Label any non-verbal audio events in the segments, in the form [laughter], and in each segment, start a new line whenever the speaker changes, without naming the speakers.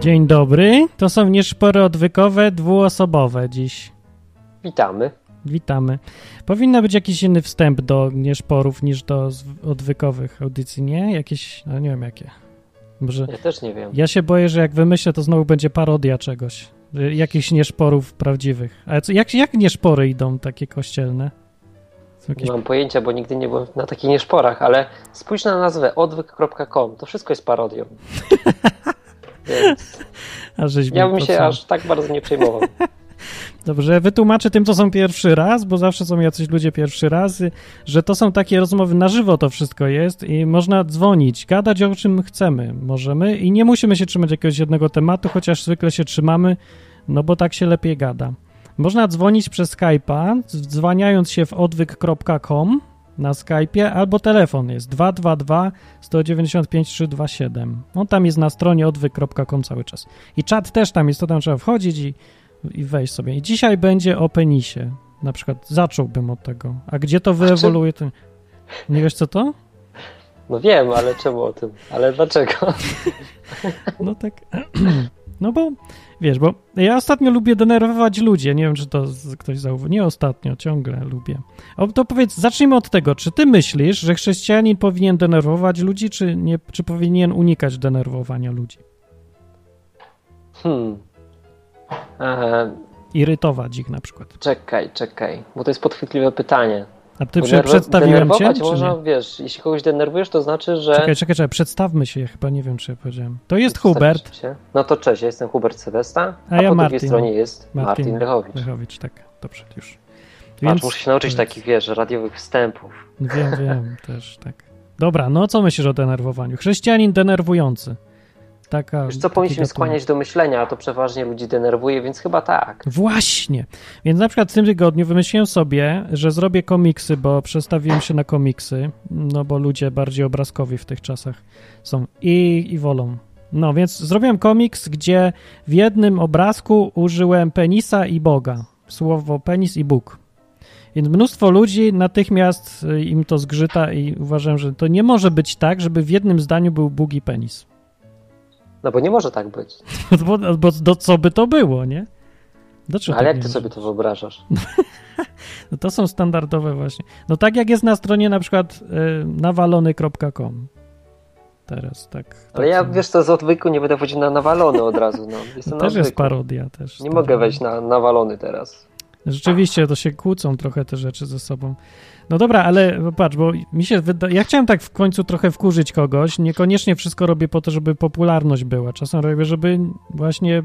Dzień dobry. To są nieszpory odwykowe, dwuosobowe dziś.
Witamy.
Witamy. Powinno być jakiś inny wstęp do nieszporów niż do zw- odwykowych audycji, nie? Jakieś, no nie wiem jakie. Może
Ja też nie wiem.
ja się boję, że jak wymyślę, to znowu będzie parodia czegoś. Że Jakichś nieszporów prawdziwych. Ale co, jak, jak nieszpory idą takie kościelne? Są jakieś...
Nie mam pojęcia, bo nigdy nie byłem na takich nieszporach, ale spójrz na nazwę odwyk.com. To wszystko
[laughs]
jest parodią. Więc
A żeśmy
ja bym się
podsumował.
aż tak bardzo nie przejmował.
Dobrze, wytłumaczę tym, co są pierwszy raz, bo zawsze są jacyś ludzie pierwszy raz, y, że to są takie rozmowy na żywo to wszystko jest i można dzwonić, gadać o czym chcemy, możemy i nie musimy się trzymać jakiegoś jednego tematu, chociaż zwykle się trzymamy, no bo tak się lepiej gada. Można dzwonić przez Skype'a, dzwaniając się w odwyk.com na Skype'ie, albo telefon jest 222 195 327. On tam jest na stronie odwyk.com cały czas. I czat też tam jest, to tam trzeba wchodzić i i wejść sobie. I dzisiaj będzie o penisie. Na przykład zacząłbym od tego. A gdzie to wyewoluuje? To... Nie wiesz co to?
No wiem, ale czemu o tym? Ale dlaczego?
[laughs] No tak. [clears throat] No bo wiesz, bo ja ostatnio lubię denerwować ludzi. Nie wiem, czy to z- ktoś zauważył. Nie ostatnio, ciągle lubię. O, to powiedz, zacznijmy od tego. Czy ty myślisz, że chrześcijanin powinien denerwować ludzi, czy, nie, czy powinien unikać denerwowania ludzi?
Hmm. Eee,
Irytować ich na przykład.
czekaj, czekaj, bo to jest podchwytliwe pytanie.
A ty
Bo
prze-
denerw-
przedstawiłem cię,
denerwować
czy
można,
nie?
wiesz, jeśli kogoś denerwujesz, to znaczy, że...
Czekaj, czekaj, czekaj, przedstawmy się, ja chyba nie wiem, czy ja powiedziałem. To jest Hubert.
Się. No to cześć, ja jestem Hubert Sylwesta,
A
a,
ja
po
Martin.
drugiej stronie jest
Martin.
Martin, Lechowicz.
Lechowicz, tak, dobrze, już.
Patrz, muszę się nauczyć
powiedz.
takich, wiesz, radiowych wstępów.
Wiem, wiem, też tak. Dobra, no co myślisz o denerwowaniu? Chrześcijanin denerwujący. Taka.
Wiesz co,
taki
powinniśmy
gatunek.
skłaniać do myślenia, a to przeważnie ludzi denerwuje, więc chyba tak.
Właśnie. Więc na przykład w tym tygodniu wymyśliłem sobie, że zrobię komiksy, bo przestawiłem się na komiksy, no bo ludzie bardziej obrazkowi w tych czasach są i, i wolą. No więc zrobiłem komiks, gdzie w jednym obrazku użyłem penisa i Boga. Słowo penis i Bóg. Więc mnóstwo ludzi natychmiast y, im to zgrzyta i uważam, że to nie może być tak, żeby w jednym zdaniu był Bóg i penis. [laughs]
No bo nie może tak być.
Bo, bo do co by to było, nie? Dlaczego
Ale
tak
jak
nie
ty
może
sobie
być?
to
[laughs]
wyobrażasz?
No to są standardowe właśnie. No tak jak jest na stronie na przykład y, nawalony.com. Teraz tak.
Ale
tak
ja,
są.
wiesz co, z odwyku nie będę wchodził na nawalony od razu, no. Jestem
to
na
też jest
odwyku.
parodia też.
Nie
tak.
mogę wejść na nawalony teraz.
Rzeczywiście, to się kłócą trochę te rzeczy ze sobą. No dobra, ale patrz, bo mi się wyda... Ja chciałem tak w końcu trochę wkurzyć kogoś. Niekoniecznie wszystko robię po to, żeby popularność była. Czasem robię, żeby właśnie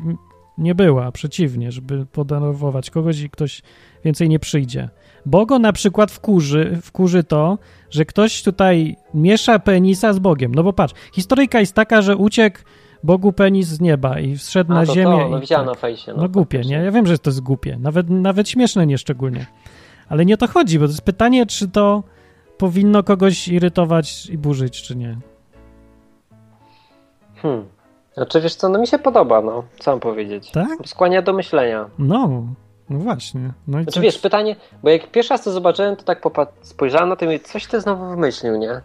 nie była, przeciwnie, żeby podenerwować kogoś i ktoś więcej nie przyjdzie. Bogo na przykład wkurzy, wkurzy to, że ktoś tutaj miesza penisa z Bogiem. No bo patrz, historyjka jest taka, że uciekł Bogu penis z nieba i wszedł
A,
na
to,
ziemię.
to, no
i
widziałem
tak.
na fejsie. No,
No głupie, nie?
faktycznie.
Ja wiem, że to jest głupie. Nawet, nawet śmieszne nieszczególnie. Ale nie o to chodzi, bo to jest pytanie, czy to powinno kogoś irytować i burzyć, czy nie.
Hmm. Znaczy, wiesz co, no mi się podoba, no. Co mam powiedzieć?
Tak?
Skłania do myślenia.
No, no właśnie. No i
Znaczy,
co-
wiesz, pytanie, bo jak pierwszy raz to zobaczyłem, to tak popat- spojrzałem na to i mówię, coś ty znowu wymyślił, nie?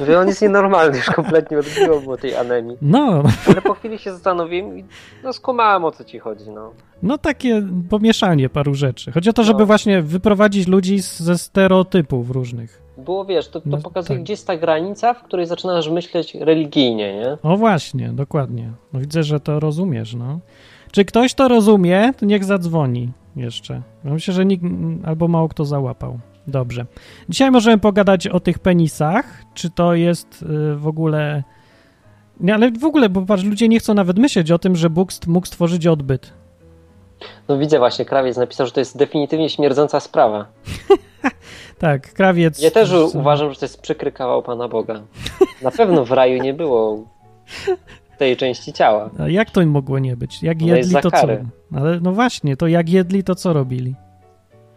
Mówię, on jest nienormalny, już kompletnie odbiło było tej anemii.
No,
Ale po chwili się zastanowiłem i no skumałem o co ci chodzi, no.
no takie pomieszanie paru rzeczy. Chodzi o to, żeby
No.
właśnie wyprowadzić ludzi z, ze stereotypów różnych.
Było, wiesz, to, to
No
pokazuje,
tak.
gdzie jest ta granica, w której zaczynasz myśleć religijnie, nie?
O właśnie, dokładnie. No widzę, że to rozumiesz, no. Czy ktoś to rozumie, to niech zadzwoni jeszcze. Ja Myślę, że nikt m, albo mało kto załapał. Dobrze. Dzisiaj możemy pogadać o tych penisach. Czy to jest y, w ogóle. Nie, ale w ogóle, bo patrz, ludzie nie chcą nawet myśleć o tym, że Bóg st- mógł stworzyć odbyt.
No widzę właśnie, krawiec napisał, że to jest definitywnie śmierdząca sprawa.
Tak, krawiec.
Ja też u- uważam, że to jest przykry kawał Pana Boga. Na pewno w raju nie było tej części
[laughs]
ciała.
A jak to im mogło nie być? Jak
Ona No
jedli
jest za
to co?
karę.
Ale no właśnie, to jak jedli to co robili?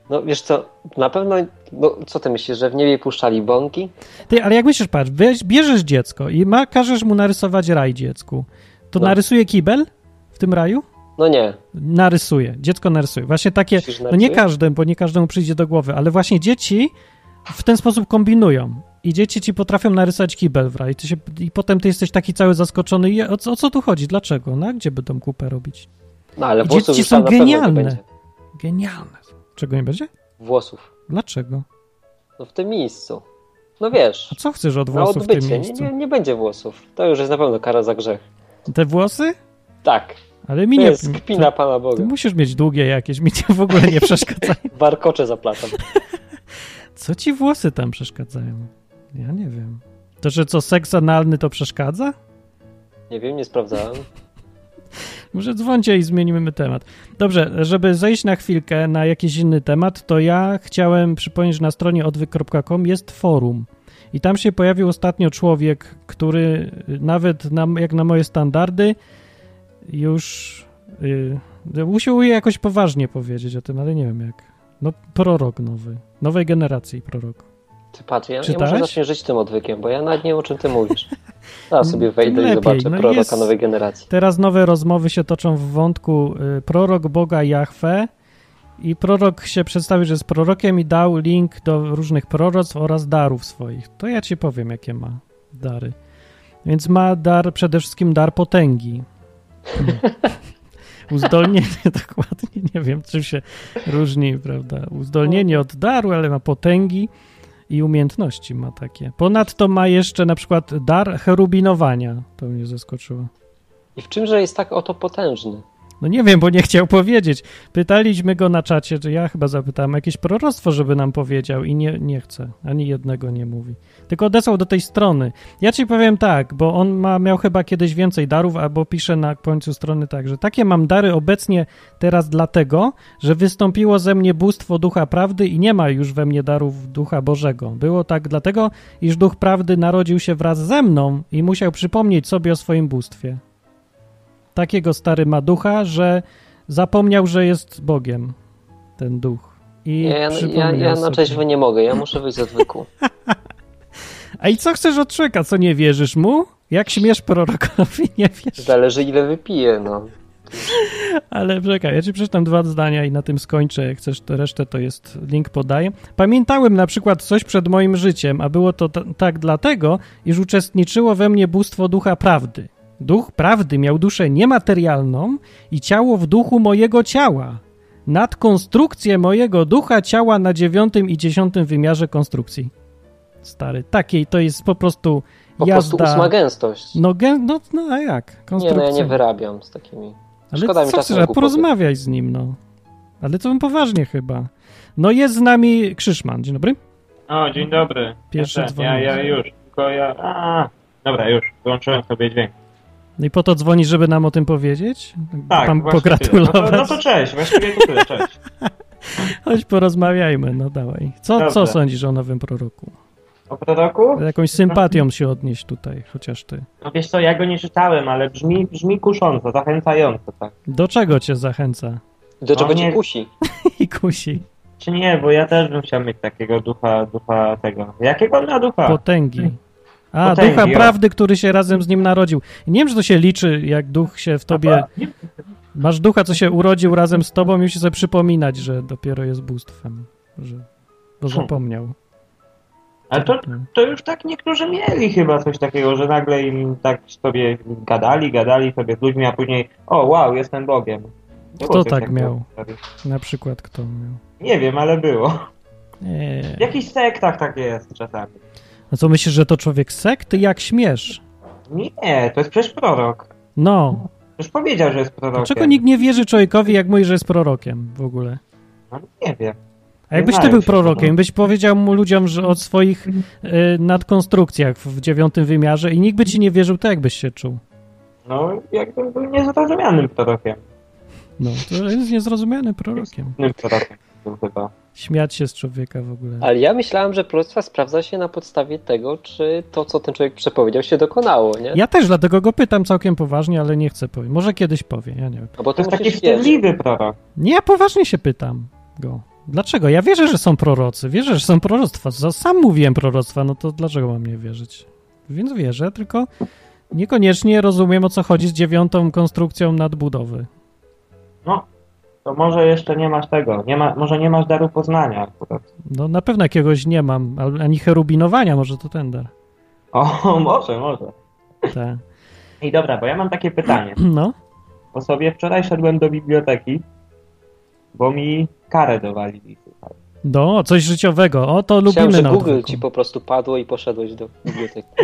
No wiesz co, na pewno, no co ty myślisz, że w niebie puszczali bąki?
Ty, ale jak myślisz, patrz, weź, bierzesz dziecko i ma, każesz mu narysować raj dziecku, to
No.
narysuje kibel w tym raju?
No nie.
Narysuje, dziecko narysuje. Właśnie takie,
Myślisz, że
no nie
narysuje?
każdym, bo nie każdemu przyjdzie do głowy, ale właśnie dzieci w ten sposób kombinują. i dzieci ci potrafią narysować kibel w raj. Ty się, I potem ty jesteś taki cały zaskoczony. I o, co- o co tu chodzi? Dlaczego? No, a gdzie będą kupę robić?
No ale
I
włosów
dzieci
już
są
tam na pewno nie
genialne.
będzie.
Genialne. Czego nie będzie?
Włosów.
Dlaczego?
No w tym miejscu. No wiesz,
A co chcesz od
na
włosów w tym
odbycie. Nie,
miejscu?
nie, nie będzie włosów. To już jest na pewno kara za grzech.
Te włosy?
Tak,
Ale mi
to
nie...
jest kpina Pana
Ty
Boga.
musisz mieć długie jakieś, mi to w ogóle [laughs]
[laughs]
nie przeszkadza.
Warkocze zaplatam.
Co ci włosy tam przeszkadzają? Ja nie wiem. To, że co, seks analny to przeszkadza?
Nie wiem, nie sprawdzałem.
Może dzwońcie i zmienimy temat. Dobrze, żeby zejść na chwilkę na jakiś inny temat, to ja chciałem przypomnieć, że na stronie odwyk.com jest forum. I tam się pojawił ostatnio człowiek, który y, nawet na, jak na moje standardy już y, usiłuje jakoś poważnie powiedzieć o tym, ale nie wiem jak. No, prorok nowy. Nowej generacji prorok.
Ty patrz, ja, ja
Czytałeś?
może zacznie żyć tym odwykiem, bo ja nawet nie wiem, o czym ty mówisz.
[laughs]
Zaraz sobie wejdę
Lepiej,
i zobaczę
no
proroka
jest-
nowej generacji.
Teraz nowe rozmowy się toczą w wątku y, prorok Boga Jahwe i prorok się przedstawił, że jest prorokiem i dał link do różnych proroctw oraz darów swoich. To ja ci powiem, jakie ma dary. Więc ma dar, przede wszystkim dar potęgi. [laughs] Hmm. Uzdolnienie, [laughs] dokładnie, nie wiem, czym się różni, prawda? Uzdolnienie od daru, ale ma potęgi i umiejętności ma takie. Ponadto ma jeszcze na przykład dar cherubinowania. To mnie zaskoczyło.
I w czymże jest tak oto potężny?
No nie wiem, bo nie chciał powiedzieć. Pytaliśmy go na czacie, czy ja chyba zapytałem jakieś proroctwo, żeby nam powiedział i nie, nie chce. Ani jednego nie mówi. Tylko odesłał do tej strony. Ja ci powiem tak, bo on ma, miał chyba kiedyś więcej darów, albo pisze na końcu strony tak, że takie mam dary obecnie teraz dlatego, że wystąpiło ze mnie bóstwo Ducha Prawdy i nie ma już we mnie darów Ducha Bożego. Było tak dlatego, iż Duch Prawdy narodził się wraz ze mną i musiał przypomnieć sobie o swoim bóstwie takiego stary ma ducha, że zapomniał, że jest Bogiem ten duch. I
Ja, ja, ja,
przypomniał
ja na
sobie.
trzeźwo nie mogę, ja muszę wyjść z odwyku.
A i co chcesz od człowieka, co nie wierzysz mu? Jak śmiesz prorokowi, nie wiesz.
Zależy ile wypiję, no.
Ale czekaj, ja ci przeczytam dwa zdania i na tym skończę. Jak chcesz to resztę, to jest link podaję. Pamiętałem na przykład coś przed moim życiem, a było to t- tak dlatego, iż uczestniczyło we mnie bóstwo ducha prawdy. Duch prawdy miał duszę niematerialną i ciało w duchu mojego ciała. Nad konstrukcję mojego ducha ciała na dziewiątym i dziesiątym wymiarze konstrukcji. Stary, takiej to jest po prostu
Po
jazda.
prostu ósma gęstość.
no, gę... no, no a jak?
Nie,
Konstrukcja.
no ja nie wyrabiam z takimi.
Ale
Szkoda mi
co
czasu
chcesz,
na
a
głupoty.
porozmawiaj z nim, no. Ale to bym poważnie chyba. No jest z nami Krzyszman, dzień dobry.
O, dzień dobry.
Pierwszy
ja, ten, ja, ja
dzwonek.
już, tylko ja... A, dobra, już, wyłączyłem sobie dźwięk.
No i po to dzwoni, żeby nam o tym powiedzieć?
Tak,
Tam
właśnie
pogratulować.
tyle. No, to- no to cześć, właściwie to tyle, cześć.
[laughs] Chodź porozmawiajmy, no dawaj. Co,
Dobra.
co sądzisz o nowym proroku?
O protoku?
Jakąś sympatią się odnieść tutaj, chociaż ty.
No wiesz co, ja go nie czytałem, ale brzmi, brzmi kusząco, zachęcająco, tak.
Do czego cię zachęca?
Do czego
No
cię
nie-
kusi?
I kusi.
Czy nie, bo ja też bym chciał mieć takiego ducha, ducha tego. Jakiego on ma ducha?
Potęgi. A,
Tak. Potęgi, tak.
ducha
o.
prawdy, który się razem z nim narodził. Nie wiem, czy to się liczy, jak duch się w tobie... Masz ducha, co się urodził razem z tobą i musi sobie przypominać, że dopiero jest bóstwem. Że, bo
Hmm.
zapomniał.
Ale to,
Hmm.
to już tak niektórzy mieli chyba coś takiego, że nagle im tak sobie gadali, gadali sobie z ludźmi, a później o, wow, jestem Bogiem. Było
Kto
coś
tak
takiego.
miał? Na przykład kto miał.
Nie wiem, ale było.
Nie.
W jakichś sektach tak jest czasami.
A co myślisz, że to człowiek sekty? Jak śmiesz?
Nie, to jest przecież prorok.
No.
Już powiedział, że jest prorokiem.
Dlaczego nikt nie wierzy człowiekowi, jak mówi, że jest prorokiem w ogóle?
No, nie wiem.
A jakbyś ty
Znają
był
się. no.
prorokiem, byś powiedział mu ludziom że o swoich y, nadkonstrukcjach w dziewiątym wymiarze i nikt by ci nie wierzył, to jakbyś się czuł?
No, jakbym był niezrozumianym prorokiem.
No, to jest niezrozumiany prorokiem.
Innym prorokiem był chyba.
Śmiać się z człowieka w ogóle.
Ale ja myślałem, że proroctwa sprawdza się na podstawie tego, czy to, co ten człowiek przepowiedział, się dokonało, nie?
Ja też dlatego go pytam całkiem poważnie, ale nie chcę powiedzieć. Może kiedyś powie, ja nie wiem.
No bo
To
ty
jest taki
musisz wierzyć.
wstydliwy prorok.
Nie, ja poważnie się pytam go. Dlaczego? Ja wierzę, że są prorocy, wierzę, że są proroctwa. Za- Sam mówiłem proroctwa, no to dlaczego mam nie wierzyć? Więc wierzę, tylko niekoniecznie rozumiem, o co chodzi z dziewiątą konstrukcją nadbudowy.
No, to może jeszcze nie masz tego, nie ma, może nie masz daru poznania akurat.
No na pewno jakiegoś nie mam, al- ani cherubinowania, może to ten dar.
O, [laughs] może, może.
Tak.
I dobra, bo ja mam takie pytanie.
[clears throat] No,
Po sobie wczoraj szedłem do biblioteki, bo mi karę dowalili. słuchaj.
do, No, coś życiowego, o to
Chciałem,
lubimy
że
na
Google
odwyku.
ci po prostu padło i poszedłeś do biblioteki.
[laughs]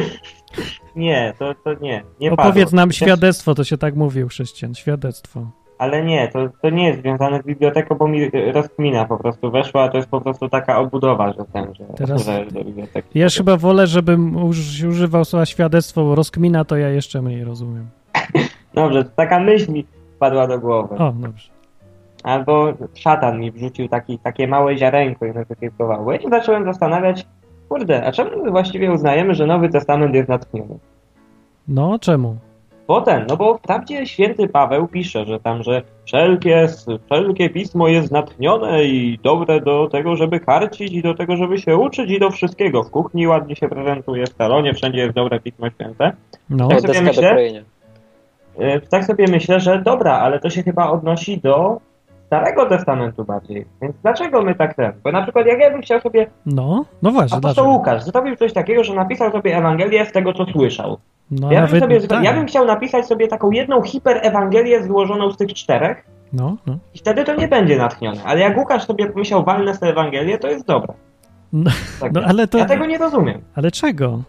Nie, to, to nie, nie
Opowiedz
padło.
nam świadectwo, to się tak mówił chrześcijan, świadectwo.
Ale nie, to, to nie jest związane z biblioteką, bo mi e, rozkmina po prostu weszła, a to jest po prostu taka obudowa, że ten, że,
Teraz-
że do biblioteki.
Ja już chyba wolę, żebym uż, używał słowa świadectwo, bo rozkmina to ja jeszcze mniej rozumiem.
Dobrze, to taka myśl mi padła do głowy.
O, no. dobrze.
Albo szatan mi wrzucił taki, takie małe ziarenko i mnie zapiepkowało. Ja się zacząłem zastanawiać, kurde, a czemu my właściwie uznajemy, że Nowy Testament jest natchniony?
No, czemu?
Potem, no bo wprawdzie święty Paweł pisze, że tam, że wszelkie, wszelkie pismo jest natchnione i dobre do tego, żeby karcić i do tego, żeby się uczyć i do wszystkiego. W kuchni ładnie się prezentuje, w salonie wszędzie jest dobre pismo święte.
No,
O,
tak sobie
deska do
myślę?
krojenia.
E, Tak sobie myślę, że dobra, ale to się chyba odnosi do Starego Testamentu bardziej. Więc dlaczego my tak ten? Bo na przykład jak ja bym chciał sobie,
no, no właśnie,
apostoł
dlaczego?
Łukasz zrobił coś takiego, że napisał sobie Ewangelię z tego, co słyszał.
No,
Ja bym, sobie,
tak.
ja bym chciał napisać sobie taką jedną hiperewangelię złożoną z tych czterech,
No, no.
I wtedy to nie będzie natchnione. Ale jak Łukasz sobie pomyślał, walnę sobie Ewangelię, to jest dobre.
No,
Tak
no
jest.
ale to,
Ja tego nie rozumiem.
ale czego?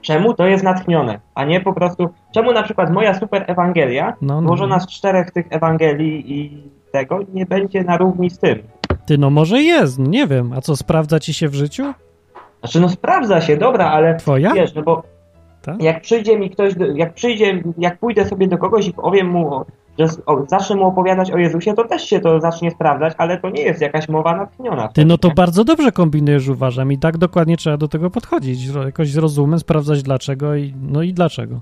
Czemu to jest natchnione, a nie po prostu... Czemu na przykład moja super Ewangelia,
No, no.
złożona z czterech tych Ewangelii i tego, nie będzie na równi z tym?
Ty, no może jest, no nie wiem. A co, sprawdza ci się w życiu?
Znaczy no sprawdza się, dobra, ale
Twoja?
wiesz, no bo
Tak?
jak przyjdzie mi ktoś, do, jak przyjdzie, jak pójdę sobie do kogoś i powiem mu, o- że s- o, zacznę mu opowiadać o Jezusie, to też się to zacznie sprawdzać, ale to nie jest jakaś mowa natchniona.
Ty, no to
Nie?
bardzo dobrze kombinujesz, uważam. I tak dokładnie trzeba do tego podchodzić. ro- Jakoś z rozumem sprawdzać dlaczego i no i dlaczego.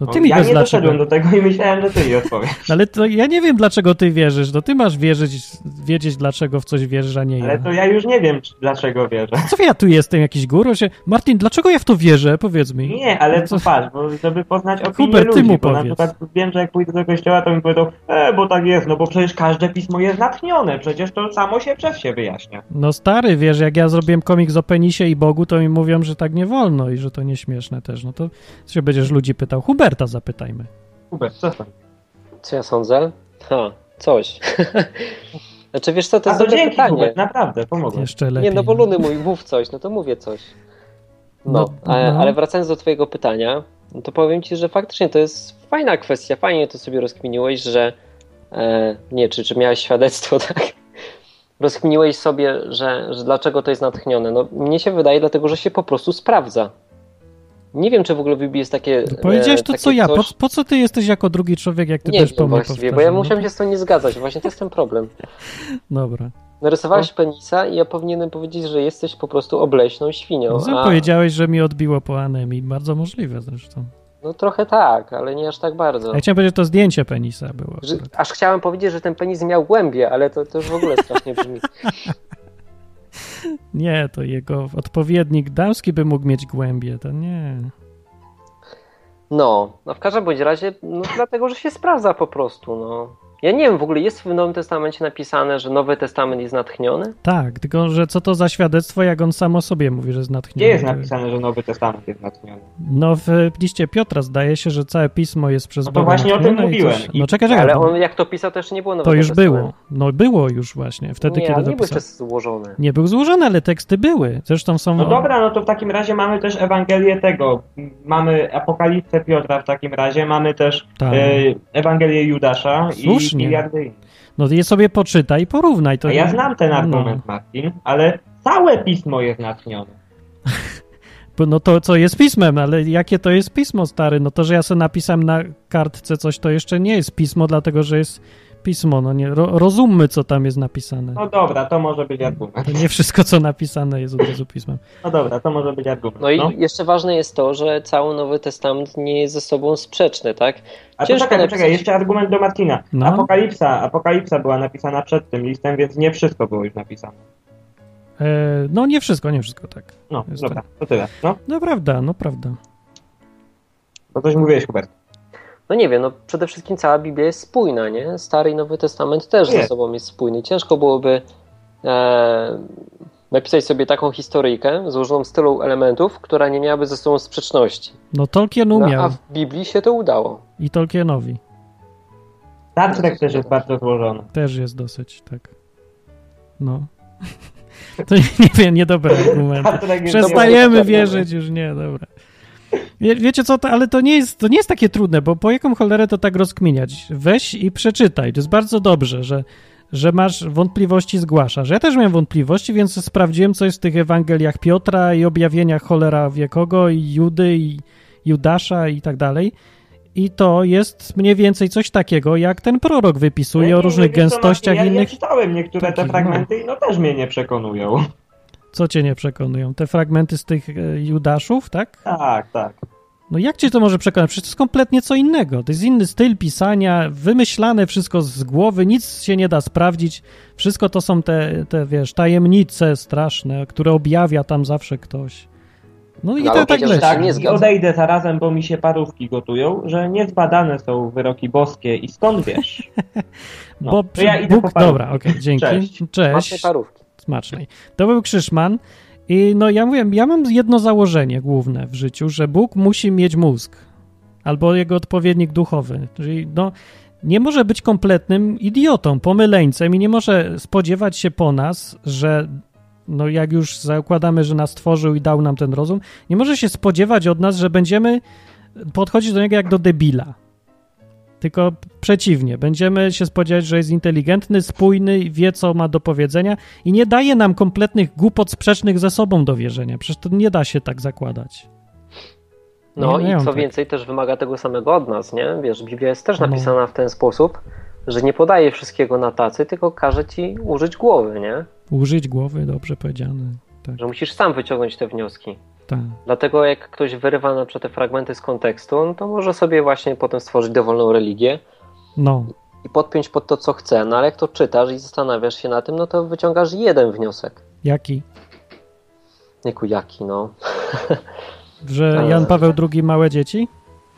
No ty mi
ja
wiesz
nie
dlaczego. No,
doszedłem do tego i myślałem, że ty mi odpowiesz.
Ale to ja nie wiem, dlaczego ty wierzysz. No ty masz wierzyć, wiedzieć, dlaczego w coś wierzysz, a nie ja.
Ale to ja już nie wiem, czy- dlaczego wierzę.
Co ja tu jestem, jakiś guru? Się... Martin, dlaczego ja w to wierzę? Powiedz mi.
Nie, ale
No co-
co patrz, bo żeby poznać opinię
Hubert, ty
ludzi,
mu
bo na
powiedz.
przykład wiem, że jak pójdę do kościoła, to mi powiedzą, e, bo tak jest, no bo przecież każde pismo jest natchnione, przecież to samo się przez się wyjaśnia.
No stary, wiesz, jak ja zrobiłem komiks o penisie i Bogu, to mi mówią, że tak nie wolno i że to nieśmieszne też. No to się będziesz ludzi pytał. Huberta zapytajmy.
Hubert, co tam?
Co ja sądzę? Ha, coś. [laughs] znaczy wiesz co, to
A
jest
to
dobre
dzięki
pytanie.
Hubert, naprawdę, pomogłeś.
Jeszcze lepiej.
Nie, no bo Luny mówi, mów coś, no to mówię coś. No,
No,
a,
no.
ale wracając do twojego pytania, no to powiem ci, że faktycznie to jest fajna kwestia, fajnie to sobie rozkminiłeś, że e, nie, czy, czy miałeś świadectwo, [laughs] tak? Rozkminiłeś sobie, że, że dlaczego to jest natchnione. No, mnie się wydaje, dlatego że się po prostu sprawdza. Nie wiem, czy w ogóle w Biblii jest takie.
No Powiedziałeś
e,
to,
takie
co ja. Po,
coś-
po co ty jesteś jako drugi człowiek, jak ty
nie
też po
wiem
mnie
właściwie, bo ja
powtarzasz? No
musiałem się z tą nie zgadzać. Właśnie to jest ten problem.
to- [laughs] Dobra.
Narysowałeś penisa i ja powinienem powiedzieć, że jesteś po prostu obleśną świnią.
No,
a-
Powiedziałeś, że mi odbiło po anemii. Bardzo możliwe zresztą.
No trochę tak, ale nie aż tak bardzo.
Ja chciałem powiedzieć, że to zdjęcie penisa było.
Że,
akurat.
aż chciałem powiedzieć, że ten penis miał głębie, ale to, to już w ogóle strasznie brzmi.
Nie, to jego odpowiednik damski by mógł mieć głębie. To nie.
No, no w każdym bądź razie, no dlatego, że się sprawdza po prostu, no. Ja nie wiem, w ogóle jest w Nowym Testamencie napisane, że Nowy Testament jest natchniony?
Tak, tylko że co to za świadectwo, jak on sam o sobie mówi, że jest
Gdzie
natchniony.
jest
To-
napisane, że Nowy Testament jest natchniony?
No w liście Piotra zdaje się, że całe pismo jest przez
No to
Boga
właśnie o tym
natchnione i
mówiłem.
Coś... No czekaj, czekaj,
Ale
bo
on jak to pisał, to jeszcze nie było Nowego
to już
Testamentu.
było. No było już właśnie, wtedy
nie,
kiedy
ale
to
nie był
pisał.
jeszcze złożony.
Nie był złożony, ale teksty były. Zresztą są...
No dobra, no to w takim razie mamy też Ewangelię tego, m, mamy Apokalipsę Piotra w takim razie, mamy też
Tak.
e, Ewangelię Judasza i
Słusznie.
miliardy innych.
No je sobie poczytaj i porównaj. To
A ja znam ten
No.
argument, Martin, ale całe pismo jest natchnione.
Bo No to co jest pismem, ale jakie to jest pismo, stary? No to, że ja sobie napisałem na kartce coś, to jeszcze nie jest pismo, dlatego że jest pismo. No nie, ro, rozummy, co tam jest napisane.
No dobra, to może być argument.
To nie wszystko, co napisane jest od razu pismem.
No dobra, to może być argument.
No i jeszcze ważne jest to, że cały Nowy Testament nie jest ze sobą sprzeczny, tak?
A to
ciężko
czekaj,
napisać.
czekaj, jeszcze argument do Martina.
No.
Apokalipsa, apokalipsa była napisana przed tym listem, więc nie wszystko było już napisane.
E, no nie wszystko, nie wszystko, tak.
No,
Jest
dobra, to tyle. No,
No prawda, no prawda.
bo coś mówiłeś, Hubert.
no nie wiem, no przede wszystkim cała Biblia jest spójna, nie? Stary i Nowy Testament też
Nie.
ze sobą jest spójny. Ciężko byłoby e, napisać sobie taką historyjkę złożoną z tylu elementów, która nie miałaby ze sobą sprzeczności.
No Tolkien
No,
umiał
a w Biblii się to udało.
i Tolkienowi
Star Trek Tak, też jest bardzo złożony.
też jest dosyć, tak. No. [laughs] To nie, nie wiem, niedobry argument.
[laughs] Star Trek jest
Przestajemy
tak Dobra,
wierzyć już, nie, dobra. Wie, wiecie co, to, ale to nie, jest, to nie jest takie trudne, bo po jaką cholerę to tak rozkminiać? Weź i przeczytaj. To jest bardzo dobrze, że, że masz wątpliwości, zgłaszasz. Ja też miałem wątpliwości, więc sprawdziłem, co jest w tych Ewangeliach Piotra i objawieniach cholera wie kogo, i Judy, i Judasza i tak dalej. I to jest mniej więcej coś takiego, jak ten prorok wypisuje
Nie,
o
nie,
różnych
No wiesz co, Marcin,
gęstościach
ja, Ja
innych.
czytałem niektóre te
takich, no.
fragmenty i no też mnie nie przekonują. [laughs]
Co cię nie przekonują? Te fragmenty z tych e, Judaszów, tak?
Tak, tak.
No jak cię to może przekonać? Przecież to jest kompletnie co innego. To jest inny styl pisania, wymyślane wszystko z głowy, nic się nie da sprawdzić. Wszystko to są te, te wiesz, tajemnice straszne, które objawia tam zawsze ktoś. No i
No,
to
ale
tak
powiedział, że
leci.
tak nie
I
zgadzam.
odejdę zarazem, bo mi się parówki gotują, że niezbadane są wyroki boskie i stąd wiesz. No,
Bo
to ja idę po
Bóg,
parówki.
dobra, okej, dzięki.
Cześć.
Masz parówki.
smacznej. To był Krzyszman. I no ja mówię, ja mam jedno założenie główne w życiu, że Bóg musi mieć mózg albo jego odpowiednik duchowy. Czyli no, nie może być kompletnym idiotą, pomyleńcem i nie może spodziewać się po nas, że no jak już zakładamy, że nas stworzył i dał nam ten rozum, nie może się spodziewać od nas, że będziemy podchodzić do niego jak do debila. Tylko przeciwnie, będziemy się spodziewać, że jest inteligentny, spójny, i wie co ma do powiedzenia i nie daje nam kompletnych głupot sprzecznych ze sobą do wierzenia. Przecież to nie da się tak zakładać.
No
Nie, nie
i
mam
co
tak.
więcej, też wymaga tego samego od nas, nie? Wiesz, Biblia jest też
No.
napisana w ten sposób, że nie podaje wszystkiego na tacy, tylko każe ci użyć głowy, nie?
Użyć głowy, dobrze powiedziane. Tak,
Że musisz sam wyciągnąć te wnioski.
tak.
Dlatego jak ktoś wyrywa na przykład te fragmenty z kontekstu, no to może sobie właśnie potem stworzyć dowolną religię
No,
i podpiąć pod to, co chce. No ale jak to czytasz i zastanawiasz się na tym, no to wyciągasz jeden wniosek.
jaki?
Nieku jaki, no. [laughs]
Że Jan Paweł II małe dzieci?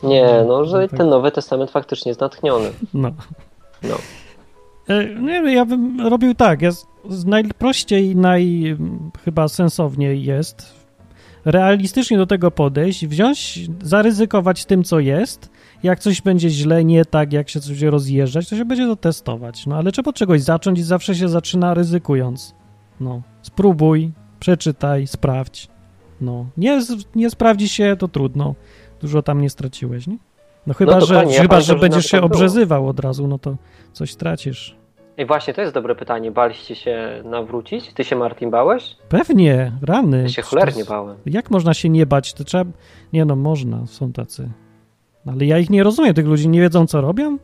Nie, no, że
No tak.
ten Nowy Testament faktycznie jest natchniony.
No.
No.
E, Nie, no ja bym robił tak. Ja z, z najprościej, naj m, chyba sensowniej jest realistycznie do tego podejść, wziąć, zaryzykować tym, co jest. Jak coś będzie źle, nie tak, jak się coś będzie rozjeżdżać, to się będzie to testować. No ale trzeba od czegoś zacząć i zawsze się zaczyna ryzykując. No, spróbuj, przeczytaj, sprawdź. No, nie, z- nie sprawdzi się, to trudno. Dużo tam nie straciłeś, nie? No chyba, że,
dokładnie, ja
chyba, że
pamiętam, że
będziesz
nawet
się
tak było.
obrzezywał od razu, no to coś tracisz.
I właśnie to jest dobre pytanie. Baliście się nawrócić? Ty się Martin bałeś?
Pewnie, rany.
Ja się
Przecież
cholernie
to-
bałem.
Jak można się nie bać? To trzeba... Nie no, można, są tacy. Ale ja ich nie rozumiem, tych ludzi nie wiedzą, co robią.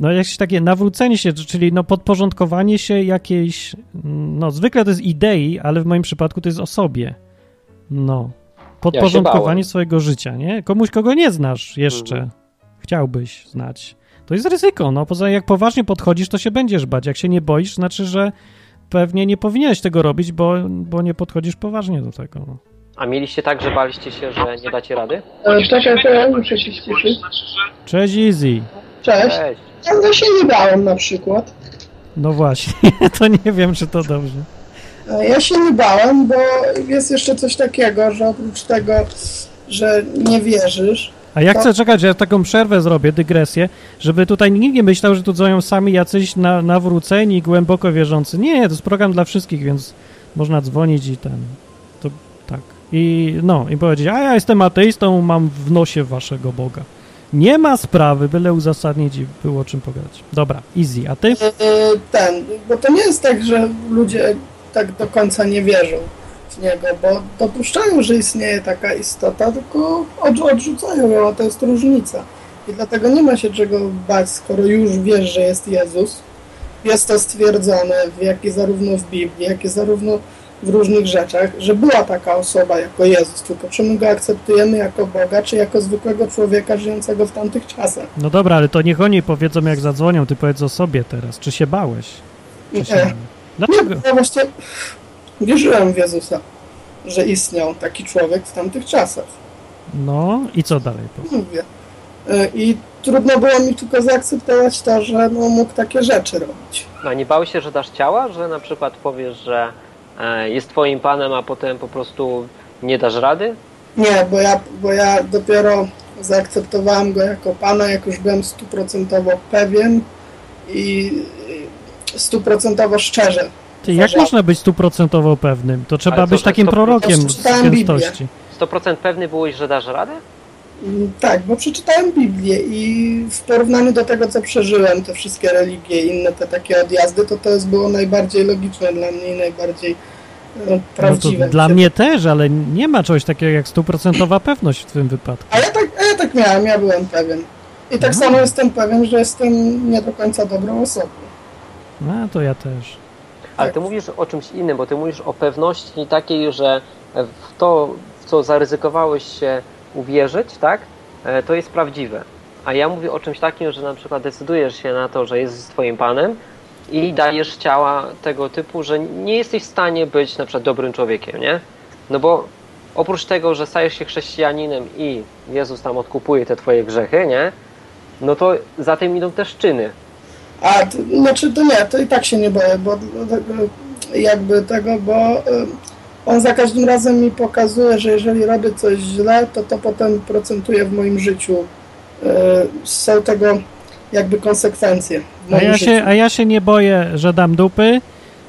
No jakieś takie nawrócenie się, czyli no podporządkowanie się jakiejś, no zwykle to jest idei, ale w moim przypadku to jest osobie. No. Podporządkowanie
bałem.
swojego życia, nie? Komuś, kogo nie znasz jeszcze,
Mhm.
chciałbyś znać. To jest ryzyko, no poza jak poważnie podchodzisz, to się będziesz bać. Jak się nie boisz, znaczy, że pewnie nie powinieneś tego robić, bo, bo nie podchodzisz poważnie do tego. No.
A mieliście tak, że baliście się, że nie dacie rady?
Szczerze FM, przecież ciszy.
Cześć Easy.
Cześć.
Cześć.
Ja go się nie bałem na przykład.
No właśnie, [laughs] to nie wiem, czy to dobrze.
E, Ja się nie bałem, bo jest jeszcze coś takiego, że oprócz tego, że nie wierzysz,
A ja
To-
chcę czekać, że ja taką przerwę zrobię, dygresję, żeby tutaj nikt nie myślał, że tu dzwonią sami jacyś na, nawróceni, głęboko wierzący. Nie, to jest program dla wszystkich, więc można dzwonić i ten. To tak. I no, i powiedzieć, a ja jestem ateistą, mam w nosie waszego Boga. Nie ma sprawy, byle uzasadnić i było o czym pogadać. Dobra, easy, a ty?
e, ten, bo to nie jest tak, że ludzie tak do końca nie wierzą w niego, bo dopuszczają, że istnieje taka istota, tylko odrzu- odrzucają ją, a to jest różnica. I dlatego nie ma się czego bać, skoro już wiesz, że jest Jezus. Jest to stwierdzone, w jak i zarówno w Biblii, jak i zarówno w różnych rzeczach, że była taka osoba jako Jezus, tylko czy my go akceptujemy jako Boga, czy jako zwykłego człowieka żyjącego w tamtych czasach.
No dobra, ale to niech oni powiedzą, jak zadzwonią, ty powiedz o sobie teraz. Czy się bałeś? Czy się...
E,
Dlaczego?
Nie, ja właśnie wierzyłem w Jezusa, że istniał taki człowiek w tamtych czasach.
No i co dalej? powiedz?
Mówię. Y, I trudno było mi tylko zaakceptować to, że no, mógł takie rzeczy robić.
A No, nie bał się, że dasz ciała? Że na przykład powiesz, że e, jest twoim panem, a potem po prostu nie dasz rady?
Nie, bo ja, bo ja dopiero zaakceptowałem go jako pana, jak już byłem stuprocentowo pewien i i stuprocentowo szczerze.
Ty, jak
Zdarza-
można być stuprocentowo pewnym? To trzeba
Ale co,
być
że
takim
100%
prorokiem z
przeczytałem Biblię.
gęstości.
100% pewny byłeś, że dasz radę?
Mm, Tak, bo przeczytałem Biblię i w porównaniu do tego, co przeżyłem, te wszystkie religie i inne te takie odjazdy, to to jest było najbardziej logiczne dla mnie i najbardziej no,
No to
prawdziwe.
dla mnie też, ale nie ma czegoś takiego jak stuprocentowa pewność w tym wypadku.
A ja tak, a ja tak miałem, ja byłem pewien. I tak
Mhm.
samo jestem pewien, że jestem nie do końca dobrą osobą.
No to ja też.
Ale
Tak.
ty mówisz o czymś innym, bo ty mówisz o pewności takiej, że w to, w co zaryzykowałeś się uwierzyć, tak, e, to jest prawdziwe. A ja mówię o czymś takim, że na przykład decydujesz się na to, że jest twoim panem i dajesz ciała tego typu, że nie jesteś w stanie być na przykład dobrym człowiekiem, nie? No bo oprócz tego, że stajesz się chrześcijaninem i Jezus tam odkupuje te twoje grzechy, nie? No to za tym idą też czyny.
A, t- znaczy to nie, to i tak się nie boję, bo dlatego- jakby tego, bo y, on za każdym razem mi pokazuje, że jeżeli robię coś źle, to to potem procentuje w moim życiu. Y, Są tego jakby konsekwencje w
A
moim
ja,
życiu.
się, a ja się nie boję, że dam dupy,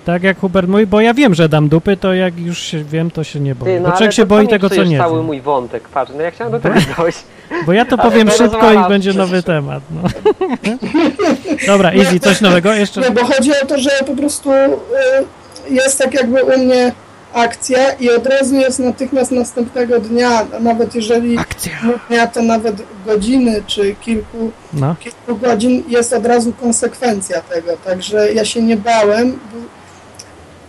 tak jak Hubert mówi, bo ja wiem, że dam dupy, to jak już się wiem, to się nie boję.
Ty, no
bo
ale
człowiek się
to
boi
mi
tego, co
psujesz
nie
cały
wie.
mój wątek, patrz, no ja chciałem do tego dojść.
Bo ja to
Ale
powiem
to
szybko i
rozwalam
będzie
przecież.
nowy temat. No.
[laughs]
Dobra, Izzy, coś nowego jeszcze?
Nie, bo chodzi o to, że po prostu y, jest tak jakby u mnie akcja i od razu jest natychmiast następnego dnia, a nawet jeżeli
Akcja.
dnia to nawet godziny czy kilku,
No.
kilku godzin jest od razu konsekwencja tego, także ja się nie bałem, bo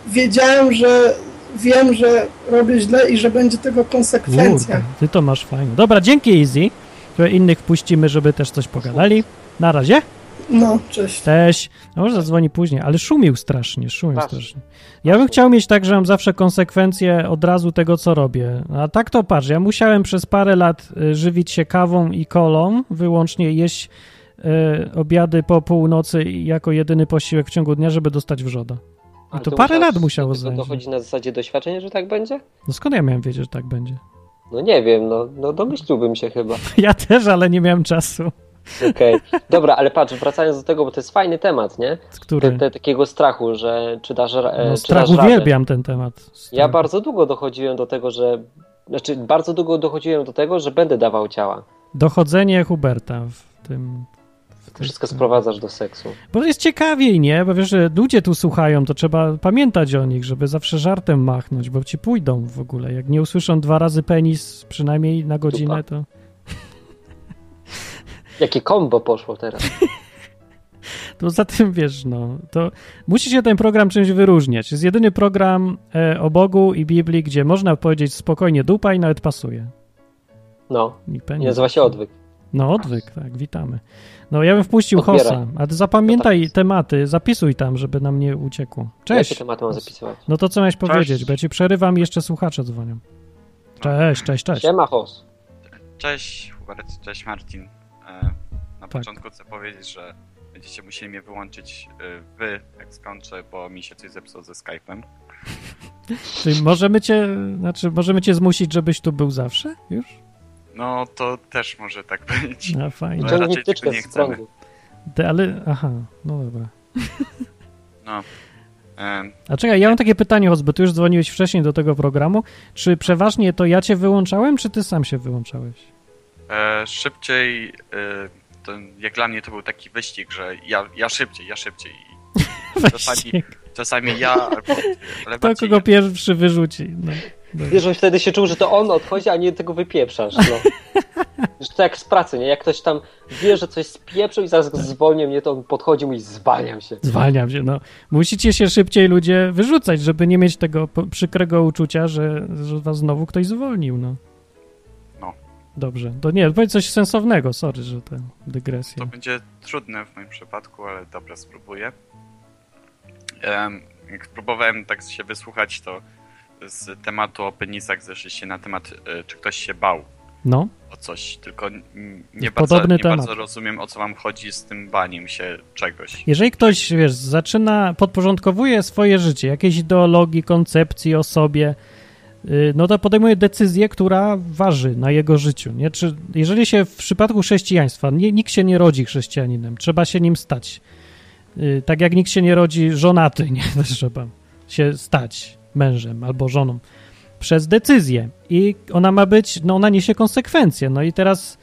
wiedziałem, że wiem, że robię źle i że będzie tego konsekwencja.
Kurde, ty to masz fajnie. Dobra, dzięki Izzy. Trochę innych puścimy, żeby też coś pogadali. Na razie.
No, cześć.
Cześć. A może zadzwoni później, ale szumił strasznie, szumił
Strasznie.
strasznie. Ja bym chciał mieć tak, że mam zawsze konsekwencje od razu tego, co robię. A tak to patrz, ja musiałem przez parę lat y, żywić się kawą i kolą, wyłącznie jeść y, obiady po północy i jako jedyny posiłek w ciągu dnia, żeby dostać wrzoda. no
Ale
to
ty
parę
musiałeś-
lat musiało
do tego
zająć.
dochodzi na zasadzie doświadczenia, że tak będzie?
No skąd ja miałem wiedzieć, że tak będzie? [laughs]
No nie wiem, no, no domyśliłbym się chyba. [laughs]
Ja też, ale nie miałem czasu.
Okej. Dobra, ale patrz, wracając do tego, bo to jest fajny temat, nie? Te,
Który?
te, takiego strachu, że czy dasz, ra- e,
No,
czy
strach
dasz radę.
uwielbiam ten temat.
Ja
Strach.
bardzo długo dochodziłem do tego, że... Znaczy, bardzo długo dochodziłem do tego, że będę dawał ciała.
Dochodzenie Huberta w tym. W
To
tym
wszystko sprowadzasz do seksu.
Bo jest ciekawiej, nie? Bo wiesz, że ludzie tu słuchają, to trzeba pamiętać o nich, żeby zawsze żartem machnąć, bo ci pójdą w ogóle. Jak nie usłyszą dwa razy penis, przynajmniej na godzinę, to.
Jakie kombo poszło teraz.
To za tym wiesz, no. To musi się ten program czymś wyróżniać. Jest jedyny program e, o Bogu i Biblii, gdzie można powiedzieć spokojnie dupa i nawet pasuje. [laughs]
No,
I
nie
penis.
nazywa się odwyk.
No, odwyk, tak, witamy. No, ja bym wpuścił
Odbieraj.
Hossa, a ty zapamiętaj
To tak.
tematy, zapisuj tam, żeby nam nie uciekło. Cześć!
Jakie tematy mam zapisywać?
No to co miałeś powiedzieć, bo ja ci przerywam i jeszcze słuchacze dzwonią. Cześć, cześć, cześć.
Siema, hos.
Cześć Hubert, cześć Marcin. E, Na
Tak.
początku chcę powiedzieć, że będziecie musieli mnie wyłączyć e, wy, jak skończę, bo mi się coś zepsuło ze Skype'em.
Czyli możemy cię, znaczy możemy cię zmusić, żebyś tu był zawsze już?
No to też może tak [laughs] być.
No fajnie.
raczej
Ciągnij
tego
wtyczkę
nie
z
chcemy.
prądu.
Ty, ale, aha, no dobra.
No. E,
A czekaj, ja mam takie pytanie, Hos, bo ty już dzwoniłeś wcześniej do tego programu. Czy przeważnie to ja cię wyłączałem, czy ty sam się wyłączałeś?
e, Szybciej, e, to, jak dla mnie to był taki wyścig, że ja, ja szybciej, ja szybciej.
[laughs]
I Czasami,
Właśnie,
czasami ja, albo ale
kto
bardziej
kogo
ja.
pierwszy wyrzuci. No.
Wiesz, on wtedy się czuł, że to on odchodzi, a nie tego wypieprzasz.
[laughs]
No. Że to jak z pracy, nie? Jak ktoś tam wie, że coś spieprzył i zaraz tak. zwolnił mnie, to on podchodził i zwalniam się.
Zwalniam się, no. Musicie się szybciej ludzie wyrzucać, żeby nie mieć tego po- przykrego uczucia, że, że was znowu ktoś zwolnił, no.
No.
Dobrze, to nie, powiedz coś sensownego, sorry, że tę dygresję.
To będzie trudne w moim przypadku, ale dobra, spróbuję. Em, Jak próbowałem tak się wysłuchać, to z tematu o penisach zeszliście na temat, e, czy ktoś się bał.
No,
o coś, tylko n- nie,
Podobny
bardzo, nie
temat.
bardzo rozumiem o co wam chodzi z tym baniem się czegoś.
Jeżeli ktoś, wiesz, zaczyna, podporządkowuje swoje życie, jakiejś ideologii, koncepcji o sobie, y, no to podejmuje decyzję, która waży na jego życiu. Nie? Czy, jeżeli się w przypadku chrześcijaństwa, nie, nikt się nie rodzi chrześcijaninem, trzeba się nim stać. Y, Tak jak nikt się nie rodzi żonaty, nie? [laughs] Też trzeba się stać mężem albo żoną przez decyzję. I ona ma być, no ona niesie konsekwencje. No i teraz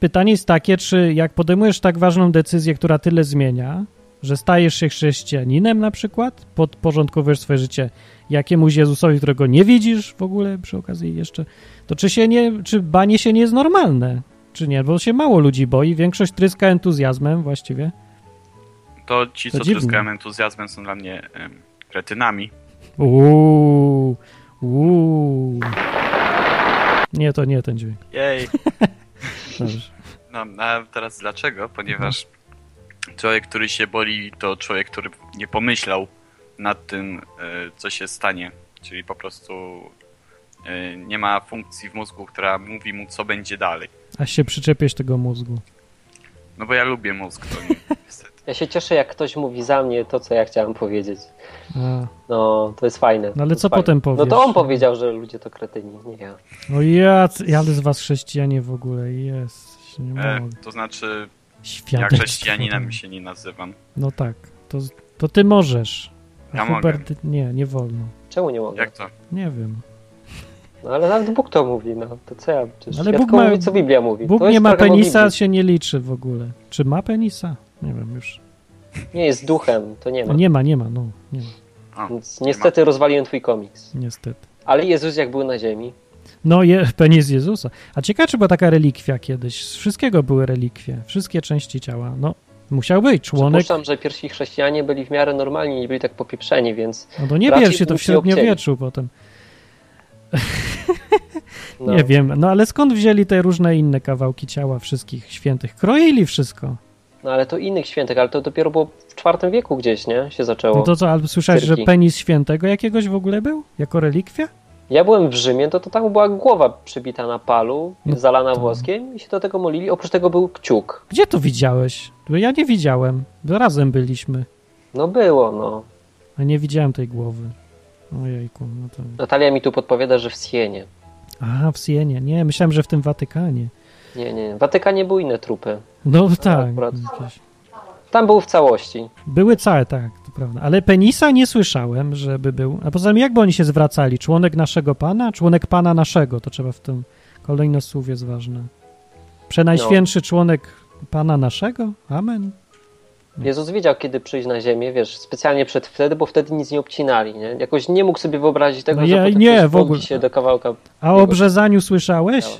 pytanie jest takie, czy jak podejmujesz tak ważną decyzję, która tyle zmienia, że stajesz się chrześcijaninem na przykład, podporządkowujesz swoje życie jakiemuś Jezusowi, którego nie widzisz w ogóle przy okazji jeszcze, to czy się nie, czy banie się nie jest normalne, czy nie, bo się mało ludzi boi, większość tryska entuzjazmem właściwie.
To ci,
To
co
dziwne.
tryskają entuzjazmem, są dla mnie em, kretynami.
Uuu, uuu. Nie, to nie ten dźwięk.
Jej!
Dobrze.
No, a teraz dlaczego? Ponieważ człowiek, który się boli, to człowiek, który nie pomyślał nad tym, e, co się stanie. Czyli po prostu e, nie ma funkcji w mózgu, która mówi mu, co będzie dalej.
Aż się przyczepiesz tego mózgu.
No bo ja lubię mózg, to nie, niestety.
Ja się cieszę, jak ktoś mówi za mnie to, co ja chciałem powiedzieć.
A,
No, to jest fajne.
No ale
To jest
co
fajne.
potem
No to
powiesz?
on powiedział, że ludzie to kretyni, nie ja.
no jacy, ale z was chrześcijanie w ogóle jest. Nie
E,
mogę.
to znaczy, ja
Świadectwo.
chrześcijaninem się nie nazywam.
No tak, to, to ty możesz. A
Ja
Hubert, nie, nie wolno.
Czemu nie mogę?
Jak to?
Nie wiem.
No ale nawet Bóg to mówi, no. To co ja? Przecież
Ale
ja
Bóg
tylko
ma-
mówię, co Biblia mówi.
Bóg
to
nie
jest
ma
prawo
penisa,
Biblii.
się nie liczy w ogóle. Czy ma penisa? Nie wiem już.
Nie, jest duchem, to nie ma.
No nie ma, nie ma, no. Nie ma,
O,
Więc niestety rozwaliłem twój komiks.
niestety.
Ale Jezus jak był na ziemi,
No, je, [laughs] penis Jezusa. A ciekawe, czy była taka relikwia kiedyś. Z wszystkiego były relikwie. Wszystkie części ciała. No, musiał być. Członek.
przypuszczam, że pierwsi chrześcijanie byli w miarę normalni, nie byli tak popieprzeni, więc
No to nie
raczej
bierz się to w
nic nie obcięli.
średniowieczu potem.
no,
Nie wiem. No ale skąd wzięli te różne inne kawałki ciała wszystkich świętych? Kroili wszystko.
no ale to innych świętych, ale to dopiero było w IV wieku gdzieś, nie? Się zaczęło.
No to co, albo słyszałeś, że
Cyrki.
penis świętego jakiegoś w ogóle był? Jako relikwia?
Ja byłem w Rzymie, to, to tam była głowa przybita na palu,
No
zalana
to-
włoskiem i się do tego molili. Oprócz tego był kciuk.
Gdzie to widziałeś? Bo ja nie widziałem. Razem byliśmy,
No było, no.
a nie widziałem tej głowy. Ojejku, no to...
Natalia mi tu podpowiada, że w Sienie.
Aha, w Sienie. Nie, myślałem, że w tym Watykanie.
Nie, nie. W Watykanie były inne trupy.
No tak.
akurat.
jakieś-
Tam był w całości.
Były całe, tak, to prawda. Ale penisa nie słyszałem, żeby był. A poza tym, jakby oni się zwracali? Członek naszego Pana? Członek Pana naszego. To trzeba w tym kolejnosłówie jest ważne. Przenajświętszy członek Pana naszego? Amen.
Jezus wiedział, kiedy przyjść na ziemię, wiesz, specjalnie przed wtedy, bo wtedy nic nie obcinali, nie? Jakoś nie mógł sobie wyobrazić tego,
No
że
ja-
potem
nie,
ktoś
w ogóle.
wbądzi się do kawałka
A o
Jego-
obrzezaniu słyszałeś?
ciała.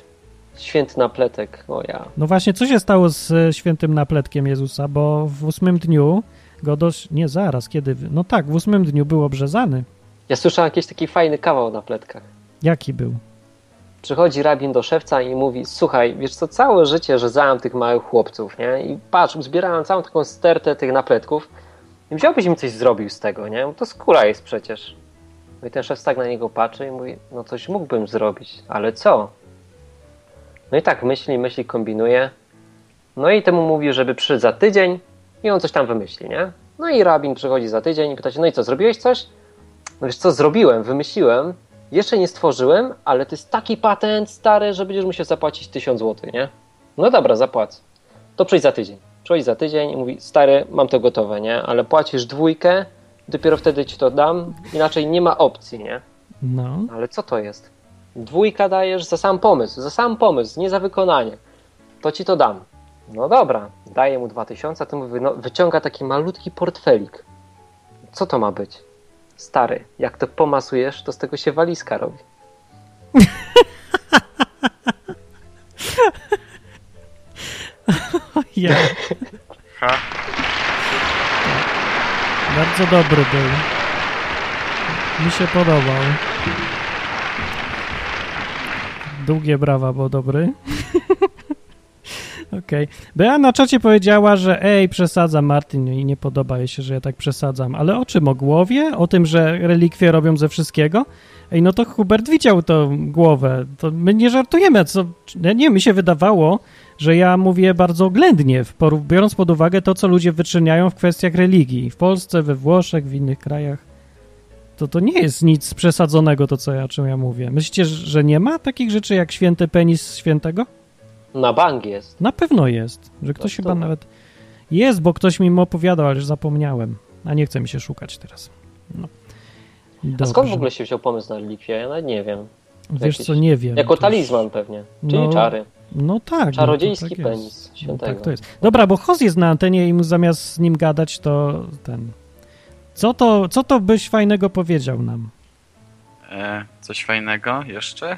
Święty napletek, o ja.
No właśnie, co się stało z e, świętym napletkiem Jezusa? Bo w ósmym dniu go dość... Nie, zaraz, kiedy... wy- No tak, w ósmym dniu był obrzezany.
Ja słyszałem jakiś taki fajny kawał o napletkach.
Jaki był?
Przychodzi rabin do szewca i mówi: Słuchaj, wiesz co, całe życie rzezałem tych małych chłopców, nie? I patrz, zbierałem całą taką stertę tych napletków. I wziąłbyś mi coś zrobił z tego, nie? No To skóra jest przecież. No i ten szewc tak na niego patrzy i mówi: No coś mógłbym zrobić, ale co? No i tak myśli, myśli, kombinuje. No i temu mówi, żeby przyszedł za tydzień i on coś tam wymyśli, nie? No i rabin przychodzi za tydzień i pyta się: No i co, zrobiłeś coś? No wiesz co, zrobiłem, wymyśliłem, jeszcze nie stworzyłem, ale to jest taki patent stary, że będziesz musiał zapłacić 1000 zł, nie? No dobra, zapłacę. To przyjdź za tydzień. Przyjdź za tydzień i mówi, stary, mam to gotowe, nie? Ale płacisz dwójkę, dopiero wtedy ci to dam, inaczej nie ma opcji, nie?
No.
Ale co to jest? Dwójka dajesz za sam pomysł, za sam pomysł, nie za wykonanie. To ci to dam. No dobra, daję mu 2000, a ten mówi, no, wyciąga taki malutki portfelik. Co to ma być? Stary, jak to pomasujesz, to z tego się walizka robi.
Ja,
Ha,
bardzo dobry był. Mi się podobał. Długie brawa, bo dobry. Okej, [laughs] Okej. Bea na czacie powiedziała, że ej, przesadzam Martin i nie podoba jej się, że ja tak przesadzam. Ale o czym? O głowie? O tym, że relikwie robią ze wszystkiego? Ej, no to Hubert widział tą głowę. To my nie żartujemy. Co? Nie, nie, mi się wydawało, że ja mówię bardzo oględnie, w poru- biorąc pod uwagę to, co ludzie wyczyniają w kwestiach religii. W Polsce, we Włoszech, w innych krajach. To to nie jest nic przesadzonego, to co ja, o czym ja mówię. Myślicie, że nie ma takich rzeczy jak święty penis świętego?
Na bank jest.
Na pewno jest, że ktoś
No, to-
chyba nawet jest, bo ktoś mi opowiadał, ale już zapomniałem, a nie chce mi się szukać teraz. No.
A
Dobrze.
skąd w ogóle się wziął pomysł na relikwie? Ja nawet nie wiem.
Wiesz
jakieś-
co, nie wiem.
Jako
to już-
talizman pewnie, czyli
No,
czary.
No tak. no to
Czarodziejski
tak jest.
penis
No
świętego.
tak to jest. Dobra, bo Hoz jest na antenie i mu zamiast z nim gadać, to ten... Co to, co to byś fajnego powiedział nam?
E, coś fajnego jeszcze?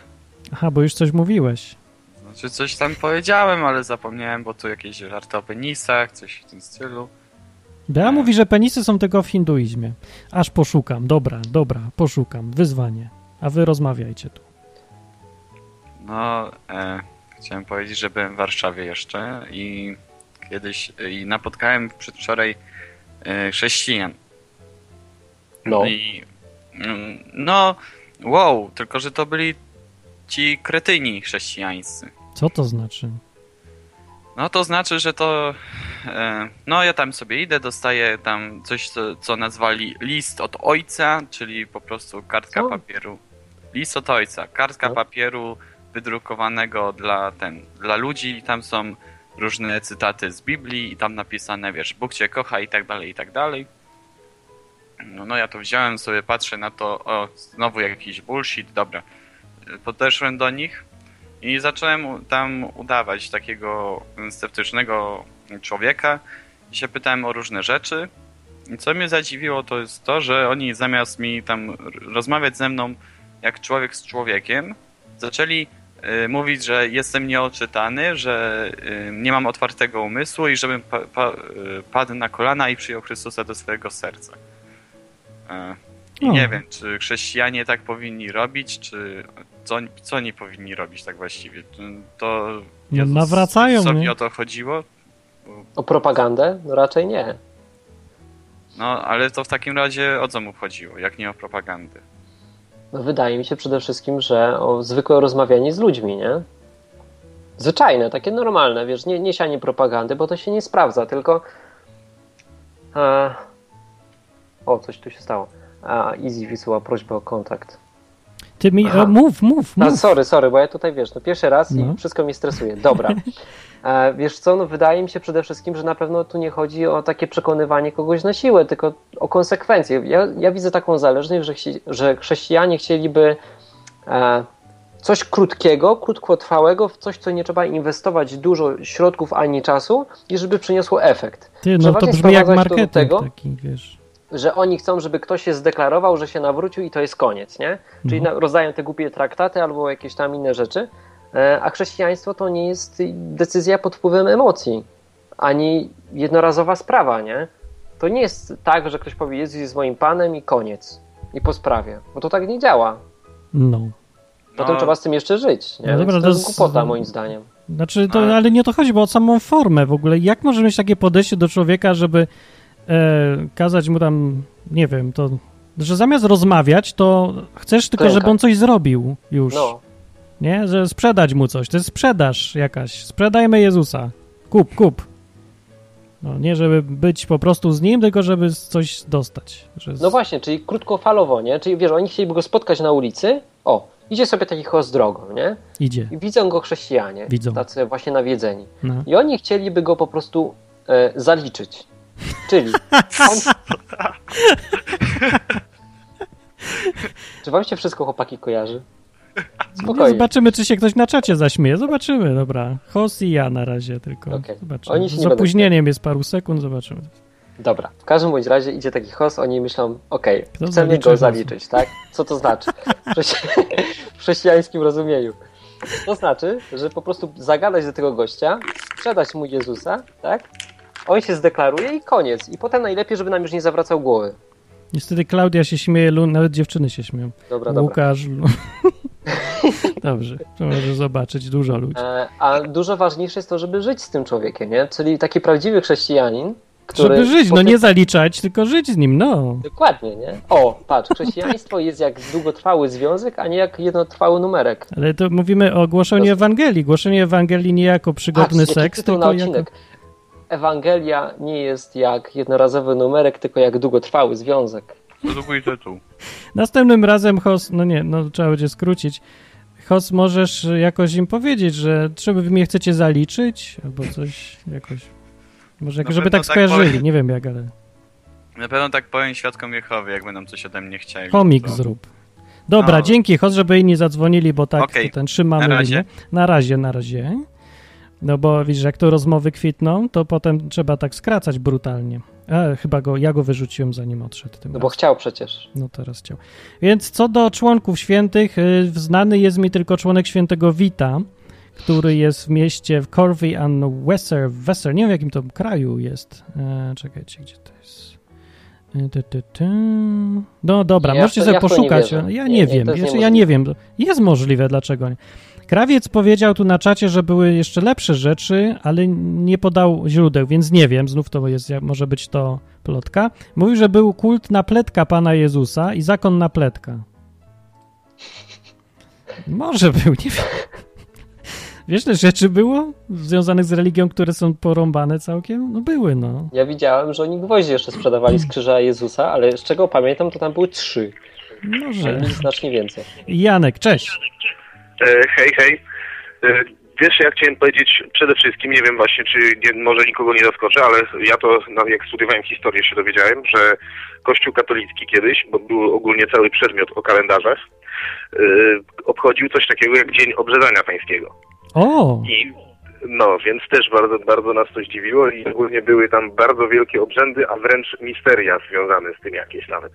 Aha, bo już coś mówiłeś.
Znaczy coś tam powiedziałem, ale zapomniałem, bo tu jakieś żarty o penisach, coś w tym stylu.
Bea mówi, że penisy są tego w hinduizmie. Aż poszukam. Dobra, dobra, poszukam. Wyzwanie. A wy rozmawiajcie tu.
No, e, chciałem powiedzieć, że byłem w Warszawie jeszcze i kiedyś i napotkałem przedwczoraj e, chrześcijan.
No.
I, mm, no, wow, tylko że to byli ci kretyni chrześcijańscy.
Co to znaczy?
No to znaczy, że to. E, no ja tam sobie idę, dostaję tam coś, co, co nazwali list od ojca, czyli po prostu kartka
Co?
papieru. List od ojca, kartka
No.
papieru wydrukowanego dla ten, dla ludzi i tam są różne cytaty z Biblii i tam napisane, wiesz, Bóg cię kocha i tak dalej, i tak dalej. No, no ja to wziąłem sobie, patrzę na to, o, znowu jakiś bullshit, dobra. Podeszłem do nich i zacząłem u- tam udawać takiego sceptycznego człowieka i się pytałem o różne rzeczy. I co mnie zadziwiło, to jest to, że oni zamiast mi tam r- rozmawiać ze mną jak człowiek z człowiekiem, zaczęli y, mówić, że jestem nieoczytany, że y, nie mam otwartego umysłu i żebym pa, pa, y, padł na kolana i przyjął Chrystusa do swojego serca. E, I
O.
nie wiem, czy chrześcijanie tak powinni robić, czy co, oni- co oni powinni robić tak właściwie. To
No,
Jezus-
nawracają,
Jezusowi
nie?
o to chodziło,
O propagandę? No raczej nie.
no ale to w takim razie o co mu chodziło, jak nie o propagandę.
No wydaje mi się przede wszystkim, że o zwykłe rozmawianie z ludźmi, nie? Zwyczajne, takie normalne, wiesz, nie, nie sianie propagandy, bo to się nie sprawdza, tylko... E... O, coś tu się stało. A, Easy wysyła prośbę o kontakt.
Ty mi...
Aha.
O, mów, mów,
No,
mów.
sorry, sorry, bo ja tutaj wiesz, no pierwszy raz
No.
i wszystko mnie stresuje.
[laughs]
Dobra. E, wiesz co, no wydaje mi się przede wszystkim, że na pewno tu nie chodzi o takie przekonywanie kogoś na siłę, tylko o konsekwencje. Ja, ja widzę taką zależność, że, chci, że chrześcijanie chcieliby e, coś krótkiego, krótkotrwałego, w coś, co nie trzeba inwestować dużo środków ani czasu i żeby przyniosło efekt.
Ty, no to
przeważnie
brzmi jak
sprowadzać to do
marketing
tego,
taki, wiesz.
Że oni chcą, żeby ktoś się zdeklarował, że się nawrócił i to jest koniec, nie? Czyli
Mhm.
na, rozdają te głupie traktaty albo jakieś tam inne rzeczy. E, A chrześcijaństwo to nie jest decyzja pod wpływem emocji, ani jednorazowa sprawa, nie? To nie jest tak, że ktoś powie, Jezus jest moim panem i koniec. I po sprawie. Bo to tak nie działa.
No.
Potem trzeba z tym jeszcze żyć. Nie?
No dobra,
Więc
to
to jest
jest-
głupota, moim zdaniem.
Znaczy, to,
Ale-
ale nie o to chodzi, bo o samą formę w ogóle. Jak może mieć takie podejście do człowieka, żeby e, kazać mu tam, nie wiem, to, że zamiast rozmawiać, to chcesz tylko,
Klękać.
żeby on coś zrobił już,
No,
nie? Że sprzedać mu coś. To jest sprzedaż jakaś. Sprzedajmy Jezusa. Kup, kup. No, nie żeby być po prostu z nim, tylko żeby coś dostać. Że z...
no właśnie, czyli krótkofalowo, nie? Czyli wiesz, oni chcieliby go spotkać na ulicy. O, idzie sobie taki host drogą, nie?
Idzie.
I widzą go chrześcijanie.
Widzą.
Tacy właśnie nawiedzeni.
No.
I oni chcieliby go po prostu e, zaliczyć.
[laughs]
Czyli. On... Czy wam się wszystko chłopaki kojarzy?
Nie,
Spokojnie.
zobaczymy, czy się ktoś na czacie zaśmieje. Zobaczymy, dobra. Hos i ja na razie tylko.
Okej.
Zobaczymy.
Oni się nie
Z
będą
opóźnieniem jest paru sekund, zobaczymy.
Dobra. W każdym bądź razie idzie taki host, oni myślą, okej,
Kto
chcemy
zaliczy
go
hosta?
zaliczyć, tak? Co to znaczy? W chrześci- W chrześcijańskim rozumieniu. To znaczy, że po prostu zagadać do tego gościa, sprzedać mu Jezusa, tak? On się zdeklaruje i koniec. I potem najlepiej, żeby nam już nie zawracał głowy.
Niestety Klaudia się śmieje, Lu, [laughs] nawet dziewczyny się śmieją.
Dobra, dobra.
Łukasz, Lu, Dobrze, to może zobaczyć dużo ludzi.
E, A dużo ważniejsze jest to, żeby żyć z tym człowiekiem, nie? Czyli taki prawdziwy chrześcijanin, który...
Żeby żyć, no
powie-
nie zaliczać, tylko żyć z nim, no.
Dokładnie, nie? O, patrz, chrześcijaństwo jest jak długotrwały związek, a nie jak jednotrwały numerek.
Ale to mówimy o głoszeniu Ewangelii. Głoszenie Ewangelii nie jako przygodny
Patrz, jaki
seks,
tytuł na
tylko jako...
odcinek. Ewangelia nie jest jak jednorazowy numerek, tylko jak długotrwały związek.
Produkuj tytuł.
Następnym razem Hos, no nie, no trzeba będzie skrócić. Hos, możesz jakoś im powiedzieć, że czy wy mnie chcecie zaliczyć, albo coś jakoś. Może
Na
żeby
pewno
tak
tak powiem.
skojarzyli, nie wiem jak, ale
Na pewno tak powiem świadkom Jehowy, jak będą coś ode mnie chcieli.
komik
to-
zrób. Dobra,
No.
dzięki Hos, żeby inni zadzwonili, bo tak
Okej.
tu ten trzymamy
Na razie.
linię. Na razie, na razie. No bo widzisz, jak tu rozmowy kwitną, to potem trzeba tak skracać brutalnie. A, chyba go, ja go wyrzuciłem zanim odszedł tym
No
razem.
bo chciał przecież.
No teraz chciał. Więc co do członków świętych, y, znany jest mi tylko członek świętego Wita, który jest w mieście w Corvey and Wesser, Wesser. Nie wiem, w jakim to kraju jest. E, czekajcie, gdzie to jest? E, ty, ty, ty. No dobra,
Ja w
możecie
to-
sobie
ja w to nie
poszukać.
wierzę.
ja
Nie,
nie,
nie, to
wiem,
jest
znaczy, ja
niemożliwe.
nie wiem. Jest możliwe, dlaczego nie. Krawiec powiedział tu na czacie, że były jeszcze lepsze rzeczy, ale nie podał źródeł, więc nie wiem, znów to jest, może być to plotka. Mówił, że był kult napletka Pana Jezusa i zakon napletka. Może był, nie wiem. Wiesz, te rzeczy było związanych z religią, które są porąbane całkiem? No były, no.
Ja widziałem, że oni gwoździe jeszcze sprzedawali z krzyża Jezusa, ale z czego pamiętam, to tam były trzy, ale
Może.
nic znacznie więcej.
Janek, cześć.
E, Hej, hej. E, Wiesz, ja chciałem powiedzieć przede wszystkim, nie wiem właśnie, czy nie, może nikogo nie zaskoczę, ale ja to, no, jak studiowałem historię, się dowiedziałem, że Kościół katolicki kiedyś, bo był ogólnie cały przedmiot o kalendarzach, e, obchodził coś takiego jak Dzień Obrzezania Pańskiego.
O!
I no, więc też bardzo, bardzo nas to zdziwiło i ogólnie były tam bardzo wielkie obrzędy, a wręcz misteria związane z tym jakieś nawet.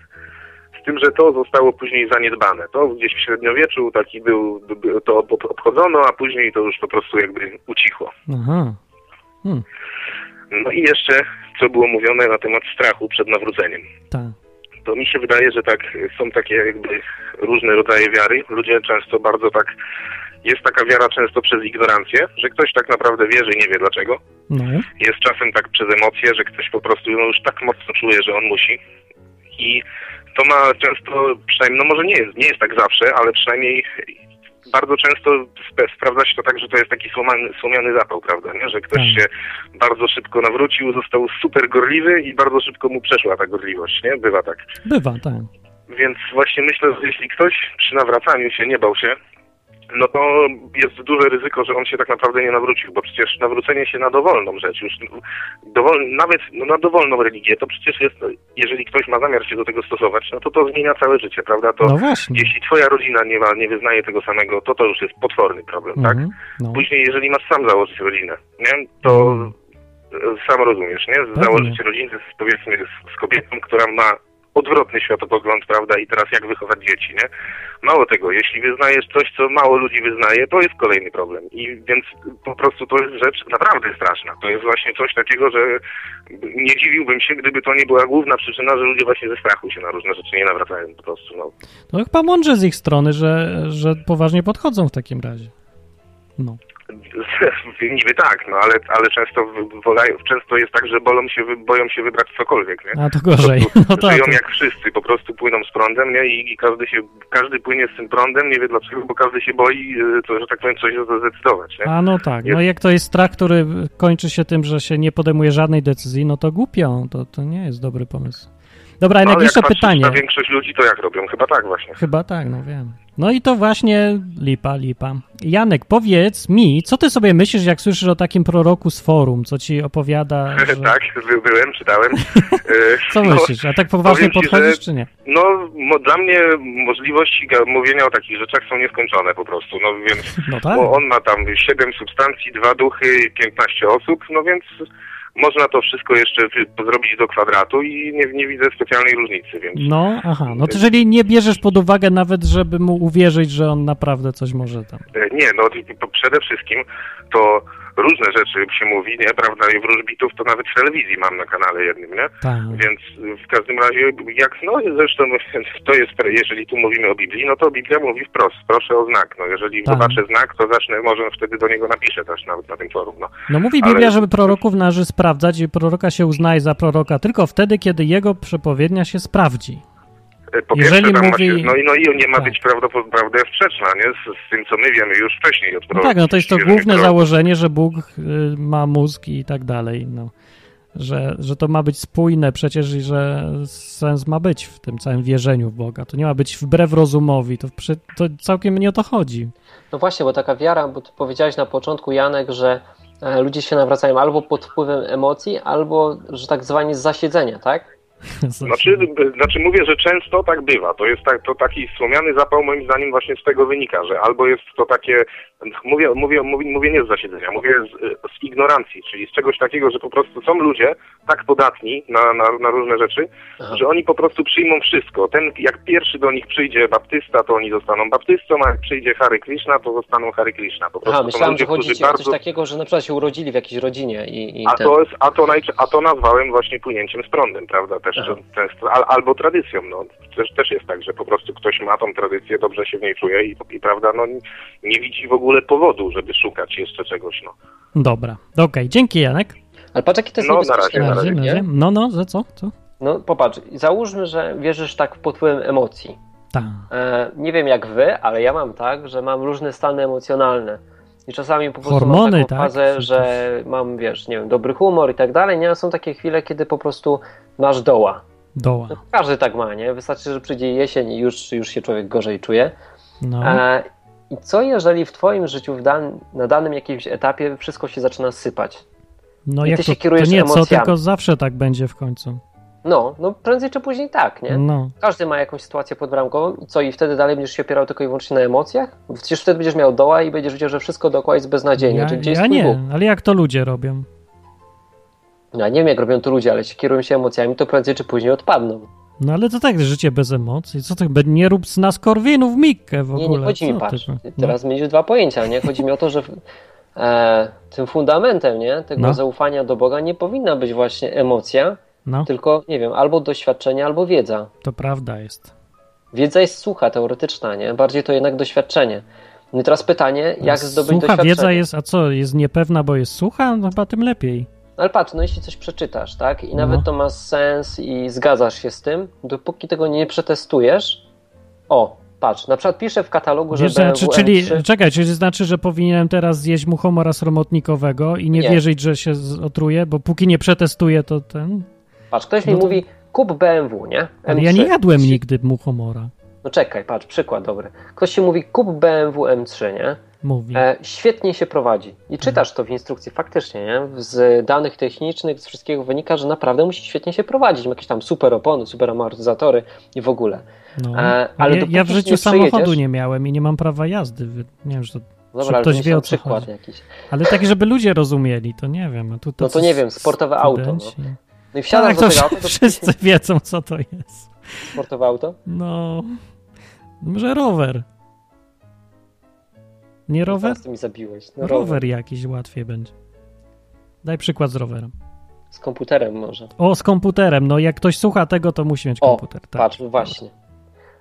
Z tym, że to zostało później zaniedbane. To gdzieś w średniowieczu taki był, by- to ob- obchodzono, a później to już po prostu jakby ucichło.
Aha.
No i jeszcze, co było mówione na temat strachu przed nawróceniem.
Tak.
to mi się wydaje, że tak y, są takie jakby różne rodzaje wiary. Ludzie często bardzo tak jest taka wiara często przez ignorancję, że ktoś tak naprawdę wierzy i nie wie dlaczego.
No.
Jest czasem tak przez emocje, że ktoś po prostu no, już tak mocno czuje, że on musi. I to ma często, przynajmniej, no może nie jest, nie jest tak zawsze, ale przynajmniej bardzo często spe- sprawdza się to tak, że to jest taki słomany, słomiany zapał, prawda, nie? Że ktoś
Tak.
się bardzo szybko nawrócił, został super gorliwy i bardzo szybko mu przeszła ta gorliwość, nie? Bywa tak.
Bywa, tak.
Więc właśnie myślę, że jeśli ktoś przy nawracaniu się nie bał się, no to jest duże ryzyko, że on się tak naprawdę nie nawrócił, bo przecież nawrócenie się na dowolną rzecz, już dowol, nawet no, na dowolną religię, to przecież jest, jeżeli ktoś ma zamiar się do tego stosować, no to to zmienia całe życie, prawda? To
No właśnie.
jeśli twoja rodzina nie ma, nie wyznaje tego samego, to to już jest potworny problem, tak?
Mhm. No.
Później, jeżeli masz sam założyć rodzinę, nie? To e, sam rozumiesz, nie? Założyć rodzinę z, powiedzmy z, z kobietą, która ma odwrotny światopogląd, prawda? I teraz jak wychować dzieci, nie? Mało tego, jeśli wyznajesz coś, co mało ludzi wyznaje, to jest kolejny problem. I więc po prostu to jest rzecz naprawdę straszna. To jest właśnie coś takiego, że nie dziwiłbym się, gdyby to nie była główna przyczyna, że ludzie właśnie ze strachu się na różne rzeczy nie nawracają po prostu, no. [laughs]
No chyba mądrze z ich strony, że, że poważnie podchodzą w takim razie. No.
Niby tak, no ale, ale często w- wolają, często jest tak, że bolą się, wy- boją się wybrać cokolwiek, nie?
A to
[laughs]
gorzej.
Po prostu
No tak.
Żyją jak wszyscy, po prostu płyną z prądem, nie? I, i każdy się, każdy płynie z tym prądem, nie wie dlaczego, bo każdy się boi, y, to, że tak powiem, coś zdecydować, nie?
A no tak. No jak to jest strach, który kończy się tym, że się nie podejmuje żadnej decyzji, no to głupio. To, to nie jest dobry pomysł. Dobra,
No, ale
najbliższe
patrzysz
pytanie.
Na większość ludzi to jak robią? Chyba tak właśnie.
Chyba tak, no wiem. No i to właśnie lipa, lipa. Janek, powiedz mi, co ty sobie myślisz, jak słyszysz o takim proroku z forum, co ci opowiada, że...
[laughs] tak, by- byłem,
[laughs]
czytałem. Y,
Co
no,
myślisz? A tak poważnie
powiem ci, że-
podchodzisz, czy nie?
No, mo, dla mnie możliwości ga- mówienia o takich rzeczach są nieskończone po prostu, no więc
[laughs] No tak?
Bo on ma tam 7 substancji, dwa duchy, i 15 osób, no więc można to wszystko jeszcze wy- zrobić do kwadratu i nie, nie widzę specjalnej różnicy, więc
No, aha. No to jeżeli nie bierzesz pod uwagę nawet, żeby mu uwierzyć, że on naprawdę coś może tam.
e, nie, no i po- przede wszystkim to różne rzeczy się mówi, nie, prawda, i wróżbitów to nawet w telewizji mam na kanale jednym, nie?
Tak.
Więc w każdym razie, jak no zresztą [laughs] to jest, jeżeli tu mówimy o Biblii, no to Biblia mówi wprost, proszę o znak. No jeżeli
Tak.
zobaczę znak, to zacznę, może wtedy do niego napiszę też nawet na tym forum. No.
No mówi
Ale-
Biblia, żeby proroków należy sprawdzać i proroka się uznaje za proroka tylko wtedy, kiedy jego przepowiednia się sprawdzi.
E, Po
Jeżeli
pierwsze, tam
mówi-
ma się, no, i, no i nie ma
Tak.
być prawdopod- prawda sprzeczna, nie? Z, z tym, co my wiemy już wcześniej od
No
proroków.
tak, no to jest to
Jeżeli
główne
prorok-
założenie, że Bóg y, ma mózg i tak dalej, no. Że, że to ma być spójne przecież i że sens ma być w tym całym wierzeniu w Boga. To nie ma być wbrew rozumowi, to, przy, to całkiem nie o to chodzi.
No właśnie, bo taka wiara, bo ty powiedziałeś na początku, Janek, że e, ludzie się nawracają albo pod wpływem emocji, albo, że tak zwani z zasiedzenia, tak?
Znaczy, b- znaczy mówię, że często tak bywa. To jest tak, to taki słomiany zapał moim zdaniem właśnie z tego wynika, że albo jest to takie, mówię, mówię, mówię, mówię nie z zasiedzenia, mówię z, z ignorancji, czyli z czegoś takiego, że po prostu są ludzie tak podatni na, na, na różne rzeczy,
Aha.
że oni po prostu przyjmą wszystko. Ten, jak pierwszy do nich przyjdzie baptysta, to oni zostaną baptystą, a jak przyjdzie Hare Krishna, to zostaną Hare Krishna. Po prostu
Aha,
są
myślałem,
ludzie,
że chodzi
którzy
ci o coś takiego, że na przykład się urodzili w jakiejś rodzinie i, i
a
ten...
to, jest, a, to najczę- a to nazwałem właśnie płynięciem z prądem, prawda? Też,
Aha.
że- też, al, albo tradycją. No. Też, też jest tak, że po prostu ktoś ma tą tradycję, dobrze się w niej czuje i, i prawda, no, nie widzi w ogóle powodu, żeby szukać jeszcze czegoś. No.
Dobra, okej, dzięki Janek.
Ale patrz, jakie to jest
No, na
niebezpieczne,
razie, na razie,
nie?
No, no, że co? co?
No popatrz, załóżmy, że wierzysz tak pod wpływem emocji.
Tak.
E, nie wiem jak wy, ale ja mam tak, że mam różne stany emocjonalne. I czasami po prostu
Hormony,
mam taką
tak?
fazę,
Przecież.
że mam, wiesz, nie wiem, dobry humor i tak dalej, nie? A są takie chwile, kiedy po prostu masz doła.
Doła.
No, każdy tak ma, nie? Wystarczy, że przyjdzie jesień i już, już się człowiek gorzej czuje.
No.
E, I co jeżeli w twoim życiu w dan- na danym jakimś etapie wszystko się zaczyna sypać?
No
I
jak
ty się
to, to
kierujesz
nie co,
emocjami.
tylko zawsze tak będzie w końcu.
No, no prędzej czy później tak, nie?
No,
Każdy ma jakąś sytuację podbramkową i co, i wtedy dalej będziesz się opierał tylko i wyłącznie na emocjach? Bo Przecież wtedy będziesz miał doła i będziesz wiedział, że wszystko dookoła jest beznadziejne.
ja,
Czy gdzie jest
ja
twój Bóg?
nie, ale jak to ludzie robią?
No, ja nie wiem, jak robią to ludzie, ale jeśli kierują się emocjami, to prędzej czy później odpadną.
No ale to tak, życie bez emocji. Co ty, be- nie rób z nas korwinów Mikke w
Nie,
ogóle.
nie chodzi mi,
Co
patrz,
ty-
ty
no.
teraz mieliś dwa pojęcia, nie? Chodzi mi o to, że e, tym fundamentem, nie? Tego
No.
zaufania do Boga nie powinna być właśnie emocja,
No,
tylko, nie wiem, albo doświadczenie, albo wiedza.
to prawda jest.
Wiedza jest sucha, teoretyczna, nie? Bardziej to jednak doświadczenie. No i teraz pytanie, jak zdobyć
Sucha
doświadczenie?
wiedza jest, a co, jest niepewna, bo jest sucha? No chyba tym lepiej.
No Ale patrz, no jeśli coś przeczytasz, tak? I nawet
No.
to ma sens i zgadzasz się z tym, dopóki tego nie przetestujesz. O, patrz, na przykład piszę w katalogu, że
Wiesz, znaczy,
BMW
czyli,
M3
czekaj, czyli znaczy, że powinienem teraz zjeść muchomora sromotnikowego i nie,
Nie.
wierzyć, że się z- otruję, bo póki nie przetestuję, to ten...
Patrz, ktoś
no
mi
to-
mówi, kup BMW, nie?
Ale ja nie
M3.
jadłem nigdy muchomora,
No czekaj, patrz, przykład dobry. Ktoś ci mówi, kup BMW M3, nie?
mówi. Mhm.
E, świetnie się prowadzi. I czytasz to w instrukcji faktycznie, nie? Z danych technicznych, z wszystkiego wynika, że naprawdę musi świetnie się prowadzić. Ma jakieś tam super opony, super amortyzatory i w ogóle.
No.
e, ale
ale ja,
dopóki
ja w
się
życiu
nie
samochodu
przejedziesz-
nie miałem i nie mam prawa jazdy. wy- Nie wiem, że to...
Dobra, ale
ktoś
to
wie, o
wie,
co
przykład
chodzi.
jakiś.
Ale taki, żeby ludzie rozumieli, to nie wiem. A tu
No to nie wiem, sportowe auto, no.
studenci.
No i wsiadasz
tak,
do
to
tego auta, to
wszyscy wiedzą, co to jest.
sportowe auto.
No. Może rower.
No
Nie rower?
Teraz ty mi zabiłeś. No,
Rower,
rower.
jakiś łatwiej będzie. Daj przykład z rowerem.
Z komputerem może.
O, z komputerem. No, jak ktoś słucha tego, to musi mieć
O,
komputer. tak.
Patrz, właśnie.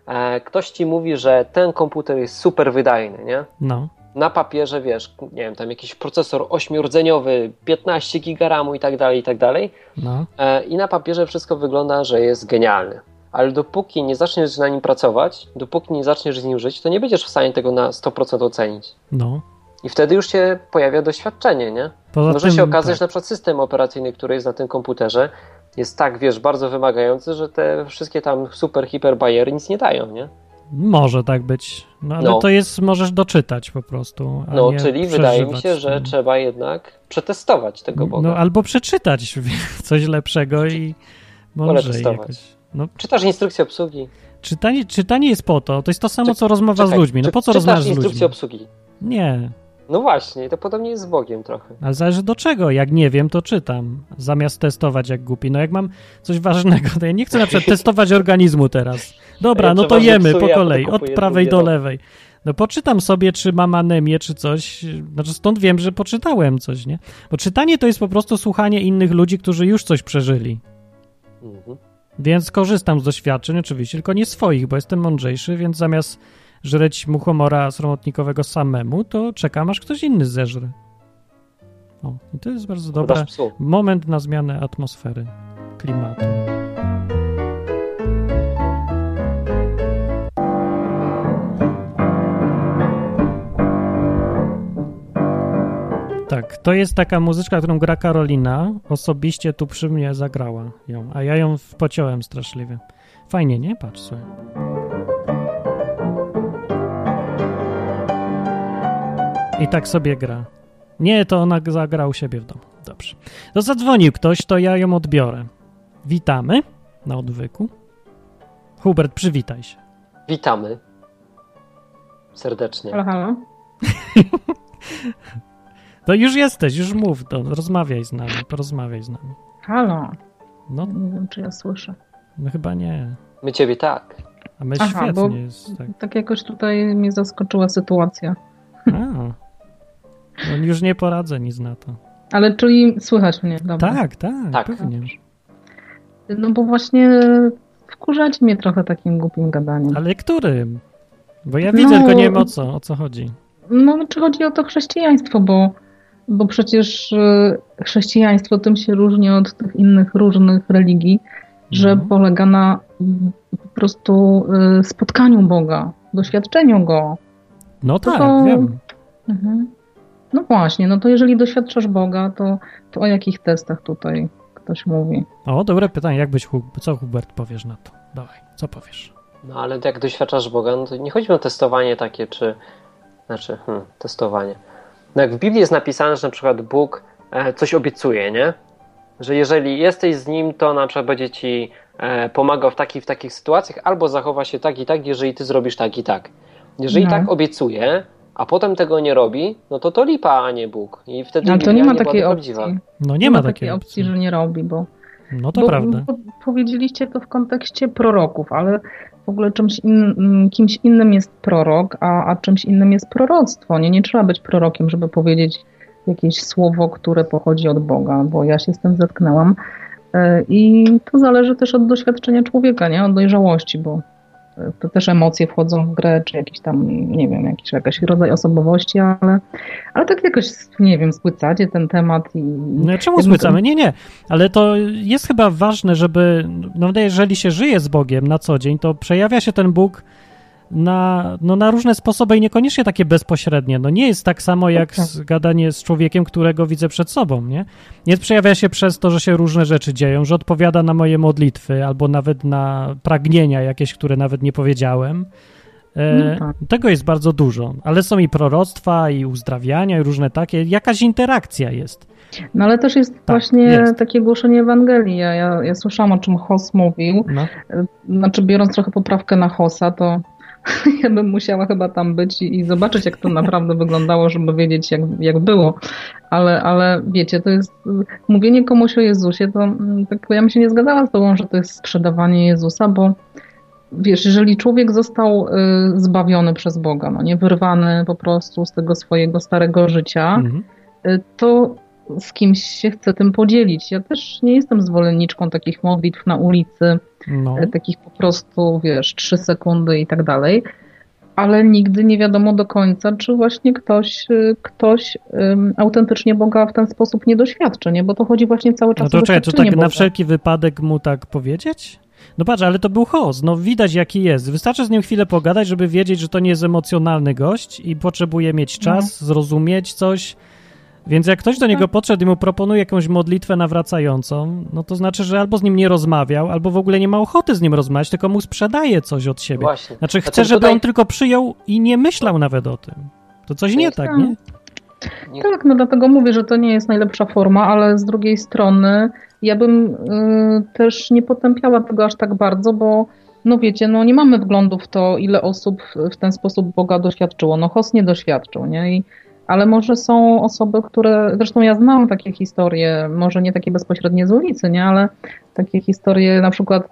E, ktoś ci mówi, że ten komputer jest super wydajny, nie?
No,
na papierze, wiesz, nie wiem, tam jakiś procesor ośmiordzeniowy, 15 gigaramu i tak dalej, i tak dalej.
[laughs] no.
E, I na papierze wszystko wygląda, że jest genialny. Ale dopóki nie zaczniesz na nim pracować, dopóki nie zaczniesz z nim żyć, to nie będziesz w stanie tego na 100% ocenić.
No.
I wtedy już się pojawia doświadczenie, nie?
Poza
Może
tym,
się okazać, że
tak,
na przykład system operacyjny, który jest na tym komputerze, jest tak, wiesz, bardzo wymagający, że te wszystkie tam super, hiper bajery nic nie dają, nie?
Może tak być. No, ale
No.
to jest, możesz doczytać po prostu. A
No,
nie
czyli wydaje mi
przeżywać,
się, że
no.
trzeba jednak przetestować tego Boga.
No albo przeczytać [laughs] coś lepszego i mądrzej
testować.
jakoś. No,
Czytasz instrukcję obsługi?
czytanie, czytanie jest po to, to jest to samo,
Czek-
co rozmowa
Czekaj,
z ludźmi. No
czy-
po co
czytasz
rozmawiasz z
instrukcję
ludźmi?
obsługi?
Nie,
No właśnie, to podobnie jest z Bogiem trochę.
ale zależy do czego. Jak nie wiem, to czytam. Zamiast testować jak głupi. No jak mam coś ważnego, to ja nie
[laughs]
chcę na przykład testować organizmu teraz. Dobra,
Ja
no to
przeważnie
jemy po
psuję, a
kolei,
potem
od
kupuję
prawej
drugie,
do
no.
lewej. No poczytam sobie, czy mam anemię, czy coś. Znaczy stąd wiem, że poczytałem coś, nie? Bo czytanie to jest po prostu słuchanie innych ludzi, którzy już coś przeżyli.
Mhm.
Więc korzystam z doświadczeń oczywiście, tylko nie swoich, bo jestem mądrzejszy, więc zamiast żreć muchomora sromotnikowego samemu, to czekam, aż ktoś inny zeżre. O, i to jest bardzo dobre.
Podasz psu.
Moment na zmianę atmosfery, klimatu. Tak, to jest taka muzyczka, którą gra Karolina. Osobiście tu przy mnie zagrała ją, a ja ją pociąłem straszliwie. Fajnie, nie? Patrz sobie. I tak sobie gra. Nie, to ona zagra u siebie w domu. Dobrze. To zadzwonił ktoś, to ja ją odbiorę. Witamy na odwyku. Hubert, przywitaj się.
Witamy. Serdecznie.
Halo, halo.
To już jesteś, już mów, to rozmawiaj z nami, porozmawiaj z nami.
Halo.
No,
Nie wiem, czy ja słyszę.
no chyba nie.
My ciebie tak.
A my
Aha,
świetnie
bo-
jest. Tak.
Tak jakoś tutaj mnie zaskoczyła sytuacja.
A, on już nie poradzę nic na to.
Ale czyli słychać mnie, dobra.
Tak, tak,
Tak.
pewnie.
No bo właśnie wkurzacie mnie trochę takim głupim gadaniem.
Ale którym? Bo ja
No.
widzę, tylko nie wiem o co, o co chodzi.
No, czy chodzi o to chrześcijaństwo, bo, bo przecież e, chrześcijaństwo tym się różni od tych innych różnych religii, że
Mhm.
polega na mm, po prostu e, spotkaniu Boga, doświadczeniu Go.
No tak,
Tylko-
wiem.
Mhm. No właśnie, no to jeżeli doświadczasz Boga, to, to o jakich testach tutaj ktoś mówi?
O, dobre pytanie, jak byś, Hu- co Hubert powiesz na to? Dawaj, co powiesz?
No ale jak doświadczasz Boga, no to nie chodzi mi o testowanie takie, czy... Znaczy, hmm, testowanie. No jak w Biblii jest napisane, że na przykład Bóg e, coś obiecuje, nie? Że jeżeli jesteś z Nim, to na przykład będzie Ci e, pomagał w takich w takich sytuacjach, albo zachowa się tak i tak, jeżeli Ty zrobisz tak i tak. Jeżeli
No.
tak obiecuje, a potem tego nie robi, no to to lipa, a nie Bóg. I wtedy
No to
Biblia
nie ma
była
takiej opcji.
nieprawdziwa.
No nie ma takiej opcji.
że nie robi, bo
No to
Bo-
prawda.
bo Powiedzieliście to w kontekście proroków, ale w ogóle czymś in, mm, kimś innym jest prorok, a, a czymś innym jest proroctwo. Nie, nie trzeba być prorokiem, żeby powiedzieć jakieś słowo, które pochodzi od Boga, bo ja się z tym zetknęłam. E, I to zależy też od doświadczenia człowieka, nie? Od dojrzałości, bo e, to też emocje wchodzą w grę, czy jakiś tam, nie wiem, jakiś jakiś rodzaj osobowości, ale, ale tak jakoś, nie wiem, spłycacie ten temat i...
No czemu
Jakby-
spłycamy? Nie, nie. Ale to jest chyba ważne, żeby. No, jeżeli się żyje z Bogiem na co dzień, to przejawia się ten Bóg na, no, na różne sposoby i niekoniecznie takie bezpośrednie. No nie jest tak samo jak
Tak.
z gadanie z człowiekiem, którego widzę przed sobą, nie? Nie przejawia się przez to, że się różne rzeczy dzieją, że odpowiada na moje modlitwy albo nawet na pragnienia jakieś, które nawet nie powiedziałem. E,
No tak.
Tego jest bardzo dużo, ale są i proroctwa, i uzdrawiania, i różne takie. Jakaś interakcja jest.
No ale też jest właśnie
Tak, jest.
takie głoszenie Ewangelii. Ja, ja, ja słyszałam, o czym Hos mówił.
No.
Znaczy, biorąc trochę poprawkę na Hosa, to [laughs] ja bym musiała chyba tam być i, i zobaczyć, jak to naprawdę wyglądało, żeby wiedzieć, jak, jak było. Ale, ale wiecie, to jest y, mówienie komuś o Jezusie, to mm, tak, ja bym się nie zgadzała z tobą, że to jest sprzedawanie Jezusa, bo wiesz, jeżeli człowiek został y, zbawiony przez Boga, no nie wyrwany po prostu z tego swojego starego życia, y,
Mhm.
to z kimś się chcę tym podzielić. Ja też nie jestem zwolenniczką takich modlitw na ulicy,
No.
e, takich po prostu, wiesz, trzy sekundy i tak dalej, ale nigdy nie wiadomo do końca, czy właśnie ktoś, e, ktoś em, autentycznie Boga w ten sposób nie doświadczy, nie? Bo to chodzi właśnie cały czas
No to
o
czekaj, to
doświadczenie
tak na
Boga.
wszelki wypadek mu tak powiedzieć? No patrz, ale to był host, no widać jaki jest. Wystarczy z nim chwilę pogadać, żeby wiedzieć, że to nie jest emocjonalny gość i potrzebuje mieć
Mhm.
czas, zrozumieć coś. Więc jak ktoś do
Tak.
niego podszedł i mu proponuje jakąś modlitwę nawracającą, no to znaczy, że albo z nim nie rozmawiał, albo w ogóle nie ma ochoty z nim rozmawiać, tylko mu sprzedaje coś od siebie.
Właśnie.
Znaczy chce,
Znaczy,
żeby
tutaj-
on tylko przyjął i nie myślał nawet o tym. To coś nie
jest-
tak, nie?
Tak, no dlatego mówię, że to nie jest najlepsza forma, ale z drugiej strony ja bym y, też nie potępiała tego aż tak bardzo, bo no wiecie, no nie mamy wglądu w to, ile osób w- w ten sposób Boga doświadczyło. No Hos nie doświadczył, nie? I, ale może są osoby, które, zresztą ja znam takie historie, może nie takie bezpośrednie z ulicy, nie? Ale takie historie na przykład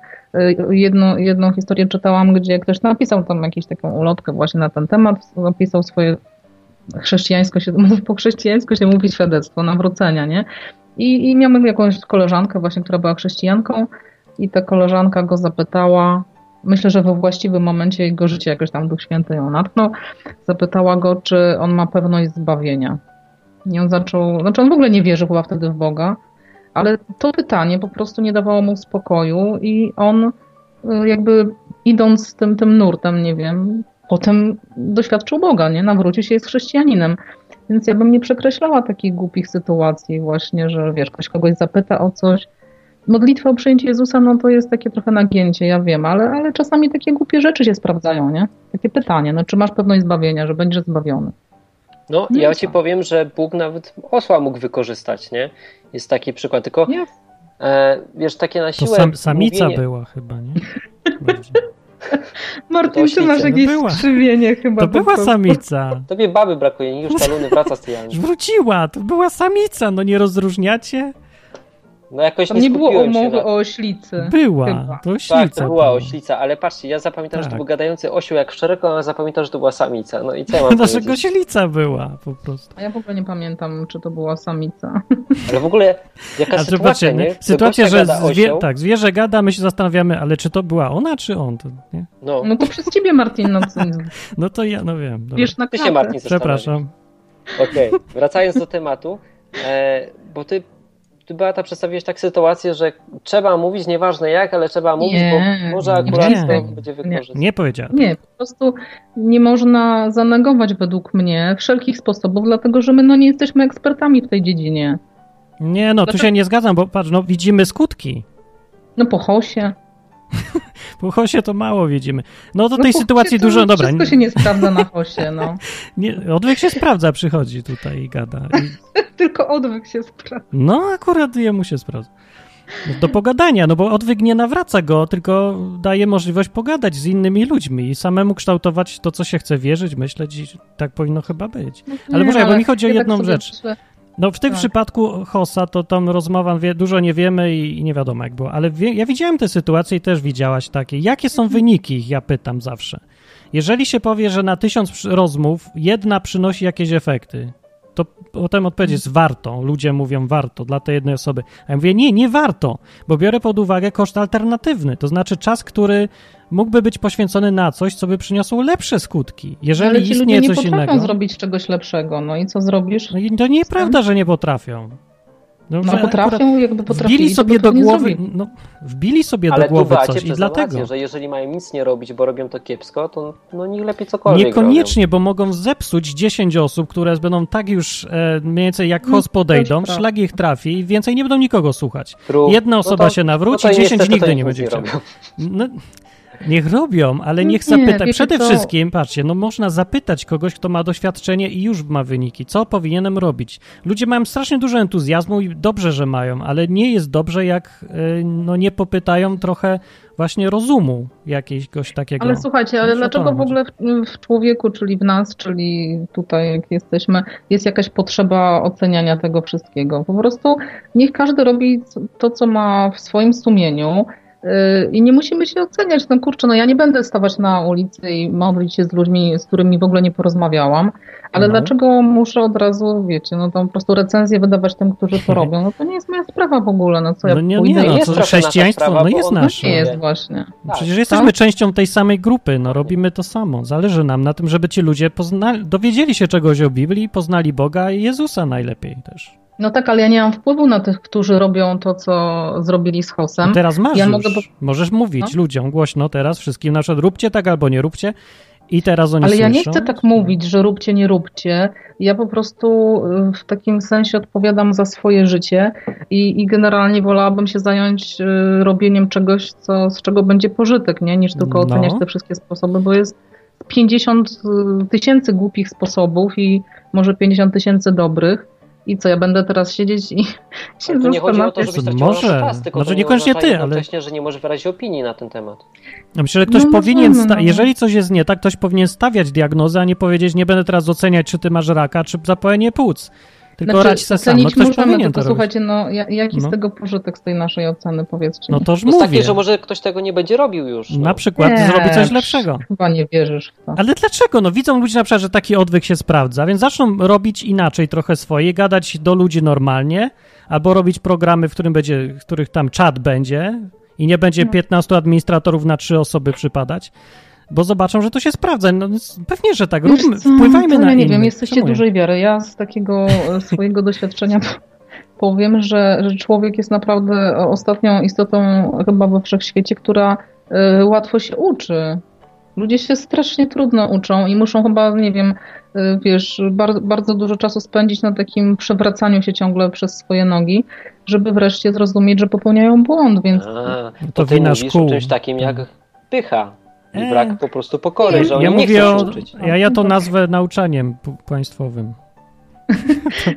jedną, jedną historię czytałam, gdzie ktoś napisał tam jakąś taką ulotkę właśnie na ten temat, napisał swoje chrześcijańsko się, [laughs] po chrześcijańsku się mówi świadectwo nawrócenia, nie? I, I miałem jakąś koleżankę właśnie, która była chrześcijanką i ta koleżanka go zapytała, myślę, że we właściwym momencie jego życia jakoś tam Duch Święty ją natknął, zapytała go, czy on ma pewność zbawienia. I on zaczął, znaczy on w ogóle nie wierzył chyba wtedy w Boga, ale to pytanie po prostu nie dawało mu spokoju i on y, jakby idąc tym, tym nurtem, nie wiem, potem doświadczył Boga, nie? Nawrócił się, jest chrześcijaninem. Więc ja bym nie przekreślała takich głupich sytuacji właśnie, że wiesz, ktoś kogoś zapyta o coś, modlitwa o przyjęcie Jezusa, no to jest takie trochę nagięcie, ja wiem, ale, ale czasami takie głupie rzeczy się sprawdzają, nie? Takie pytanie, no czy masz pewność zbawienia, że będziesz zbawiony?
No, nie ja ci powiem, że Bóg nawet osła mógł wykorzystać, nie? Jest taki przykład, tylko nie. E, wiesz, takie na siłę... To
sam, samica mówienie... była chyba, nie?
Martin, ty
no.
masz jakieś była. skrzywienie chyba.
No To była samica.
[laughs] Tobie baby brakuje, już ta Luny wraca z tej Ani.
Wróciła, to była samica, no nie rozróżniacie?
No jakoś
Tam nie,
nie
było
umowy
na... o oślicy.
Była, chyba. to oślica.
Tak, to była oślica, ale patrzcie, ja zapamiętam, tak. że to był gadający osioł jak szeroko, a zapamiętam, że to była samica. No i co ja mam
[laughs] Nasza gosielica była po prostu.
A ja w ogóle nie pamiętam, czy to była samica.
Ale w ogóle jaka a sytuacja, nie? nie?
Sytuacja, że zwie... tak, zwierzę gada, my się zastanawiamy, ale czy to była ona, czy on? To, nie?
No. no to przez ciebie, Martin. No,
no to ja, no wiem. Dobra.
Wiesz, na
Ty się, Martin,
Przepraszam.
Okej, okay. wracając do tematu, e, bo ty ty Beata przedstawiłeś tak sytuację, że trzeba mówić, nieważne jak, ale trzeba mówić,
nie,
bo może akurat
nie,
to będzie wykorzystane.
Nie, nie powiedziałem.
Nie, po prostu nie można zanegować według mnie wszelkich sposobów, dlatego że my no, nie jesteśmy ekspertami w tej dziedzinie.
Nie, no dlatego... tu się nie zgadzam, bo patrz, no widzimy skutki.
No po hosie.
Po hosie to mało widzimy. No do no tej sytuacji dużo, dobra.
znaczy, Wszystko się nie sprawdza na hosie, no.
[laughs] Nie, odwyk się sprawdza, przychodzi tutaj i gada. I...
[laughs] Tylko odwyk się sprawdza.
No akurat jemu się sprawdza. Do pogadania, no bo odwyk nie nawraca go, tylko daje możliwość pogadać z innymi ludźmi i samemu kształtować to, co się chce wierzyć, myśleć i tak powinno chyba być. No, ale może, bo mi chodzi o jedną tak rzecz. Myślę. No w tym tak. przypadku Hossa to tam rozmowa wie, dużo nie wiemy i, i, nie wiadomo jak było, ale wie, ja widziałem te sytuacje i też widziałaś takie. Jakie są
Mhm.
wyniki, ja pytam zawsze. Jeżeli się powie, że na tysiąc rozmów jedna przynosi jakieś efekty, to potem odpowiedź jest
Mhm.
warto. Ludzie mówią warto dla tej jednej osoby. A ja mówię nie, nie warto, bo biorę pod uwagę koszt alternatywny, to znaczy czas, który mógłby być poświęcony na coś, co by przyniosło lepsze skutki. Jeżeli
Ale ci
istnieje
ludzie nie
coś
potrafią
innego.
zrobić czegoś lepszego, no i co zrobisz?
No i to nieprawda, że nie potrafią.
No, no potrafią, jakby potrafili,
wbili sobie do głowy,
zrobi.
no, wbili sobie Ale do głowy
tu
coś i dlatego.
Rację, że jeżeli mają nic nie robić, bo robią to kiepsko, to no niech lepiej cokolwiek
Niekoniecznie,
robią.
bo mogą zepsuć 10 osób, które będą tak już e, mniej więcej jak hos podejdą, no, szlag ich trafi i więcej nie będą nikogo słuchać.
True.
Jedna osoba
no to,
się nawróci,
no
10 nigdy
nie No
będzie
chciała.
No, Niech robią, ale niech
Nie,
zapyta.
wiecie
Przede
co?
wszystkim, patrzcie, no można zapytać kogoś, kto ma doświadczenie i już ma wyniki, co powinienem robić. Ludzie mają strasznie dużo entuzjazmu i dobrze, że mają, ale nie jest dobrze, jak y, no, nie popytają trochę właśnie rozumu jakiegoś takiego.
Ale słuchajcie, ale
No,
dlaczego
przekonam
w ogóle w, w człowieku, czyli w nas, czyli tutaj jak jesteśmy, jest jakaś potrzeba oceniania tego wszystkiego? Po prostu niech każdy robi to, co ma w swoim sumieniu. Yy, I nie musimy się oceniać, no kurczę, no ja nie będę stawać na ulicy i modlić się z ludźmi, z którymi w ogóle nie porozmawiałam, ale
No.
dlaczego muszę od razu, wiecie, no to po prostu recenzję wydawać tym, którzy to robią, no to nie jest moja sprawa w ogóle, no co ja
No nie,
pójdę
nie,
i
no
Jest
co,
trochę
chrześcijaństwo,
nasza sprawa,
no
bo
jest
on-
nasze.
nie jest
Nie.
właśnie.
Tak.
Przecież jesteśmy częścią tej samej grupy, no robimy to samo. Zależy nam na tym, żeby ci ludzie poznali, dowiedzieli się czegoś o Biblii, poznali Boga i Jezusa najlepiej też.
No tak, ale ja nie mam wpływu na tych, którzy robią to, co zrobili z Hosem.
No teraz masz
Ja
już.
mogę No. po-
Możesz mówić ludziom głośno teraz wszystkim, na przykład róbcie tak albo nie róbcie i teraz oni
Ale ja nie
słyszą.
chcę tak mówić, że róbcie, nie róbcie. Ja po prostu y, w takim sensie odpowiadam za swoje życie i, i generalnie wolałabym się zająć y, robieniem czegoś, co, z czego będzie pożytek, nie? niż tylko
No.
oceniać te wszystkie sposoby, bo jest 50 y, tysięcy głupich sposobów i może 50 tysięcy dobrych. I co, ja będę teraz siedzieć i [laughs] się
Ale tu nie chodzi o to,
zastanawiać?
żebyś straciła
Może.
nasz czas, tylko
Znaczy,
to nie
niekoniecznie
oznacza
ty, ale-
jednocześnie, że nie możesz wyrazić opinii na ten temat.
Ja myślę, że ktoś
No,
powinien,
możemy,
sta-
no.
jeżeli coś jest nie tak, ktoś powinien stawiać diagnozę, a nie powiedzieć, nie będę teraz oceniać, czy ty masz raka, czy zapalenie płuc. Tylko radź se sam, no
Znaczy, ocenić
ktoś
możemy, tylko
powinien to robić.
słuchajcie, no ja- jaki
No.
z tego pożytek z tej naszej oceny, powiedzcie
No
mi?
toż
To jest
mówię.
takie, że może ktoś tego nie będzie robił już. No.
Na przykład
Nie,
zrobi coś
psz,
lepszego.
Chyba nie wierzysz w to.
Ale dlaczego? No widzą ludzie na przykład, że taki odwyk się sprawdza, więc zaczną robić inaczej trochę swoje, gadać do ludzi normalnie, albo robić programy, w którym będzie, w których tam czat będzie i nie będzie
No.
15 administratorów na 3 osoby przypadać, bo zobaczą, że to się sprawdza. No więc pewnie, że tak,
Wiesz
róbmy,
co,
wpływajmy
to ja
na
nie
innych.
wiem, jesteście
Czemu nie?
dużej wiary. Ja z takiego e, swojego [laughs] doświadczenia powiem, że, że człowiek jest naprawdę e, ostatnią istotą chyba we wszechświecie, która e, łatwo się uczy. Ludzie się strasznie trudno uczą i muszą chyba, nie wiem, e, wiesz, bardzo, bardzo dużo czasu spędzić na takim przewracaniu się ciągle przez swoje nogi, żeby wreszcie zrozumieć, że popełniają błąd, więc
A,
No to
to ty
wina
mówisz
szkół.
o czymś takim jak pycha i
Eee.
brak po prostu pokory, że oni
Ja
No, nie
mówię
chcą
o,
się uczyć.
ja,
No,
ja to
tak.
nazwę nauczaniem p- państwowym.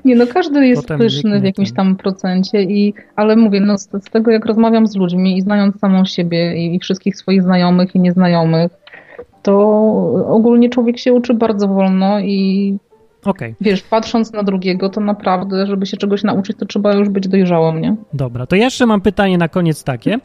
Nie, no każdy jest
Potem
pyszny w
wniknie
jakimś
ten-
tam procencie, i, ale mówię, no z, z tego jak rozmawiam z ludźmi i znając samą siebie i, i wszystkich swoich znajomych i nieznajomych, to ogólnie człowiek się uczy bardzo wolno i
Okej,
wiesz, patrząc na drugiego, to naprawdę, żeby się czegoś nauczyć, to trzeba już być dojrzałym, nie?
dobra. To ja jeszcze mam pytanie na koniec takie.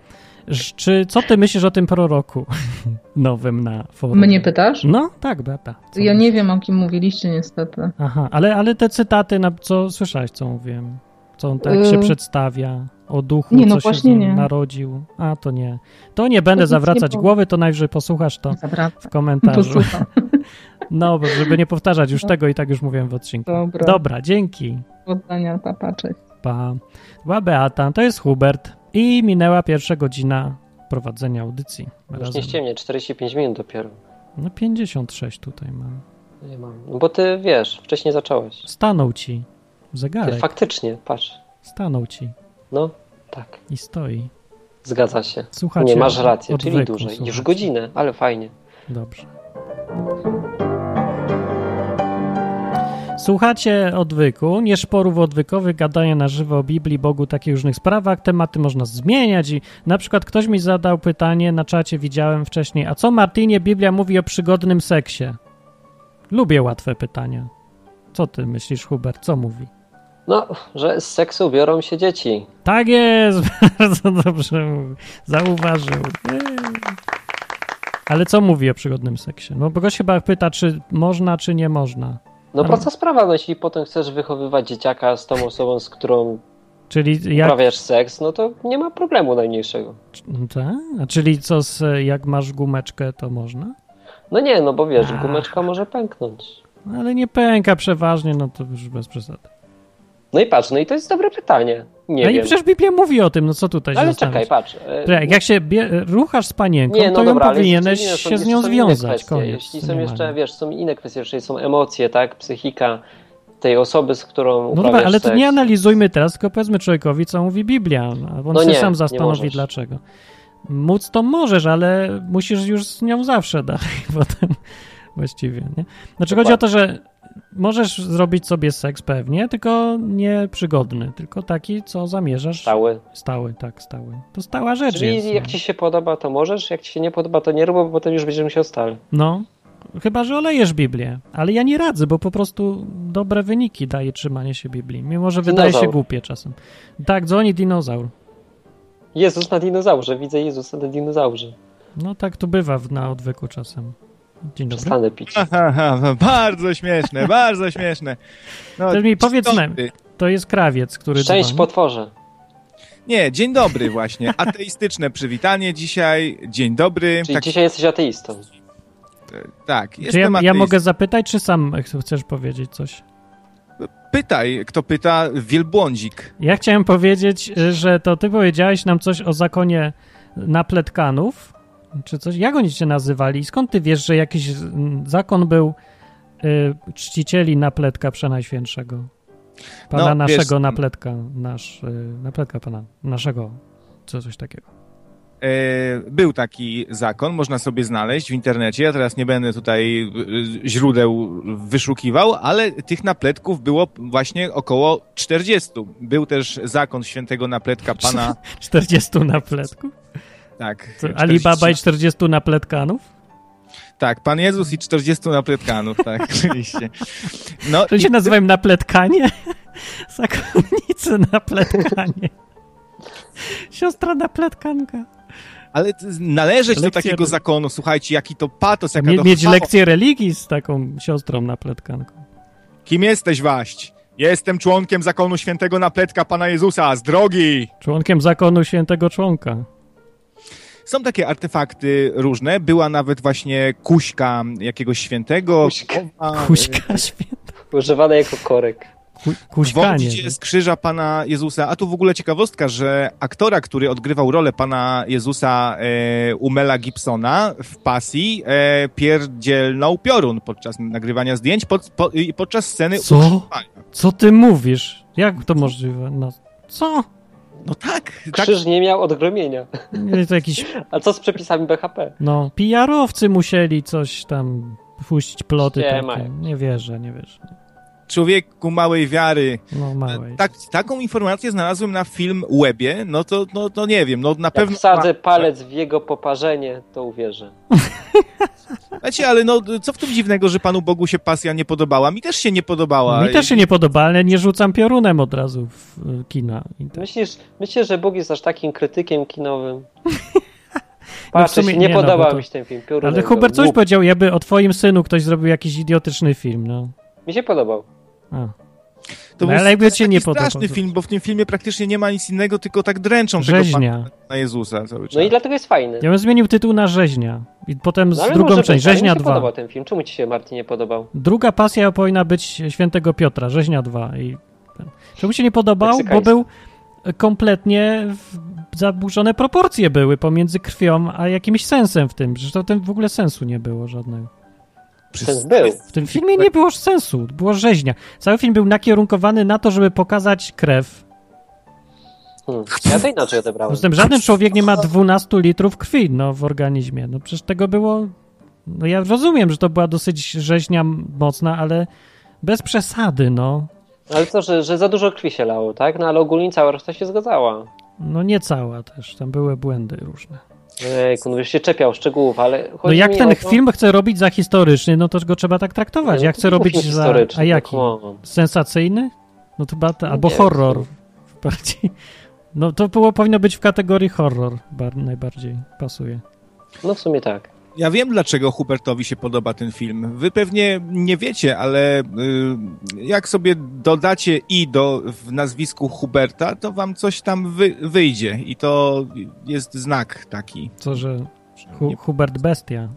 Ż- Czy, co ty myślisz o tym proroku [laughs] nowym na forum?
Mnie pytasz?
No, tak, Beata. Co
Ja
myślisz?
nie wiem, o kim mówiliście niestety.
Aha, ale, ale te cytaty, na, co słyszałeś, co mówiłem? Co on tak się
Yy.
przedstawia, o duchu,
Nie, no
co się z
właśnie
nim
nie.
narodził. A, to nie. To nie będę
nic nie
zawracać
było.
głowy, to najwyżej posłuchasz to w
Zawracam. To
komentarzu.
słucham.
[laughs] No, bo żeby nie powtarzać już tego i tak już mówiłem w odcinku.
No. Dobra.
Dobra, dzięki.
Powodzenia, papa, cześć.
Pa. Była Beata, to jest Hubert i minęła pierwsza godzina prowadzenia audycji.
Już nie
Razem.
ściemnie, 45 minut dopiero.
No 56 tutaj mam.
Nie mam. No Bo ty wiesz, wcześniej zacząłeś.
Stanął ci
Ty,
zegarek,
faktycznie, patrz.
stanął ci
No, tak,
i stoi.
zgadza się.
Słuchacie
nie, masz rację,
odwyku,
czyli dłużej. Już
słuchacie.
godzinę, ale fajnie.
Dobrze. Słuchacie odwyku, nie szporów odwykowych, gadania na żywo o Biblii, Bogu, takich różnych sprawach. Tematy można zmieniać i na przykład ktoś mi zadał pytanie na czacie, widziałem wcześniej, a co Martinie Biblia mówi o przygodnym seksie? Lubię łatwe pytania. Co ty myślisz, Hubert, co mówi?
No, że z seksu biorą się dzieci.
Tak jest, [laughs] bardzo dobrze mówi. Zauważył. Jej. Ale co mówi o przygodnym seksie? No bo gość chyba pyta, czy można, czy nie można.
No
Ale-
prosta sprawa, no jeśli potem chcesz wychowywać dzieciaka z tą osobą, z którą
Czyli jak...
uprawiasz seks, no to nie ma problemu najmniejszego.
Ta? tak? A czyli co, z, jak masz gumeczkę, to można?
No nie, no bo wiesz,
Ach.
gumeczka może pęknąć.
No, Ale nie pęka przeważnie, no to już bez przesady.
No i patrz, no i to jest dobre pytanie. Nie
no i
wiem.
przecież Biblia mówi o tym, no co tutaj się
ale czekaj,
zastanawiać?
patrz. e,
Czekaj, jak się bie... ruchasz z panienką,
Nie, no
to
dobra,
ją
ale
powinieneś
jeszcze
się
inne są-
z
jeszcze
nią
są inne
związać. no.
kwestie.
Koniec.
Jeśli
to
są
nie
jeszcze,
ma.
wiesz, są inne kwestie, jeżeli są emocje, tak, psychika tej osoby, z którą
No
uprawiasz
dobra, ale to
seks.
nie analizujmy teraz, tylko powiedzmy człowiekowi, co mówi Biblia. No, a on
No
się
nie,
sam
nie
zastanowi,
możesz.
dlaczego. Móc to możesz, ale musisz już z nią zawsze dalej [laughs] potem właściwie, nie? Znaczy chodzi o to, że możesz zrobić sobie seks pewnie, tylko nie przygodny, tylko taki, co zamierzasz.
Stały.
Stały, tak, stały. To stała rzecz
Czyli
jest.
jak
no.
ci się podoba, to możesz, jak ci się nie podoba, to nie rób, bo potem już będziemy się ostali.
No, chyba, że olejesz Biblię, ale ja nie radzę, bo po prostu dobre wyniki daje trzymanie się Biblii, mimo że wydaje się
Dinozaur.
głupie czasem. Tak, dzwoni dinozaur.
Jezus na dinozaurze, widzę Jezusa na dinozaurze.
No tak tu bywa w, na odwyku czasem. Dzień dobry.
Przestanę pić.
no, bardzo śmieszne, [laughs] bardzo śmieszne. No,
Też mi
dzień
powiedz
dobry.
nam. To jest krawiec, który
Szczęść
dzwoni.
potworze.
Nie, dzień dobry właśnie. [laughs] Ateistyczne przywitanie dzisiaj. Dzień dobry.
Czyli
Tak,
dzisiaj jesteś ateistą.
tak.
Czy ja,
Jestem
ja
ateist.
mogę zapytać, czy sam ch- chcesz powiedzieć coś?
Pytaj, kto pyta, wielbłądzik.
Ja chciałem powiedzieć, y, że to ty powiedziałeś nam coś o zakonie napletkanów, czy coś. Jak oni cię nazywali? Skąd ty wiesz, że jakiś mm, zakon był y, czcicieli napletka Przenajświętszego? Pana
No, wiesz-
naszego napletka, nasz, y, napletka pana naszego, co coś takiego.
E, był taki zakon, można sobie znaleźć w internecie. Ja teraz nie będę tutaj e, źródeł wyszukiwał, ale tych napletków było właśnie około 40. Był też zakon świętego napletka
[laughs]
pana.
40 napletków?
Tak.
Co,
40
Alibaba i 40 napletkanów?
Tak, Pan
[laughs]
Jezus i 40 napletkanów, tak, oczywiście. No,
To
i
się nazywają napletkanie? [laughs] Zakonnicy na pletkanie. Siostra na pletkanka.
Ale t- należeć do
Lekcje-
takiego zakonu, słuchajcie, jaki to patos, jaka
Mie-
to
mieć
chwała.
lekcję religii z taką siostrą na pletkanką.
Kim jesteś, Waść? Jestem członkiem zakonu świętego napletka Pana Jezusa, z drogi!
Członkiem zakonu świętego członka.
Są takie artefakty różne, była nawet właśnie kuśka jakiegoś świętego.
Kuśka.
Wdowa,
Kuśka święta.
Używane jako korek.
Ku,
Wodzi
kuśkanie.
cię z krzyża Pana Jezusa. A tu w ogóle ciekawostka, że aktora, który odgrywał rolę Pana Jezusa e, u Mela Gibsona w pasji, e, pierdzielnął piorun podczas nagrywania zdjęć pod, po, i podczas sceny
Co?
ukrzyżowania.
Co ty mówisz? Jak to możliwe? No, co?
No tak, tak.
Krzyż nie miał odgromienia.
Nie, To jakiś
[laughs] A co z przepisami BHP?
No, PR-owcy musieli coś tam puścić ploty
Nie
takie.
mają.
tak Nie wierzę, nie wierzę.
Człowieku małej wiary.
No małej.
Tak, taką informację znalazłem na film Webie, no to, no, to nie wiem, no na
Jak
pewno...
wsadzę palec w jego poparzenie, to uwierzę.
Wiecie, ale no, co w tym dziwnego, że Panu Bogu się pasja nie podobała? Mi też się nie podobała.
No, Mi też się nie podoba, ale nie rzucam piorunem od razu w y, kina. I tak.
Myślisz, myślisz, że Bóg jest aż takim
[laughs]
krytykiem kinowym? Patrz,
No sumie
się nie,
nie, no,
podobał
bo to-
mi się ten film. Piórunem
Ale
go
Hubert coś
łupł.
powiedział, jakby o twoim synu ktoś zrobił jakiś idiotyczny film, no.
Mi się podobał.
A. No,
To był
ale jakby
taki
cię nie podobał,
straszny
to-
film, bo w tym filmie praktycznie nie ma nic innego, tylko tak dręczą tego
Rzeźnia.
Pana na Jezusa cały czas.
No i dlatego jest fajny.
Ja bym zmienił tytuł na Rzeźnia. I potem z
No, ale może
drugą
być,
część,
ale
Rzeźnia
Mi się
2.
podobał ten film. Czemu ci się, Martin, nie podobał?
Druga pasja powinna być świętego Piotra, Rzeźnia 2. I ten. Czemu się nie podobał? Bo
Meksykańska.
był kompletnie w... zaburzone proporcje były pomiędzy krwią a jakimś sensem w tym. Przecież to w tym w ogóle sensu nie było żadnego.
Przy-
Sens był.
W tym filmie nie było sensu, było rzeźnia. Cały film był nakierunkowany na to, żeby pokazać krew.
Hmm. Ja to inaczej odebrałem.
Poza tym żaden człowiek nie ma 12 litrów krwi no, w organizmie. No przecież tego było... No ja rozumiem, że to była dosyć rzeźnia mocna, ale bez przesady, no.
Ale co, że, że za dużo krwi się lało, tak? No ale ogólnie cała reszta się zgadzała.
No nie cała też, tam były błędy różne.
Ejku, no już się czepiał szczegółów, ale chodzi
No jak
mi
ten
o to-
film chce robić za historyczny, no to go trzeba tak
Nie,
traktować.
no
Jak
to
chce
był
robić
film
za...
historyczny,
A jaki?
no come on.
Sensacyjny? No to chyba... ta- Albo
Nie.
horror. Bardziej. No to było, powinno być w kategorii horror. Bar, najbardziej pasuje.
No w sumie tak.
Ja wiem, dlaczego Hubertowi się podoba ten film. Wy pewnie nie wiecie, ale y, jak sobie dodacie i do w nazwisku Huberta, to wam coś tam wy, wyjdzie i to jest znak taki.
Co, że Hu, Hubert Bestia.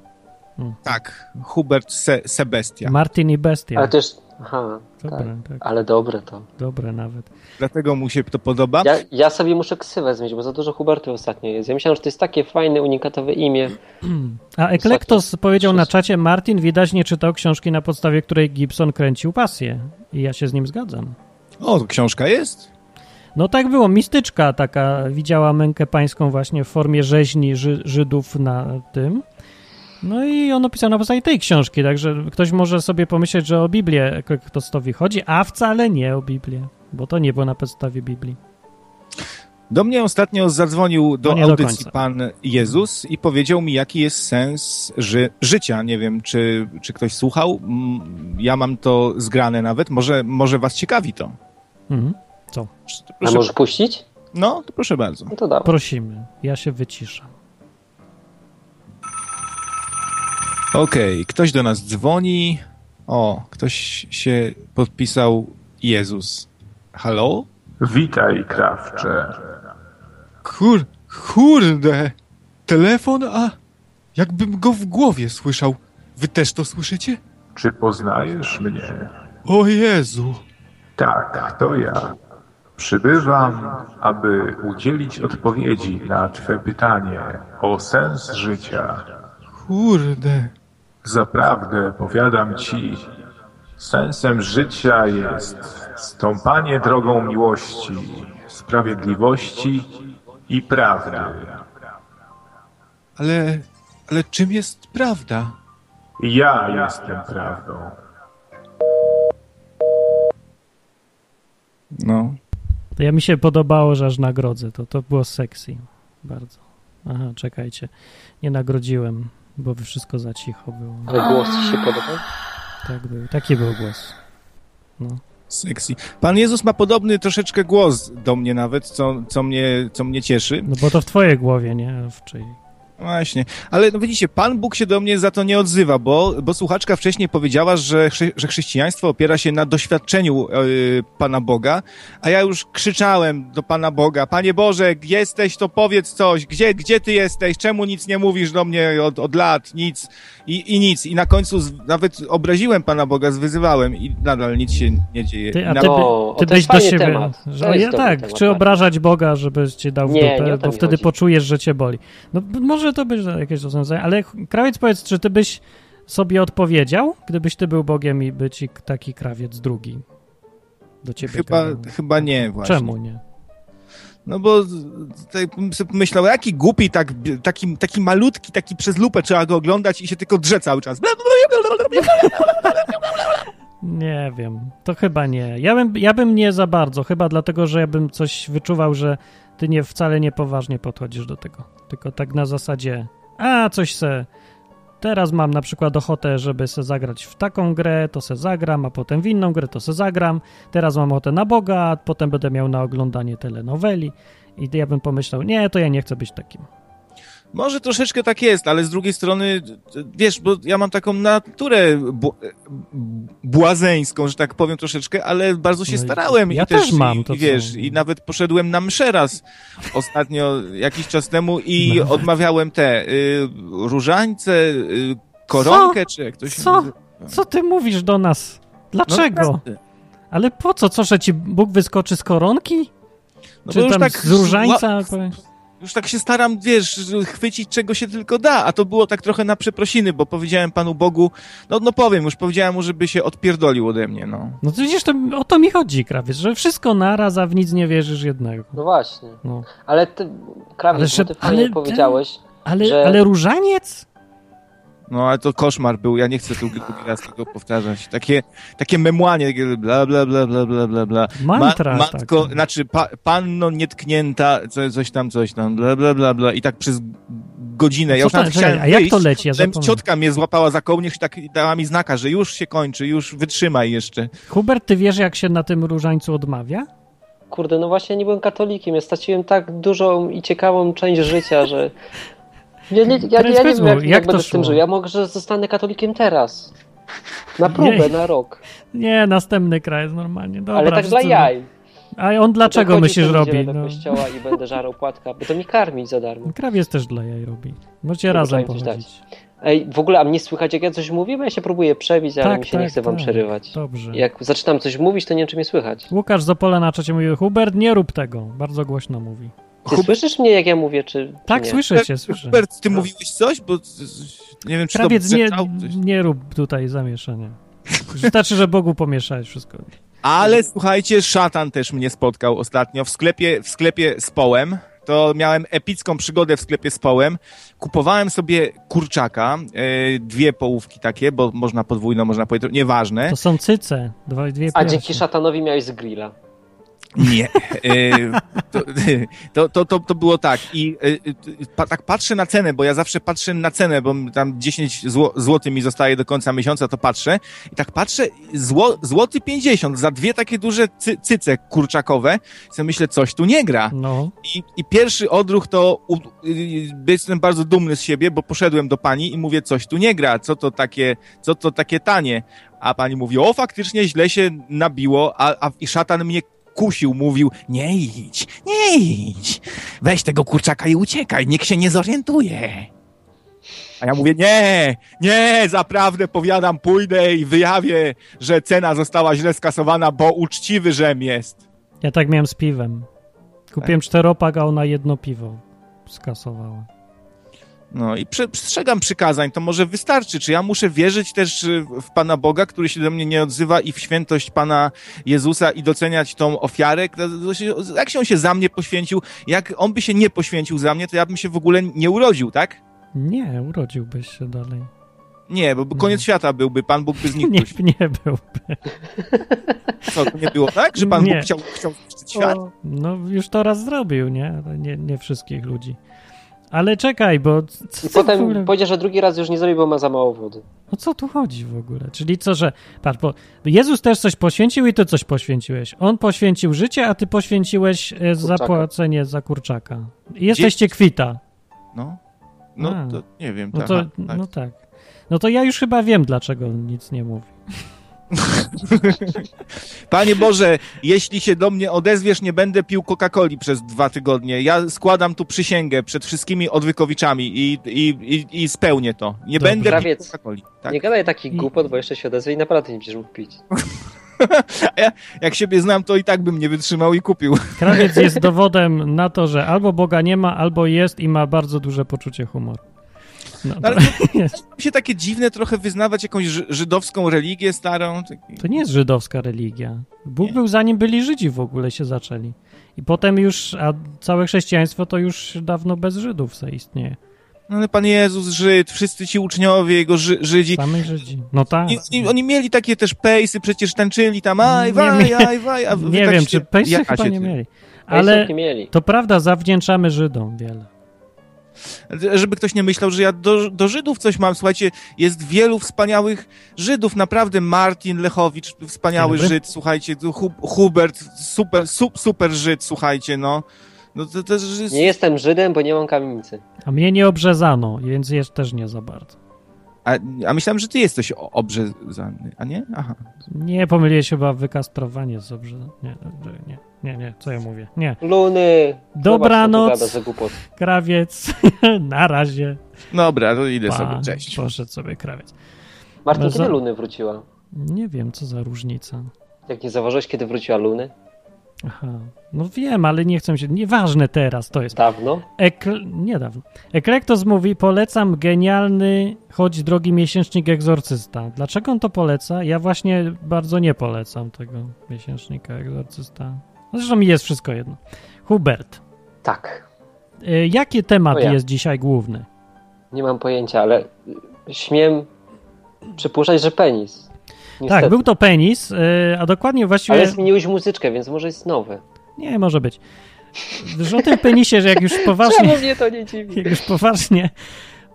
No.
Tak, Hubert Se Sebestia.
Martin i Bestia.
Ale też. Aha,
Dobre, tak.
ale dobre to.
Dobre nawet. [clears throat]
Dlatego mu się to podoba.
Ja, ja sobie muszę ksywę zmienić, bo za dużo Hubertów ostatnio jest. Ja myślałem, że to jest takie fajne, unikatowe imię.
A Eklektos powiedział na czacie, Martin widać nie czytał książki, na podstawie której Gibson kręcił pasję. I ja się z nim zgadzam.
O, książka jest?
No tak było, mistyczka taka widziała mękę pańską właśnie w formie rzeźni Ży Żydów na tym. No i on opisał na podstawie tej książki, także ktoś może sobie pomyśleć, że o Biblię Kryktostowi chodzi, a wcale nie o Biblię, bo to nie było na podstawie Biblii.
Do mnie ostatnio zadzwonił do
No nie do
audycji
końca.
pan Jezus i powiedział mi, jaki jest sens ży życia. Nie wiem, czy, czy ktoś słuchał. Mm, Ja mam to zgrane nawet. Może, może was ciekawi to.
Mhm.
To
A
Proszę,
możesz puścić?
No, to proszę bardzo.
No to dawaj.
Prosimy, ja się wyciszam.
Okej, ktoś do nas dzwoni. O, ktoś się podpisał Jezus. Halo?
Witaj, krawcze.
Kur, kurde! Telefon, a jakbym go w głowie słyszał. Wy też to słyszycie?
Czy poznajesz mnie?
O Jezu!
Tak, to ja. Przybywam, aby udzielić odpowiedzi na Twe pytanie o sens życia.
Kurde.
Zaprawdę, powiadam Ci, sensem życia jest stąpanie drogą miłości, sprawiedliwości i prawdy.
Ale, ale czym jest prawda?
Ja jestem prawdą.
No.
To ja mi się podobało, że aż nagrodzę, to, to było sexy bardzo. Aha, czekajcie, nie nagrodziłem, bo wszystko za cicho było.
Ale głos ci się podoba?
Tak był, taki był głos.
Sexy. Pan Jezus ma podobny troszeczkę głos do mnie nawet, co, co, mnie, co mnie cieszy.
No bo to w twojej głowie, nie? W czyjej.
Właśnie. Ale no widzicie, Pan Bóg się do mnie za to nie odzywa, bo, bo słuchaczka wcześniej powiedziała, że, chrze- że chrześcijaństwo opiera się na doświadczeniu yy, Pana Boga, a ja już krzyczałem do Pana Boga, Panie Boże, jesteś, to powiedz coś, gdzie, gdzie Ty jesteś, czemu nic nie mówisz do mnie od, od lat, nic i, i nic. I na końcu z, nawet obraziłem Pana Boga, zwyzywałem i nadal nic się nie dzieje.
Ty,
I
a
na...
ty, by,
O,
ty
o, to
byś
jest
do
fajny
siebie.
temat. To
Że,
jest
ja,
dobry
tak,
temat,
czy
tak.
obrażać Boga, żeby ci dał w
Nie, nie
dupę,
o to
bo
mi
wtedy
chodzi.
poczujesz, że cię boli. No b- może to być jakieś rozwiązanie, ale ch- krawiec powiedz, czy ty byś sobie odpowiedział, gdybyś ty był Bogiem i by ci k- taki krawiec drugi do ciebie
Chyba,
gadał?
chyba nie właśnie.
Czemu nie?
No bo z- z- tak bym sobie pomyślał, jaki głupi, tak, bi- taki, taki malutki, taki przez lupę trzeba go oglądać i się tylko drze
[laughs]
cały czas.
Nie wiem, to chyba nie. Ja bym, ja bym nie za bardzo, chyba dlatego, że ja bym coś wyczuwał, że ty nie wcale niepoważnie podchodzisz do tego. Tylko tak na zasadzie, a coś se. Teraz mam na przykład ochotę, żeby se zagrać w taką grę, to se zagram, a potem w inną grę, to se zagram. Teraz mam ochotę na Boga, a potem będę miał na oglądanie telenoweli. I ja bym pomyślał, nie, to ja nie chcę być takim.
Może troszeczkę tak jest, ale z drugiej strony, wiesz, bo ja mam taką naturę bu- błazeńską, że tak powiem troszeczkę, ale bardzo się
No i
starałem.
ja
i też,
też mam
i,
to
i wiesz,
samo.
i nawet poszedłem na mszę raz ostatnio, jakiś czas temu i odmawiałem te y, różańce, y, koronkę, czy jak to się
Co?
nazywa.
Co ty mówisz do nas?
No,
Dlaczego? Ale po co? Co, że ci Bóg wyskoczy z koronki?
No
Czy
bo już
tam
tak
z różańca?
Już tak się staram, wiesz, chwycić czego się tylko da, a to było tak trochę na przeprosiny, bo powiedziałem Panu Bogu, no, no powiem, już powiedziałem mu, żeby się odpierdolił ode mnie, no.
No to widzisz, to, o to mi chodzi, krawiec, że wszystko naraz, a w nic nie wierzysz jednego.
No właśnie.
No.
Ale ty,
Ale
Krawiec,
że-
bo ty fajnie
ale ten-
powiedziałeś.
Ale,
Że-
ale różaniec?
No ale to koszmar był, ja nie chcę tu drugi raz tego powtarzać. Takie, takie memłanie, takie bla bla bla bla bla bla bla.
Mantra.
matko,
taka.
znaczy pa, panno nietknięta, co, coś tam, coś tam, bla bla bla bla i tak przez godzinę.
Co
Ja już
tam,
nawet
czekaj,
chciałem
a jak
wyjść,
to leci? Ja
potem
zapomniałem.
ciotka mnie złapała za kołnierz i tak dała mi znaka, że już się kończy, już wytrzymaj jeszcze.
Hubert, ty wiesz, jak się na tym różańcu odmawia?
Kurde, no właśnie ja nie byłem katolikiem. Ja straciłem tak dużą i ciekawą część życia, że. Ja nie, ja, ja,
Teraz
nie
powiedz
wiem,
mu,
jak, jak,
jak to
będę z tym
szło?
żył. Ja mogę, że zostanę katolikiem teraz. Na próbę,
Jej.
na rok.
Nie, następny kraj jest normalnie. Dobra,
ale tak dla
wszyscy-
jaj.
A on dlaczego
Chodził
myślisz
co niedzielę
robi?
do
No.
kościoła i będę żarł płatka, by to mi karmić za darmo.
[laughs] Krawiec też dla jaj robi. Możecie
Nie
razem
potrafię coś
pochodzić.
Ej, w ogóle, a mnie słychać, jak ja coś mówię, bo ja się próbuję przebić, ale mi się nie chce wam przerywać.
Tak, Dobrze.
Jak zaczynam coś mówić, to nie wiem, czy mnie słychać.
Łukasz z Opola na czacie mówi, Hubert, nie rób tego. Bardzo głośno mówi.
Ty słyszysz mnie, jak ja mówię, czy, czy
Tak,
nie?
słyszę cię, słyszę. No.
Hubert, ty mówiłeś coś? Bo z- z- nie wiem, czy
Krawiec,
to
nie,
brzeczał coś.
nie rób tutaj zamieszania. Wystarczy, że Bogu pomieszałeś wszystko.
Ale słuchajcie, szatan też mnie spotkał ostatnio w sklepie, w sklepie z połem. To miałem epicką przygodę w sklepie z połem. Kupowałem sobie kurczaka, e, dwie połówki takie, bo można podwójną, można pojedynczą, nieważne.
To są cyce, dwa, dwie
A
piersi.
dzięki szatanowi miałeś z grilla.
Nie. E, To, to, to, to, to było tak. I e, e, pa, tak patrzę na cenę, bo ja zawsze patrzę na cenę, bo tam 10 zł, złotych mi zostaje do końca miesiąca, to patrzę. I tak patrzę, zło, złoty 50 za dwie takie duże cy, cyce kurczakowe. Co myślę, coś tu nie gra.
No,
I, I pierwszy odruch to u, y, jestem bardzo dumny z siebie, bo poszedłem do pani i mówię, coś tu nie gra, co to takie, co to takie tanie. A pani mówi, o faktycznie źle się nabiło, a, a i szatan mnie kusił, mówił, nie idź, nie idź, weź tego kurczaka i uciekaj, nikt się nie zorientuje. A ja mówię, nie, nie, zaprawdę powiadam, pójdę i wyjawię, że cena została źle skasowana, bo uczciwy rzem jest.
ja tak miałem z piwem.
E?
Kupiłem czteropak, a ona jedno piwo skasowała.
No i prze- przestrzegam przykazań, to może wystarczy. Czy ja muszę wierzyć też y, w Pana Boga, który się do mnie nie odzywa i w świętość Pana Jezusa i doceniać tą ofiarę? Kto- to się- Jak się on się za mnie poświęcił? Jak on by się nie poświęcił za mnie, to ja bym się w ogóle nie urodził, tak?
Nie, urodziłbyś się dalej.
Nie, bo by koniec
Mhm.
świata byłby, Pan Bóg by znikł.
Nie, nie był.
Co, to nie było tak? Że Pan
Nie.
Bóg chciał, chciał zniszczyć świat?
No, już to raz zrobił, nie? Nie, nie wszystkich ludzi. Ale czekaj, bo co ty
I
w ogóle...
potem powiedział, że drugi raz już nie zrobi, bo ma za mało wody.
O co tu chodzi w ogóle? Czyli co, że. Patrz, bo Jezus też coś poświęcił i ty coś poświęciłeś. On poświęcił życie, a ty poświęciłeś e, zapłacenie za kurczaka. I Jesteście kwita.
No, no
A.
to nie wiem.
No
tak,
to,
aha, tak.
no tak. No to ja już chyba wiem, dlaczego nic nie mówi. [laughs]
Panie Boże, jeśli się do mnie odezwiesz, nie będę pił Coca-Coli przez dwa tygodnie. Ja składam tu przysięgę przed wszystkimi odwykowiczami i, i, i, i spełnię to. Nie
Dobra.
będę pił
Krawiec.
Coca-Coli. Tak.
Nie gadaj takich głupot, bo jeszcze się odezwie i naprawdę nie będziesz mógł pić.
Jak siebie znam, to i tak bym nie wytrzymał i kupił.
Krawiec jest dowodem na to, że albo Boga nie ma, albo jest i ma bardzo duże poczucie humoru. No, to, [laughs]
Ale Mi [laughs] się takie dziwne trochę wyznawać jakąś ży- żydowską religię starą. Taki-
to nie jest żydowska religia. Bóg był zanim byli Żydzi w ogóle się zaczęli. I potem już, a całe chrześcijaństwo to już dawno bez Żydów zaistnieje.
No ale Pan Jezus, Żyd, wszyscy ci uczniowie, jego ży, Żydzi.
Samych Żydzi. No tak.
I, i oni mieli takie też pejsy, przecież tańczyli tam, aj,
Nie
waj,
mia-
aj, waj. a
[laughs]
wy
Nie
tak
wiem,
się-
czy Pejsy
jakacie
chyba nie
tym.
mieli.
Ale...
Ale
nie mieli.
to prawda, zawdzięczamy Żydom wiele.
Żeby ktoś nie myślał, że ja do, do Żydów coś mam. Słuchajcie, jest wielu wspaniałych Żydów. Naprawdę Martin Lechowicz, wspaniały
Dobry.
Żyd, słuchajcie. tu Hu, Hubert, super, sup, super Żyd, słuchajcie, no. No to też jest...
Nie jestem Żydem, bo nie mam kamienicy.
A mnie nie obrzezano, więc jest też nie za bardzo.
A, a myślałem, że ty jesteś o- obrzezany, a nie? Aha.
Nie, pomyliłeś chyba wykaz prawa, nie jest obrzezany. Nie, dobrze, nie, nie, nie, co ja mówię? Nie.
Luny.
Dobranoc.
Zobacz, co tu gada za głupot.
Krawiec, [laughs] na razie.
Dobra, to idę
Pa,
sobie, cześć.
Poszedł sobie krawiec.
Martin,
No
kiedy
za-
Luny wróciła?
Nie wiem, co za różnica.
Jak nie zauważyłeś, kiedy wróciła Luny?
Aha. No wiem, ale nie chcę się... Nieważne teraz to jest.
Dawno?
Ekl... Niedawno. Eklektos mówi, polecam genialny, choć drogi miesięcznik egzorcysta. Dlaczego on to poleca? Ja właśnie bardzo nie polecam tego miesięcznika egzorcysta. Zresztą mi jest wszystko jedno. Hubert,
Tak.
y, jaki temat
O ja.
jest dzisiaj główny? Tak,
Nie mam pojęcia, ale y, śmiem przypuszczać, że penis. Niestety.
Tak, był to penis, y, a dokładnie właściwie...
Ale zmieniłeś muzyczkę, więc może jest nowy.
Nie, może być. Że o tym penisie, że jak
[laughs]
już poważnie...
Czemu mnie to nie dziwi?
[laughs] jak już poważnie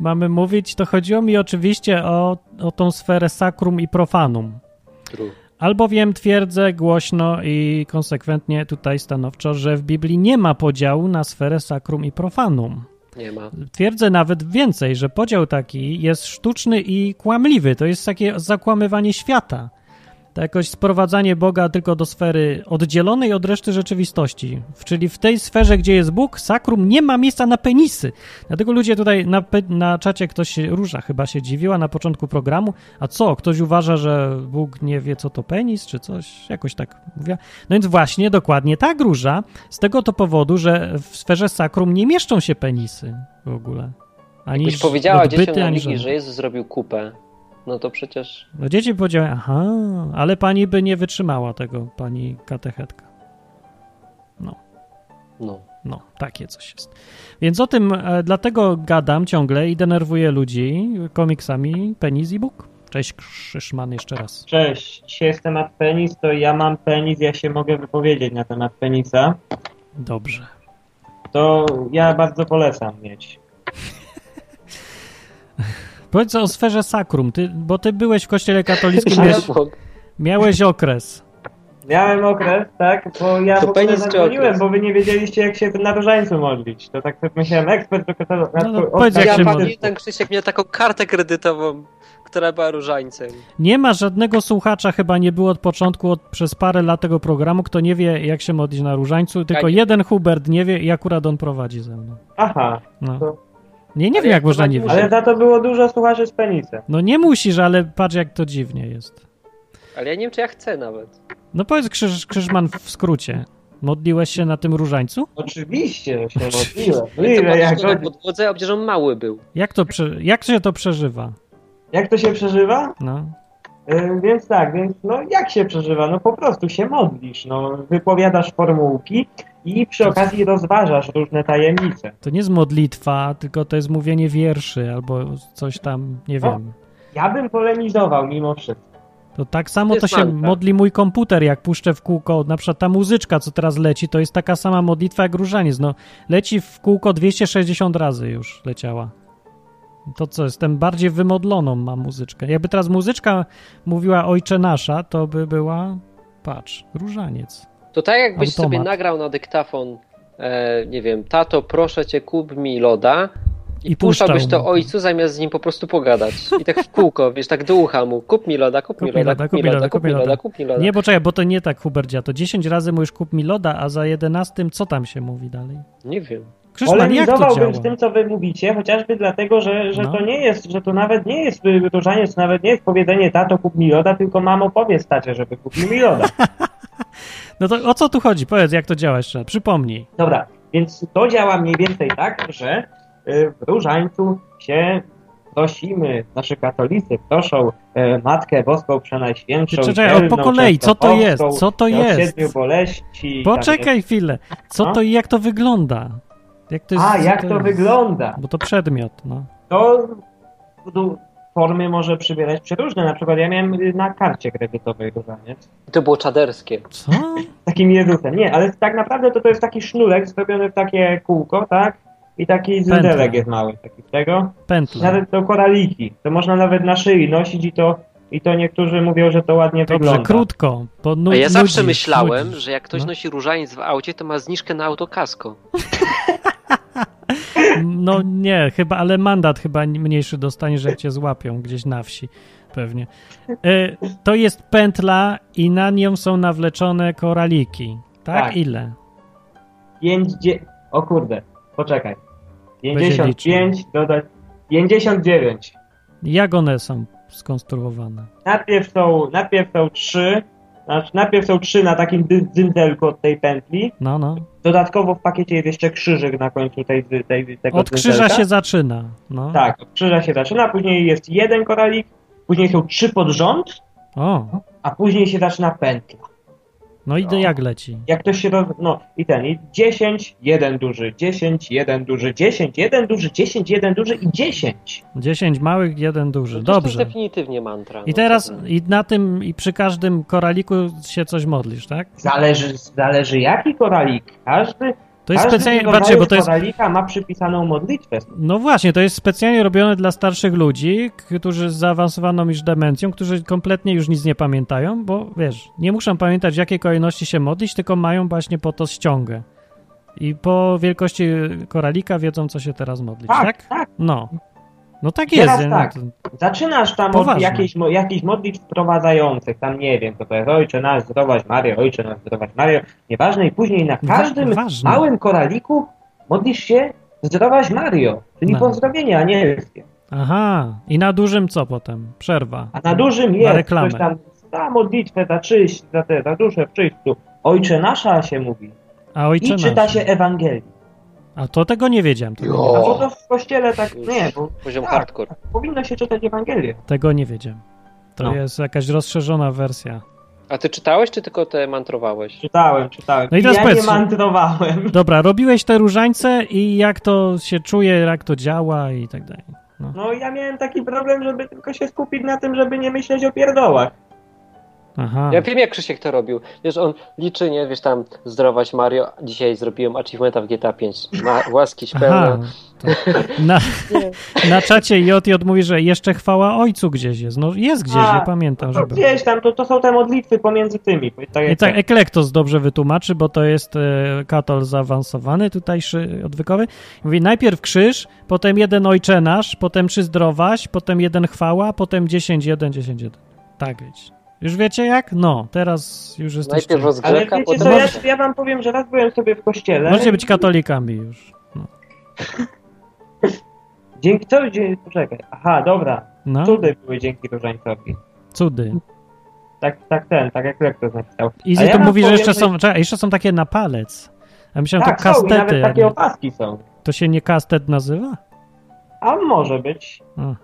mamy mówić, to chodziło mi oczywiście o, o tą sferę sakrum i profanum.
True.
Albowiem twierdzę głośno i konsekwentnie tutaj stanowczo, że w Biblii nie ma podziału na sferę sakrum i profanum.
Nie ma.
Twierdzę nawet więcej, że podział taki jest sztuczny i kłamliwy. To jest takie zakłamywanie świata. To jakoś sprowadzanie Boga tylko do sfery oddzielonej od reszty rzeczywistości. W- Czyli w tej sferze, gdzie jest Bóg, sakrum nie ma miejsca na penisy. Dlatego ludzie tutaj na, pe- na czacie ktoś się, Róża chyba się dziwiła na początku programu. A co, ktoś uważa, że Bóg nie wie, co to penis, czy coś? Jakoś tak mówiła. No więc właśnie, dokładnie tak, Róża. Z tego to powodu, że w sferze sakrum nie mieszczą się penisy w ogóle. Ani
Jakbyś
ż-
powiedziała dzieciom na
ani
ligi,
żadne.
że Jezus zrobił kupę, no to przecież
No dzieci powiedziały, aha, ale pani by nie wytrzymała tego, pani katechetka.
no.
No, takie coś jest. Więc o tym, e, dlatego gadam ciągle i denerwuję ludzi komiksami Penis i Bóg. Cześć Krzyszman jeszcze raz.
Cześć, dzisiaj jest temat penis, to ja mam penis, ja się mogę wypowiedzieć na temat penisa.
Dobrze.
To ja bardzo polecam mieć.
Powiedz o sferze sakrum, ty, bo ty byłeś w kościele katolickim,
Ale
miałeś, miałeś okres.
Miałem okres, tak, bo ja
To
w ogóle
penis czy
zadzwoniłem,
okres?
bo wy nie wiedzieliście jak się na różańcu modlić. To tak sobie myślałem, ekspert do katalogu.
No, no, powiedz, jak
Ja
się
modlić.
modli.
pamiętam, Krzysiek miał taką kartę kredytową, która była różańcem.
Nie ma żadnego słuchacza, chyba nie było od początku, od, przez parę lat tego programu, kto nie wie, jak się modlić na różańcu, tylko
nie wiem.
jeden Hubert nie wie i akurat on prowadzi ze mną.
Aha,
No.
To-
Nie, nie
Ale
wiem,
jak
jak można nie
prowadzisz?
wiedzieć.
ale za to tak było dużo słuchaczy z penisem.
No nie musisz, ale patrz, jak to dziwnie jest.
Ale ja nie wiem, czy ja chcę nawet.
No powiedz, Krzyż, Krzyżman, w skrócie. Modliłeś się na tym różańcu?
Oczywiście,
[laughs]
że się
Oczywiście.
modliłem.
To
Ile, jak,
patrzysz na podłodze, a przecież on mały był.
Jak to, prze, jak się to przeżywa?
jak to się przeżywa?
No.
E, Więc tak, więc no jak się przeżywa? No po prostu się modlisz, no wypowiadasz formułki i przy okazji rozważasz różne tajemnice.
To nie jest modlitwa, tylko to jest mówienie wierszy albo coś tam, nie
No.
wiem.
Ja bym polemizował mimo wszystko.
To tak samo
Jest
to się
Malta.
modli mój komputer, jak puszczę w kółko, na przykład ta muzyczka, co teraz leci, to jest taka sama modlitwa jak różaniec, no leci w kółko 260 razy już leciała. To co, jestem bardziej wymodloną mam muzyczkę. Jakby teraz muzyczka mówiła Ojcze Nasza, to by była, patrz, różaniec.
To tak jakbyś
Automat.
sobie nagrał na dyktafon, e, nie wiem, tato, proszę cię, kup mi loda. I,
I
puszczałbyś
puszczał
to
mu.
ojcu, zamiast z nim po prostu pogadać. I tak w kółko, [laughs] wiesz, tak do ucha mu. Kup mi loda, kup, mi loda, kup mi loda, kup mi loda, kup mi loda.
Nie, bo czekaj, bo to nie tak, Hubercia, to 10 razy mówisz kup mi loda, a za 11 co tam się mówi dalej?
Nie wiem.
Krzyszman, jak to działa?
Polemizowałbym z tym, co wy mówicie, chociażby dlatego, że, że
No.
to nie jest, że to nawet nie jest y, różaniec, nawet nie jest powiedzenie tato kup mi loda, tylko mamo powiedz tacie, żeby kupił mi
[laughs]
loda.
No to o co tu chodzi? Powiedz, jak to działa jeszcze, przypomnij.
Dobra, więc to działa mniej więcej tak, że y, w różańcu się prosimy, znaczy katolicy proszą e, Matkę Boską Przenajświętszą.
Czekaj, czekaj,
Dzielną,
po kolei, co to jest?
Częstochowską,
Co to
od
jest?
Siedmiu boleści. tam jest-
Poczekaj chwilę. Co
No.
to i jak to wygląda? Jak to jest,
A,
co
jak to
jest?
wygląda?
Bo to przedmiot, no.
to du- formy może przybierać przeróżne. Na przykład ja miałem y, na karcie kredytowej różaniec
I To było czaderskie.
Co?
z [laughs] takim Jezusem. Nie, ale tak naprawdę to, to jest taki sznurek zrobiony w takie kółko, tak? I taki
Pętla.
zydelek jest mały, taki z tego.
Pętla.
Nawet to koraliki. To można nawet na szyi nosić i to, i to niektórzy mówią, że to ładnie
Dobrze,
wygląda.
krótko. Bo nu-
A No, ja zawsze
nudzisz,
myślałem,
nudzisz.
że jak ktoś
No.
nosi różaniec w aucie, to ma zniżkę na autokasko.
No nie, chyba, ale mandat chyba ni- mniejszy dostaniesz, jak cię złapią gdzieś na wsi. Pewnie. E, to jest pętla i na nią są nawleczone koraliki. Tak?
Tak.
Ile?
Pięćdzie... O kurde, poczekaj.
Będzie
55 dodać... 59.
Jak one są skonstruowane?
Najpierw są, najpierw są trzy, znaczy najpierw są trzy na takim dy- dyndelku od tej pętli.
No, no.
Dodatkowo w pakiecie jest jeszcze krzyżyk na końcu tej, dy- tej tego
Od krzyża
dyndelka.
się zaczyna. No.
Tak, od krzyża się zaczyna, później jest jeden koralik, później są trzy pod rząd,
O,
a później się zaczyna pętla.
no i no. jak leci?
Jak ktoś się roz... No i ten, i 10, jeden duży, 10, jeden duży, 10, jeden duży, 10, jeden duży i 10.
10 małych, jeden duży.
No to jest
Dobrze.
definitywnie mantra.
I
no,
teraz
co tam.
i na tym i przy każdym koraliku się coś modlisz, tak?
Zależy, zależy jaki koralik. Każdy,
To jest
każdy
specjalnie,
rodzaj
patrzcie, bo to jest
koralika ma przypisaną modlitwę.
no właśnie, to jest specjalnie robione dla starszych ludzi, którzy z zaawansowaną już demencją, którzy kompletnie już nic nie pamiętają, bo wiesz, nie muszą pamiętać w jakiej kolejności się modlić, tylko mają właśnie po to ściągę. I po wielkości koralika wiedzą, co się teraz modlić, tak?
Tak, tak.
No. No tak jest.
Teraz
nie?
tak.
No to-
Zaczynasz tam od
Poważnie.
jakiejś, mo- jakichś modlitw wprowadzających, tam nie wiem, to jest ojcze nasz, zdrowaś Mario, ojcze nasz, zdrowaś Mario, nieważne i później na
Wa-
każdym
ważne.
małym koraliku modlisz się zdrowaś Mario, czyli
No.
pozdrowienie anielskie.
Aha. I na dużym co potem? Przerwa.
A na dużym jest
reklamę.
coś tam, ta modlitwę za czyść, za, te, za duszę w czyściu, ojcze nasza się mówi
A ojcze
i czyta
nasz.
się Ewangelii.
A to tego nie wiedziałem. Tego,
A bo to w kościele tak,
No, Już
nie, bo
Poziom
tak.
hardcore.
powinno się czytać Ewangelię.
tego nie wiedziałem. To
No.
jest jakaś rozszerzona wersja.
A ty czytałeś, czy tylko te mantrowałeś?
Czytałem, czytałem.
No i teraz
ja
powiedz-
nie mantrowałem.
Dobra, robiłeś te różańce i jak to się czuje, jak to działa i tak dalej.
No ja miałem taki problem, żeby tylko się skupić na tym, żeby nie myśleć o pierdołach.
Aha.
Ja wiem, jak Krzysiek to robił. Wiesz, on liczy, nie? Wiesz, tam zdrowaś Mario, dzisiaj zrobiłem achievementa w GTA 5. Ma, łaski się
Aha.
pełna.
[laughs]
To na, na czacie JJ mówi, że jeszcze chwała ojcu gdzieś jest. No jest gdzieś,
A,
nie pamiętam,
No,
żeby.
gdzieś tam, to, to są te modlitwy pomiędzy tymi. bo Tak
I
jak
tak Eklektos dobrze wytłumaczy, bo to jest e, katol zaawansowany, tutejszy odwykowy. Mówi najpierw krzyż, potem jeden ojcze nasz, potem trzy zdrowaś, potem jeden chwała, potem 10, 1, 10, 1. Tak wiecie. Już wiecie jak? No, teraz już jesteście...
Najpierw
Ale
rozgrzewka,
wiecie
potem...
co, ja, ja wam powiem, że raz byłem sobie w kościele.
Możecie być katolikami już.
Dzięki co? Dzie... Poczekaj. Aha, dobra.
No,
Cudy były dzięki różańcowi.
cudy.
Tak, tak ten, tak jak lektor napisał.
I
A ja
tu
wam
mówi, że
powiem,
jeszcze są, czekaj, jeszcze są takie na palec. Ja myślałem,
Tak,
to
są, i nawet
kastety. a
takie
nie-
opaski są.
To się nie kastet nazywa?
A może być.
A,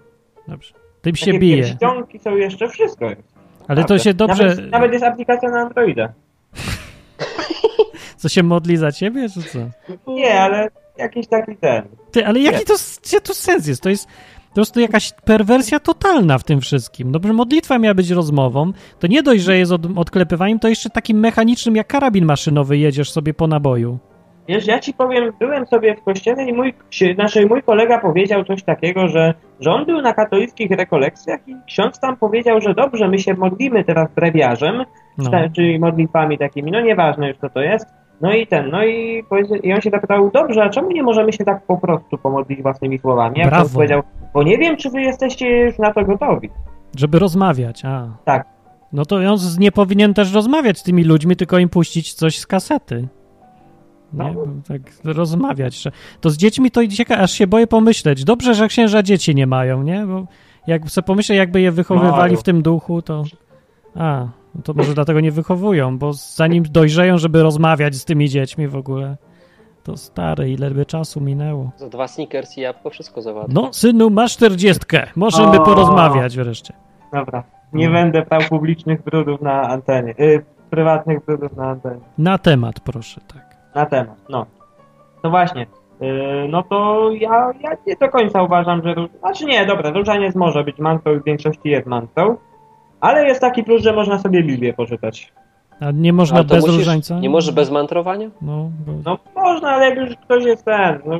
dobrze. Tym się
Takie
bije.
pierścionki są jeszcze, wszystko jest.
Ale to
Naprawdę.
się dobrze...
Nawet, nawet jest aplikacja na Androida.
Co się modli za ciebie, czy co?
Nie, ale jakiś taki ten.
Ty, ale jaki
Nie.
to, gdzie to sens jest? To jest po prostu jakaś perwersja totalna w tym wszystkim. No bo modlitwa miała być rozmową, to nie dość, że jest od, odklepywaniem, to jeszcze takim mechanicznym jak karabin maszynowy jedziesz sobie po naboju.
Wiesz, ja ci powiem, byłem sobie w kościele i mój, ksi- znaczy mój kolega powiedział coś takiego, że, że on był na katolickich rekolekcjach i ksiądz tam powiedział, że dobrze, my się modlimy teraz brewiarzem,
No.
sta- czyli modlitwami takimi, no nieważne już co to jest. No i ten, no i, powiedz- i on się zapytał, dobrze, a czemu nie możemy się tak po prostu pomodlić własnymi słowami? A
Brawo.
ksiądz powiedział, bo nie wiem, czy wy jesteście już na to gotowi.
Żeby rozmawiać, a.
Tak.
No to on z- nie powinien też rozmawiać z tymi ludźmi, tylko im puścić coś z kasety. Nie,
No.
tak rozmawiać. że- To z dziećmi to ciekawe, aż się boję pomyśleć. Dobrze, że księża dzieci nie mają, nie? Bo jak sobie pomyślę, jakby je wychowywali
Mają.
w tym duchu, to... A, no to może dlatego nie wychowują, bo zanim dojrzeją, żeby rozmawiać z tymi dziećmi w ogóle, to stary, ile by czasu minęło.
Za dwa sneakers i jabłko wszystko załatwi.
No, synu, masz czterdziestkę, możemy
O.
porozmawiać wreszcie.
Dobra, nie
Mhm.
będę brał publicznych brudów na antenie, y, prywatnych brudów na antenie.
Na temat, proszę, tak.
na temat. No, no właśnie. Yy, No to ja, ja nie do końca uważam, że. róż- Znaczy nie, dobra, różaniec może być mantą i w większości jest mantą. Ale jest taki plus, że można sobie Biblię poczytać.
A nie można
Ale to
bez
musisz-
różańca?
Nie możesz bez mantrowania?
No, bo...
No można, ale jak już ktoś jest ten. No,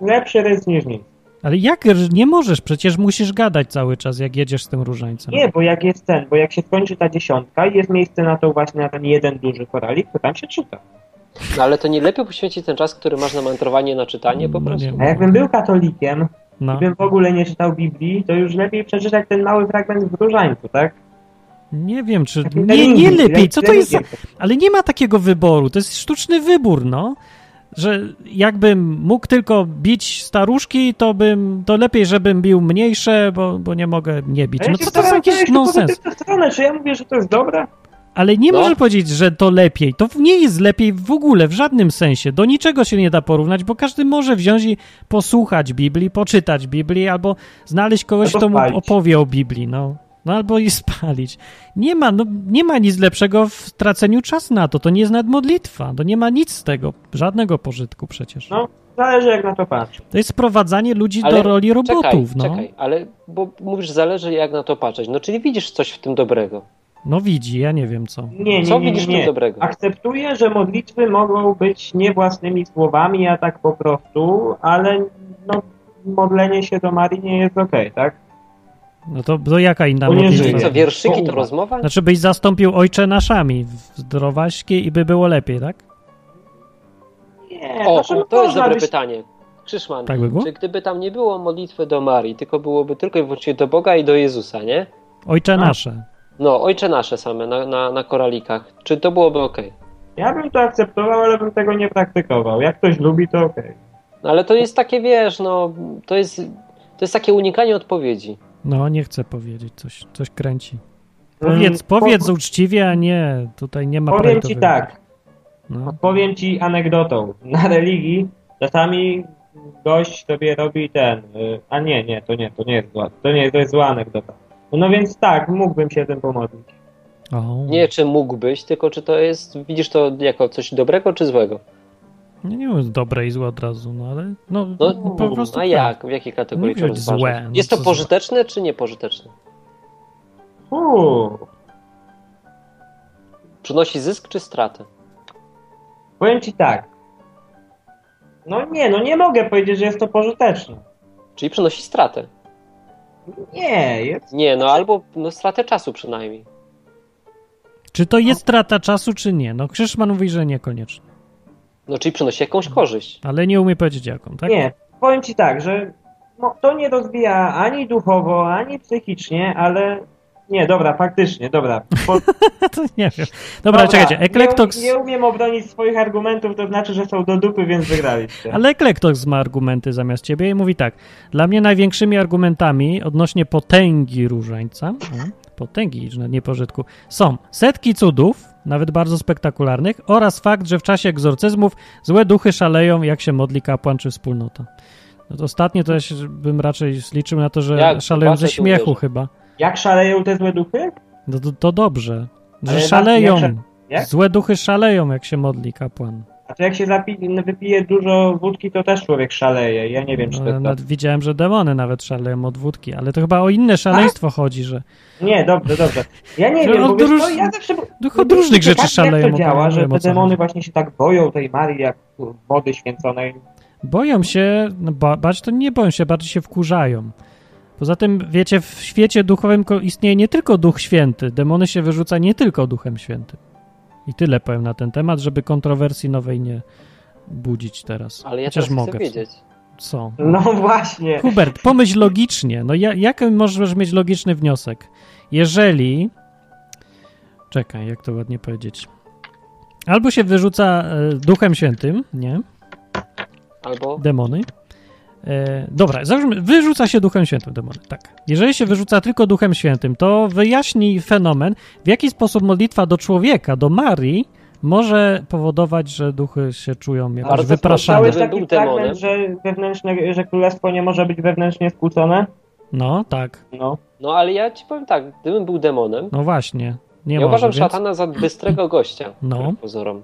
lepszy rys niż nic.
Ale jak r- nie możesz? Przecież musisz gadać cały czas, jak jedziesz z tym różańcem.
Nie, bo jak jest ten, bo jak się skończy ta dziesiątka i jest miejsce na to właśnie na ten jeden duży koralik, to tam się czyta.
No, ale to nie lepiej poświęcić ten czas, który masz na mantrowanie, na czytanie po
No
prostu?
nie.
A jakbym był katolikiem
No,
i bym w ogóle nie czytał Biblii, to już lepiej przeczytać ten mały fragment w różańcu, tak?
nie wiem, czy...
Takim
Nie, nie
religii-
lepiej, co to jest za...
religii.
Ale nie ma takiego wyboru, to jest sztuczny wybór, no. Że jakbym mógł tylko bić staruszki, to bym... To lepiej, żebym bił mniejsze, bo, bo nie mogę nie bić.
Ja
No
się
to, to jest
staram
jakiś
znaleźć
nonsens.
pozytywną Stronę, czy ja mówię, że to jest dobre?
Ale nie
No.
może powiedzieć, że to lepiej. To nie jest lepiej w ogóle, w żadnym sensie. Do niczego się nie da porównać, bo każdy może wziąć i posłuchać Biblii, poczytać Biblii, albo znaleźć kogoś,
Albo
kto mu
spalić.
opowie o Biblii, no. No albo i [laughs] spalić. Nie ma, no, nie ma nic lepszego w traceniu czasu na to. To nie jest nawet modlitwa. To nie ma nic z tego. Żadnego pożytku przecież.
No. Zależy jak na to patrzy.
To jest sprowadzanie ludzi do
Ale
roli robotów,
Czekaj,
no.
czekaj, ale bo mówisz, zależy jak na to patrzeć. No czyli widzisz coś w tym dobrego.
No widzi, ja nie wiem co.
Nie, nie,
Co
nie, nie,
widzisz w tym
nie.
dobrego?
Akceptuję, że modlitwy mogą być nie własnymi słowami, a tak po prostu, ale no, modlenie się do Marii nie jest okej, tak?
No to, to jaka inna
To nie
modlitwa?
żyje.
Czyli co,
To
wierszyki to
umarł.
rozmowa?
Znaczy byś zastąpił ojcze naszami w zdrowaśki i by było lepiej, tak?
Nie,
O,
znaczy,
to jest
można
dobre
być-
pytanie. Krzyszman,
Tak by było?
czy gdyby tam nie było modlitwy do Marii, tylko byłoby tylko i wyłącznie do Boga i do Jezusa, nie?
Ojcze
A.
nasze.
No, Ojcze Nasze same na, na, na koralikach. Czy to byłoby okej?
Ja bym to akceptował, ale bym tego nie praktykował. Jak ktoś lubi, to okej.
No, ale to jest takie, wiesz, no, to jest, to jest takie unikanie odpowiedzi.
No, nie chcę powiedzieć, coś, coś kręci.
Mm,
Powiedz, powiedz
po-
uczciwie, a nie, tutaj nie ma
Powiem
prawdy
ci
wyboru.
tak,
No.
powiem ci anegdotą. [laughs] Na religii czasami gość sobie robi ten. y, A nie, nie, to nie, to nie jest zła. To nie to jest zła anegdota. No więc tak, mógłbym się tym pomodlić.
O.
Nie czy mógłbyś, tylko czy to jest, widzisz to jako coś dobrego czy złego?
Nie, nie jest dobre i złe od razu, no ale no,
No,
po prostu
a
tak.
jak? W jakiej kategorii
Mówię,
to
że
rozważasz?
złe, no
Jest
co
to
złe.
pożyteczne czy niepożyteczne?
Uuu.
Przynosi zysk czy stratę?
Powiem ci tak. No nie, no nie mogę powiedzieć, że jest to pożyteczne.
Czyli przynosi stratę.
Nie, jest.
Nie, no albo no, stratę czasu przynajmniej.
Czy to jest strata czasu, czy nie? No, Krzyszman mówi, że niekoniecznie,
No czyli przynosi jakąś korzyść.
ale nie umie powiedzieć jaką, tak?
Nie. Powiem ci tak, że no, to nie rozwija ani duchowo, ani psychicznie, ale. Nie, dobra, faktycznie, dobra. Po,
to nie wiem. Dobra, czekajcie, Eklektox,
Nie, nie umiem obronić swoich argumentów, to znaczy, że są do dupy, więc wygraliście.
ale Eklektox ma argumenty zamiast ciebie i mówi tak, dla mnie największymi argumentami odnośnie potęgi różańca, o, potęgi, że nie pożytku, są setki cudów, nawet bardzo spektakularnych, oraz fakt, że w czasie egzorcyzmów złe duchy szaleją, jak się modli kapłan czy wspólnota. No to ostatnie to ja się bym raczej zliczył na to, że
Ja
szaleją ze
zobaczę, to
śmiechu
uwierzę.
chyba.
Jak szaleją te złe duchy?
No to, to dobrze, że
Ale jak-
szaleją.
jak sza- jak?
Złe duchy szaleją, jak się modli kapłan.
A to jak się zapi- wypije dużo wódki, to też człowiek szaleje. Ja nie wiem, czy to
No,
jest tak. to.
nawet widziałem, że demony nawet szaleją od wódki, ale to chyba o inne szaleństwo chodzi, że
Nie, dobrze, dobrze. Ja nie
No,
wiem, bo wiesz,
odróż-
co, ja zawsze...
duch od różnych rzeczy
Patrzę,
szaleją.
Jak to działa, że te
emocjami.
demony właśnie się tak boją tej Marii, jak wody święconej.
Boją się, no ba, bać to nie boją się, bardziej się wkurzają. Poza tym, wiecie, w świecie duchowym ko- istnieje nie tylko Duch Święty, demony się wyrzuca nie tylko Duchem Świętym. I tyle powiem na ten temat, żeby kontrowersji nowej nie budzić teraz.
Ale ja
Chociaż
też
mogę.
chcę wiedzieć.
Co?
No właśnie.
Hubert, pomyśl logicznie. No ja, jaki możesz mieć logiczny wniosek? Jeżeli... Czekaj, jak to ładnie powiedzieć. Albo się wyrzuca e, Duchem Świętym, nie?
Albo
demony. E, dobra, załóżmy, wyrzuca się Duchem Świętym demony, tak. Jeżeli się wyrzuca tylko Duchem Świętym, to wyjaśnij fenomen, w jaki sposób modlitwa do człowieka, do Marii, może powodować, że duchy się czują
Ale
jakoś
to
wypraszane.
Cały
Gdybym
taki
był demonem-
fragment, że, wewnętrzne, że królestwo nie może być wewnętrznie skłócone?
No, tak,
No.
No ale ja ci powiem tak, gdybym był demonem,
no właśnie. Nie
ja
może,
uważam
więc...
szatana za bystrego gościa,
[laughs] No.
no. pozorom.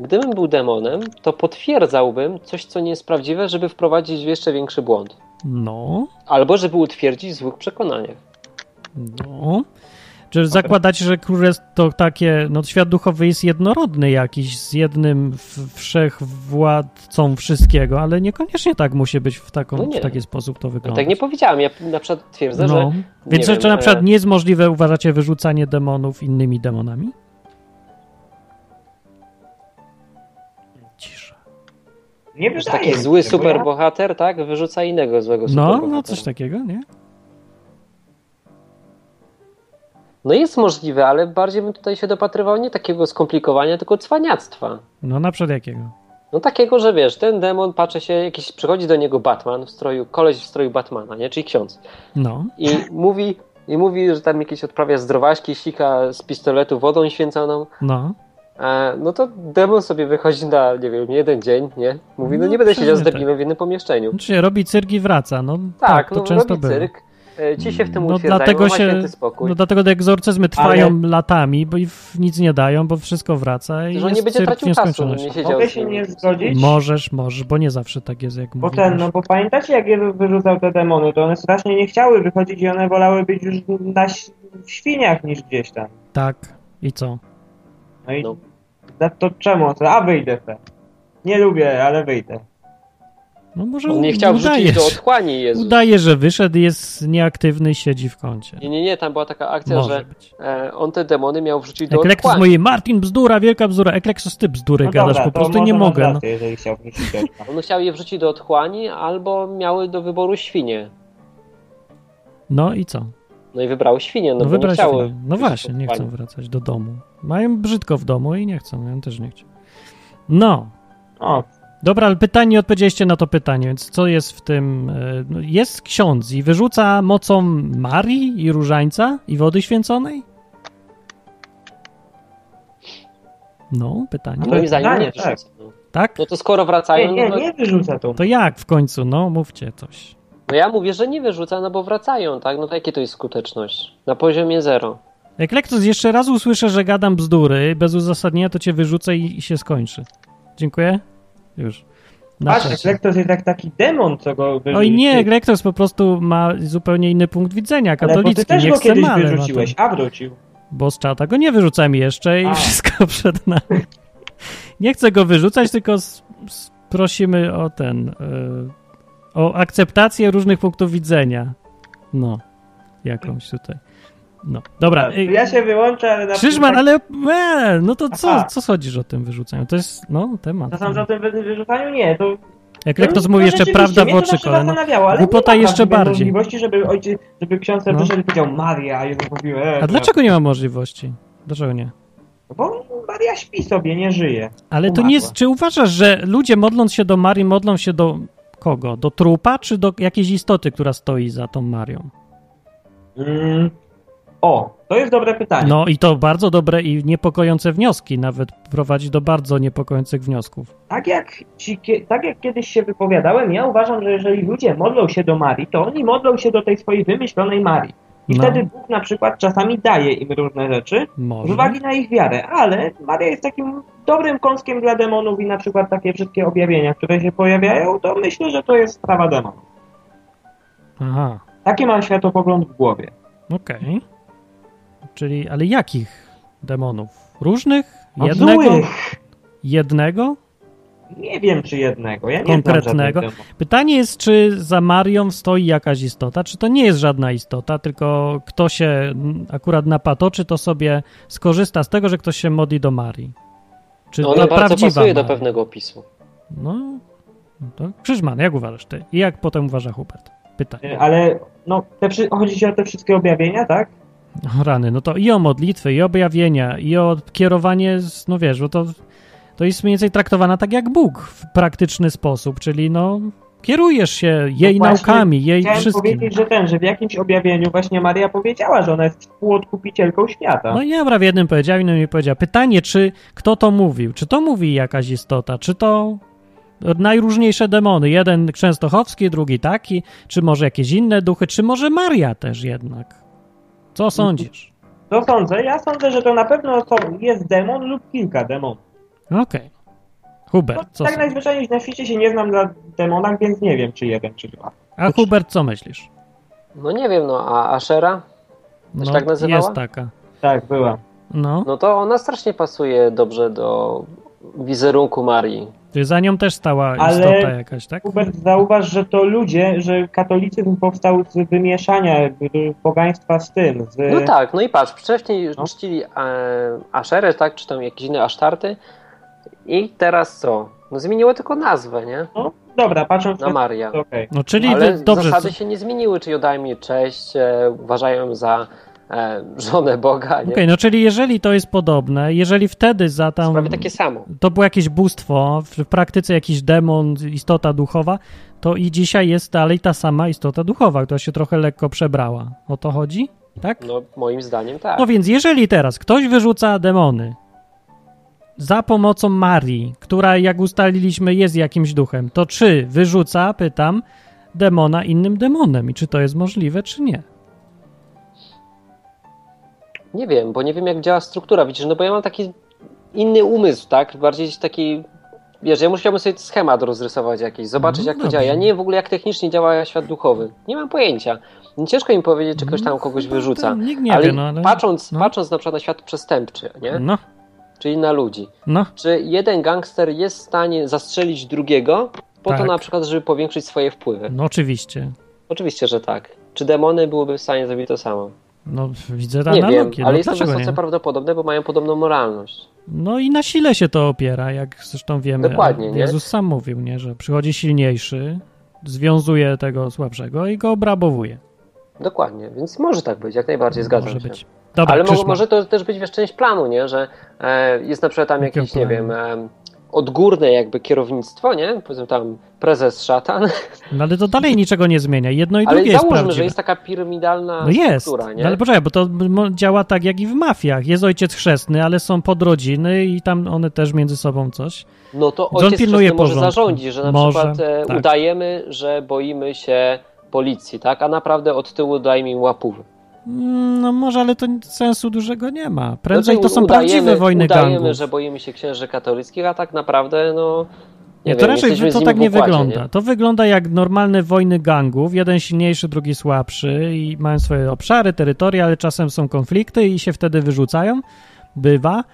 Gdybym był demonem, to potwierdzałbym coś, co nie jest prawdziwe, żeby wprowadzić w jeszcze większy błąd.
No,
Albo żeby utwierdzić w złych przekonaniach.
no. Czy zakładać, że królestwo to takie, no świat duchowy jest jednorodny jakiś, z jednym w- wszechwładcą wszystkiego, ale niekoniecznie tak musi być w, taką,
No nie.
w taki sposób to
No,
wygląda.
tak nie powiedziałem, ja na przykład twierdzę, że...
No. Więc
nie
czy
wiem,
na przykład
e,
nie jest możliwe, uważacie, wyrzucanie demonów innymi demonami? Cisza.
Nie
Że
wydaje
taki
mi się,
zły
bo ja-
superbohater, tak? Wyrzuca innego złego
No,
superbohatera.
no coś takiego, nie?
No jest możliwe, ale bardziej bym tutaj się dopatrywał nie takiego skomplikowania, tylko cwaniactwa.
No na przykład jakiego?
No takiego, że wiesz, ten demon patrzy się, jakiś przychodzi do niego Batman w stroju, koleś w stroju Batmana, nie? Czyli ksiądz.
No. [laughs]
I mówi, i mówi że tam jakieś odprawia zdrowaśki, sika z pistoletu wodą święconą.
No.
E, no to demon sobie wychodzi na, nie wiem, jeden dzień, nie? Mówi, no,
No,
nie będę
pewnie
siedział z
tak.
debilem w jednym pomieszczeniu.
Znaczy się robi cyrk i wraca. No tak,
Tak,
to
no
często
robi
było.
cyrk. E, Ci się w tym
No,
utwierdzają,
dlatego
ma
się-
święty spokój.
No dlatego te egzorcyzmy trwają
Ale-
latami, bo i w- nic nie dają, bo wszystko wraca i
że on
jest
nie będzie
cyrk
tracił czasu, no. żeby
nieskończoność.
nie siedział
Mogę
z
się
nim.
nie zgodzić?
Możesz, możesz, bo nie zawsze tak jest, jak
Bo
mówisz.
ten, no bo pamiętacie, jak Jezus wyrzucał te demony, to one strasznie nie chciały wychodzić i one wolały być już na ś- w świniach niż gdzieś tam.
Tak. I co?
No i
No.
za to czemu? To- A wyjdę te. Nie lubię, ale wyjdę.
No może
On nie chciał wrzucić
udajesz.
do otchłani Jezus.
Udaje, że wyszedł, jest nieaktywny i siedzi w kącie.
Nie, nie, nie, tam była taka akcja,
Może
że
być.
e, on te demony miał wrzucić do
Ekleksos
otchłani.
mojej Martin, bzdura, wielka bzdura. Ekleksos, ty bzdury
No
gadasz,
dobra,
po
to
prostu
może
nie
mam
mogę. No.
rację, jeżeli chciał wrzucić do otchłani.
On chciał je wrzucić do otchłani, albo miały do wyboru świnie.
no i co?
No i wybrały świnie, no,
No,
bo nie
wybrać
chciały.
film. No
wrzucić
właśnie,
do
nie
otchłani.
chcą wracać do domu. Mają brzydko w domu i nie chcą, ja bym też nie chciał. No,
O,
dobra, ale pytanie, nie odpowiedzieliście na to pytanie, więc co jest w tym... e, no, Jest ksiądz i wyrzuca mocą Marii i różańca i wody święconej? No, pytanie.
To
Moim
jest
zdaniem nie
pytanie,
wrzucą.
tak.
No.
Tak?
no to skoro
nie,
wracają,
nie,
no, to-
nie wyrzuca tą.
To jak w końcu? No, mówcie coś.
no ja mówię, że nie wyrzuca, no bo wracają, tak? No to jakie to jest skuteczność? Na poziomie zero.
Jak Lektus jeszcze raz usłyszę, że gadam bzdury bez uzasadnienia, to cię wyrzucę i, i się skończy. Dziękuję. Już. [laughs] Na
Patrz,
czasie.
Lektos jest jak taki demon, co go wyrzucił.
Oj nie, Lektus po prostu ma zupełnie inny punkt widzenia,
Ale bo ty
katolicki,
też
nie
go
chce
kiedyś
male na
wyrzuciłeś,
to.
a wrócił.
Bo z czata go nie wyrzucam jeszcze i
A.
wszystko [laughs] przed nami. Nie chcę go wyrzucać, tylko s- s- prosimy o ten, y, o akceptację różnych punktów widzenia. No, jakąś tutaj. No, dobra. y,
Ja się wyłączę, ale na
Krzyżman, ale e, no to co,
Aha.
co sądzisz o tym wyrzucaniu? To jest, no, temat.
To sam o tym wy- wyrzucaniu? Nie, to...
Jak Lektos mówi jeszcze prawda w oczy kolana.
No,
Głupota jeszcze bardziej.
możliwości, żeby, ojciec, żeby ksiądz
No.
wyszedł i powiedział Maria, a Jezus mówił, e,
A dlaczego nie ma możliwości? Dlaczego nie?
Bo Maria śpi sobie, nie żyje.
Ale to
Umarła.
nie jest, czy uważasz, że ludzie modląc się do Marii, modlą się do kogo? Do trupa, czy do jakiejś istoty, która stoi za tą Marią?
Mm. O, to jest dobre pytanie.
No i to bardzo dobre i niepokojące wnioski, nawet prowadzi do bardzo niepokojących wniosków.
Tak, jak ci, kie- tak jak kiedyś się wypowiadałem, ja uważam, że jeżeli ludzie modlą się do Marii, to oni modlą się do tej swojej wymyślonej Marii. I
No,
wtedy Bóg na przykład czasami daje im różne rzeczy, z
może.
uwagi na ich wiarę, ale Maria jest takim dobrym kąskiem dla demonów i na przykład takie wszystkie objawienia, które się pojawiają, to myślę, że to jest sprawa demonów.
Aha,
Taki mam światopogląd w głowie.
okej. Czyli, ale jakich demonów? Różnych?
No,
jednego?
złych.
Jednego?
Nie wiem, czy jednego. Ja nie
Konkretnego?
Znam żadnych demonów.
Pytanie jest, czy za Marią stoi jakaś istota, czy to nie jest żadna istota, tylko kto się mm, akurat napatoczy, to sobie skorzysta z tego, że ktoś się modli do Marii. Czy
No Ona
to
bardzo
prawdziwa
pasuje do
Maria?
pewnego opisu.
No, to Krzyżman, jak uważasz ty? I jak potem uważa Hubert? Pytanie.
Y, Ale no, te, wszy- chodzi ci o te wszystkie objawienia, tak?
O rany, no to i o modlitwy, i o objawienia, i o kierowanie, z, no wiesz, bo to, to jest mniej więcej traktowana tak jak Bóg w praktyczny sposób, czyli no kierujesz się jej
No właśnie
naukami, jej
Chciałem
wszystkim.
powiedzieć, że ten, że w jakimś objawieniu właśnie Maria powiedziała, że ona jest współodkupicielką świata.
No i Abra w jednym powiedział, innym nie powiedział. Pytanie, czy kto to mówił? Czy to mówi jakaś istota? Czy to najróżniejsze demony? Jeden częstochowski, drugi taki? Czy może jakieś inne duchy? Czy może Maria też jednak? Co sądzisz?
To sądzę, ja sądzę, że to na pewno to jest demon lub kilka demonów.
Okej.
No,
Hubert, co
tak
sądzisz?
najzwyczajniej na świecie się nie znam na demonach, więc nie wiem, czy jeden, czy dwa.
A Hubert, co myślisz?
No nie wiem, no a Ashera? Też
No,
tak nazywała?
jest taka.
Tak, była.
No,
No to ona strasznie pasuje dobrze do wizerunku Marii.
Czyli za nią też stała
Ale-
istota jakaś, tak?
Hubert, zauważ, że to ludzie, że katolicyzm powstał z wymieszania jakby pogaństwa z tym, z...
No tak, no i patrz, wcześniej
Y, No.
czcili e, Aszerę, tak, czy tam jakieś inne Asztarty i teraz co? No zmieniło tylko nazwę, nie?
No, dobra, patrząc
Na
na
Maria.
to okej.
No, czyli
Ale
d- dobrze,
zasady
co-
się nie zmieniły, czyli oddają jej cześć, e, uważają za e, żonę Boga, nie?
Okej, no czyli jeżeli to jest podobne, jeżeli wtedy za tam
Prawie takie samo.
to było jakieś bóstwo, w praktyce jakiś demon, istota duchowa, to i dzisiaj jest dalej ta sama istota duchowa, która się trochę lekko przebrała. O to chodzi? Tak?
No moim zdaniem tak.
No więc jeżeli teraz ktoś wyrzuca demony za pomocą Marii, która jak ustaliliśmy jest jakimś duchem, to czy wyrzuca, pytam, demona innym demonem i czy to jest możliwe, czy nie?
Nie wiem, bo nie wiem jak działa struktura, widzisz, no bo ja mam taki inny umysł, tak? Bardziej taki, wiesz, ja musiałbym sobie schemat rozrysować jakiś, zobaczyć
No
jak to
dobrze.
działa. Ja nie wiem w ogóle jak technicznie działa świat duchowy. Nie mam pojęcia. Ciężko mi powiedzieć, czy ktoś tam kogoś
No,
wyrzuca.
to Nikt nie
ale,
wie, no ale...
patrząc,
no.
patrząc na przykład na świat przestępczy, nie?
No,
Czyli na ludzi.
no.
Czy jeden gangster jest w stanie zastrzelić drugiego po to
Tak.
na przykład, żeby powiększyć swoje wpływy?
No oczywiście.
Oczywiście, że tak. Czy demony byłyby w stanie zrobić to samo?
No widzę
nie
analogię.
wiem, ale
no,
jest to
dlaczego
wysoce
nie?
prawdopodobne, bo mają podobną moralność.
No i na sile się to opiera, jak zresztą wiemy.
Dokładnie, nie?
Jezus sam mówił, nie, że przychodzi silniejszy, związuje tego słabszego i go obrabowuje.
Dokładnie, więc może tak być, jak najbardziej zgadzam
Może
się.
być. Dobra,
Ale mo-
Krzyszman.
może to też być wiesz, część planu, nie? Że e, jest na przykład tam
Jakiego
jakieś, nie
planu?
wiem, e, odgórne jakby kierownictwo, nie? Powiedzmy tam prezes szatan,
No ale to dalej niczego nie zmienia. Jedno i
ale
drugie jest
załóżmy,
prawdziwe.
że jest taka piramidalna
No jest,
struktura, nie?
no ale poczekaj, bo to m- działa tak jak i w mafiach. Jest ojciec chrzestny, ale są podrodziny i tam one też między sobą coś.
No to
Więc on
ojciec
pilnuje
pilnuje może
porządku.
zarządzić, że na
Może,
przykład e,
tak.
udajemy, że boimy się policji, tak? A naprawdę od tyłu dajmy im łapówę.
Mm, No może, ale to nic- sensu dużego nie ma. Prędzej to są
Znaczy, udajemy-
prawdziwe wojny
udajemy,
gangów.
że boimy się księży katolickich, a tak naprawdę, no... Nie,
Nie,
wiem,
to raczej
jesteśmy z
to
nimi
tak
w
nie
układzie,
wygląda. To wygląda jak normalne wojny gangów, jeden silniejszy, drugi słabszy i mają swoje obszary, terytoria, ale czasem są konflikty i się wtedy wyrzucają. Bywa.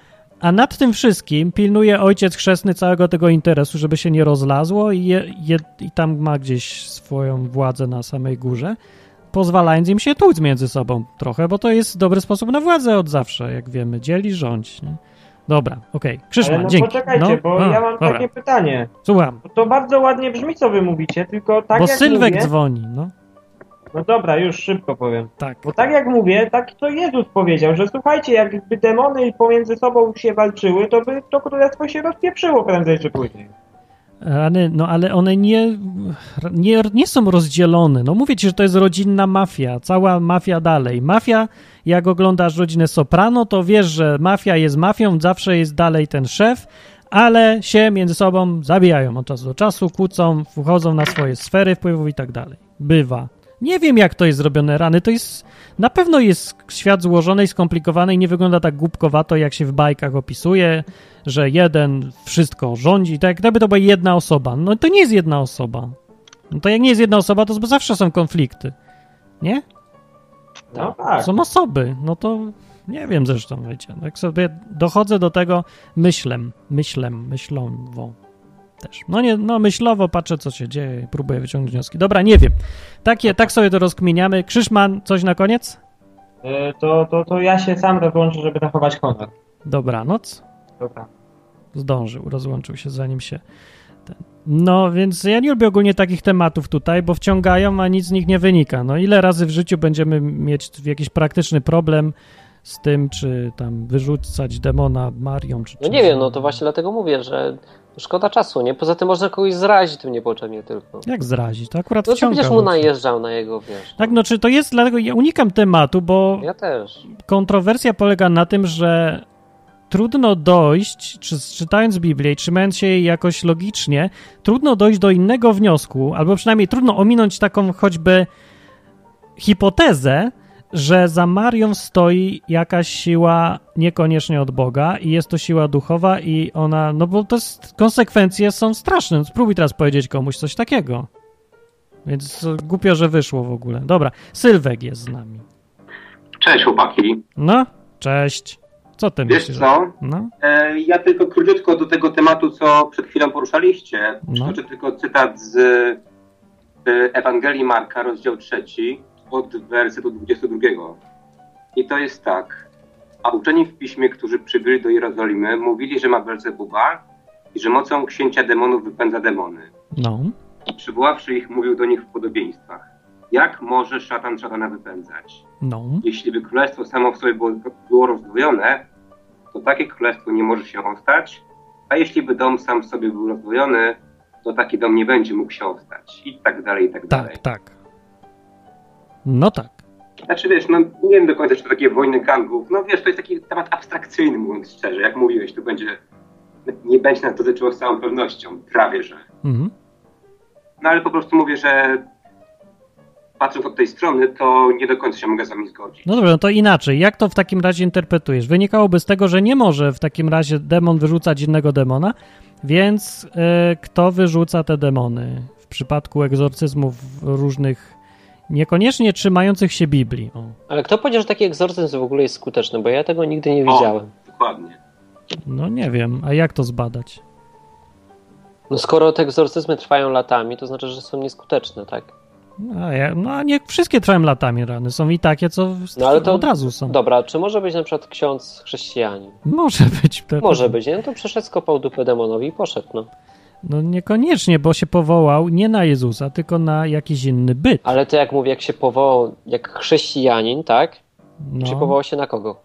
A nad tym wszystkim pilnuje ojciec chrzestny całego tego interesu, żeby się nie rozlazło i, je, je, i tam ma gdzieś swoją władzę na samej górze, pozwalając im się tłuc między sobą trochę, bo to jest dobry sposób na władzę od zawsze, jak wiemy. Dzieli, rządź. Nie? Dobra, okej. Krzyszman,
Ale no
dzięki.
poczekajcie, bo
a,
ja mam
dobra.
takie pytanie.
Słucham.
Bo To bardzo ładnie brzmi, co wy mówicie, tylko tak
Bo
jak
Sylwek
mówię...
dzwoni, no
No dobra, już szybko powiem.
tak.
Bo tak jak mówię, tak to Jezus powiedział, że słuchajcie, jakby demony pomiędzy sobą się walczyły, to by to królestwo się rozpieprzyło prędzej czy później.
Rany, no ale one nie, nie, nie są rozdzielone. No mówię ci, że to jest rodzinna mafia, cała mafia dalej. Mafia, jak oglądasz rodzinę Soprano, to wiesz, że mafia jest mafią, zawsze jest dalej ten szef, ale się między sobą zabijają od czasu do czasu, kłócą, wchodzą na swoje sfery wpływów i tak dalej. Bywa. Nie wiem, jak to jest zrobione, rany. To jest. Na pewno jest świat złożony i skomplikowany i nie wygląda tak głupkowato, jak się w bajkach opisuje, że jeden wszystko rządzi. Tak, gdyby to była jedna osoba. No to nie jest jedna osoba. No to jak nie jest jedna osoba, to zawsze są konflikty. Nie?
No tak.
Są osoby. No to nie wiem zresztą, wiecie. Jak sobie dochodzę do tego myślem, myślem, myślowo też. No nie, no myślowo patrzę, co się dzieje, próbuję wyciągnąć wnioski. Dobra, nie wiem. Takie, tak sobie to rozkminiamy. Krzyszman, coś na koniec?
E, To, to, to ja się sam rozłączę, żeby zachować honor.
Dobranoc.
Dobra.
zdążył, rozłączył się zanim się ten. No, więc ja nie lubię ogólnie takich tematów tutaj, bo wciągają, a nic z nich nie wynika. No, ile razy w życiu będziemy mieć jakiś praktyczny problem z tym, czy tam wyrzucać demona Marią, czy
No nie wiem, no to właśnie dlatego mówię, że szkoda czasu, nie? Poza tym można kogoś zrazić tym niepotrzebnie tylko.
jak zrazić? To akurat
No to
wciąga.
będziesz mu
no.
najeżdżał na jego, wiesz.
Tak, no czy to jest, dlatego ja unikam tematu, bo
Ja też.
kontrowersja polega na tym, że trudno dojść, czy czytając Biblię i trzymając się jej jakoś logicznie, trudno dojść do innego wniosku, albo przynajmniej trudno ominąć taką choćby hipotezę, że za Marią stoi jakaś siła niekoniecznie od Boga i jest to siła duchowa i ona, no bo to jest, konsekwencje są straszne. No Spróbuj teraz powiedzieć komuś coś takiego. Więc e, głupio, że wyszło w ogóle. Dobra, Sylwek jest z nami.
Cześć chłopaki.
No, cześć. Co ty
Wiesz
myślisz?
co?
No,
E, Ja tylko króciutko do tego tematu, co przed chwilą poruszaliście.
No.
Przytoczę tylko cytat z e, Ewangelii Marka, rozdział trzeci, od wersetu 22. I to jest tak. A uczeni w piśmie, którzy przybyli do Jerozolimy, mówili, że ma Belzebuba i że mocą księcia demonów wypędza demony.
no.
I przywoławszy ich, mówił do nich w podobieństwach. Jak może szatan szatana wypędzać?
No.
jeśli by królestwo samo w sobie było, było rozdwojone, to takie królestwo nie może się ostać, a jeśli by dom sam w sobie był rozdwojony, to taki dom nie będzie mógł się ostać i tak dalej, i tak, dalej.
Tak, tak. No tak.
Znaczy wiesz, no nie wiem do końca, czy to takie wojny gangów, no wiesz, to jest taki temat abstrakcyjny, mówiąc szczerze, jak mówiłeś, to będzie, nie będzie nas dotyczyło z całą pewnością, prawie że.
Mhm.
No ale po prostu mówię, że patrząc od tej strony, to nie do końca się mogę z wami zgodzić.
No dobrze, no to inaczej. Jak to w takim razie interpretujesz? Wynikałoby z tego, że nie może w takim razie demon wyrzucać innego demona, więc e, kto wyrzuca te demony w przypadku egzorcyzmów różnych, niekoniecznie trzymających się Biblii? O,
Ale kto powiedział, że taki egzorcyzm w ogóle jest skuteczny? Bo ja tego nigdy nie
O.
widziałem.
Dokładnie.
no nie wiem, a jak to zbadać?
No skoro te egzorcyzmy trwają latami, to znaczy, że są nieskuteczne, tak?
No, a ja, no a nie wszystkie trwają latami rany. Są i takie, co w-
No ale to-
od razu są.
Dobra, czy może być na przykład ksiądz chrześcijanin?
Może być. pe-
Może być, nie? No to przeszedł, skopał dupę demonowi i poszedł, no.
No niekoniecznie, bo się powołał nie na Jezusa, tylko na jakiś inny byt.
Ale to jak mówię, jak się powołał, jak chrześcijanin, tak?
No,
Czy powołał się na kogo?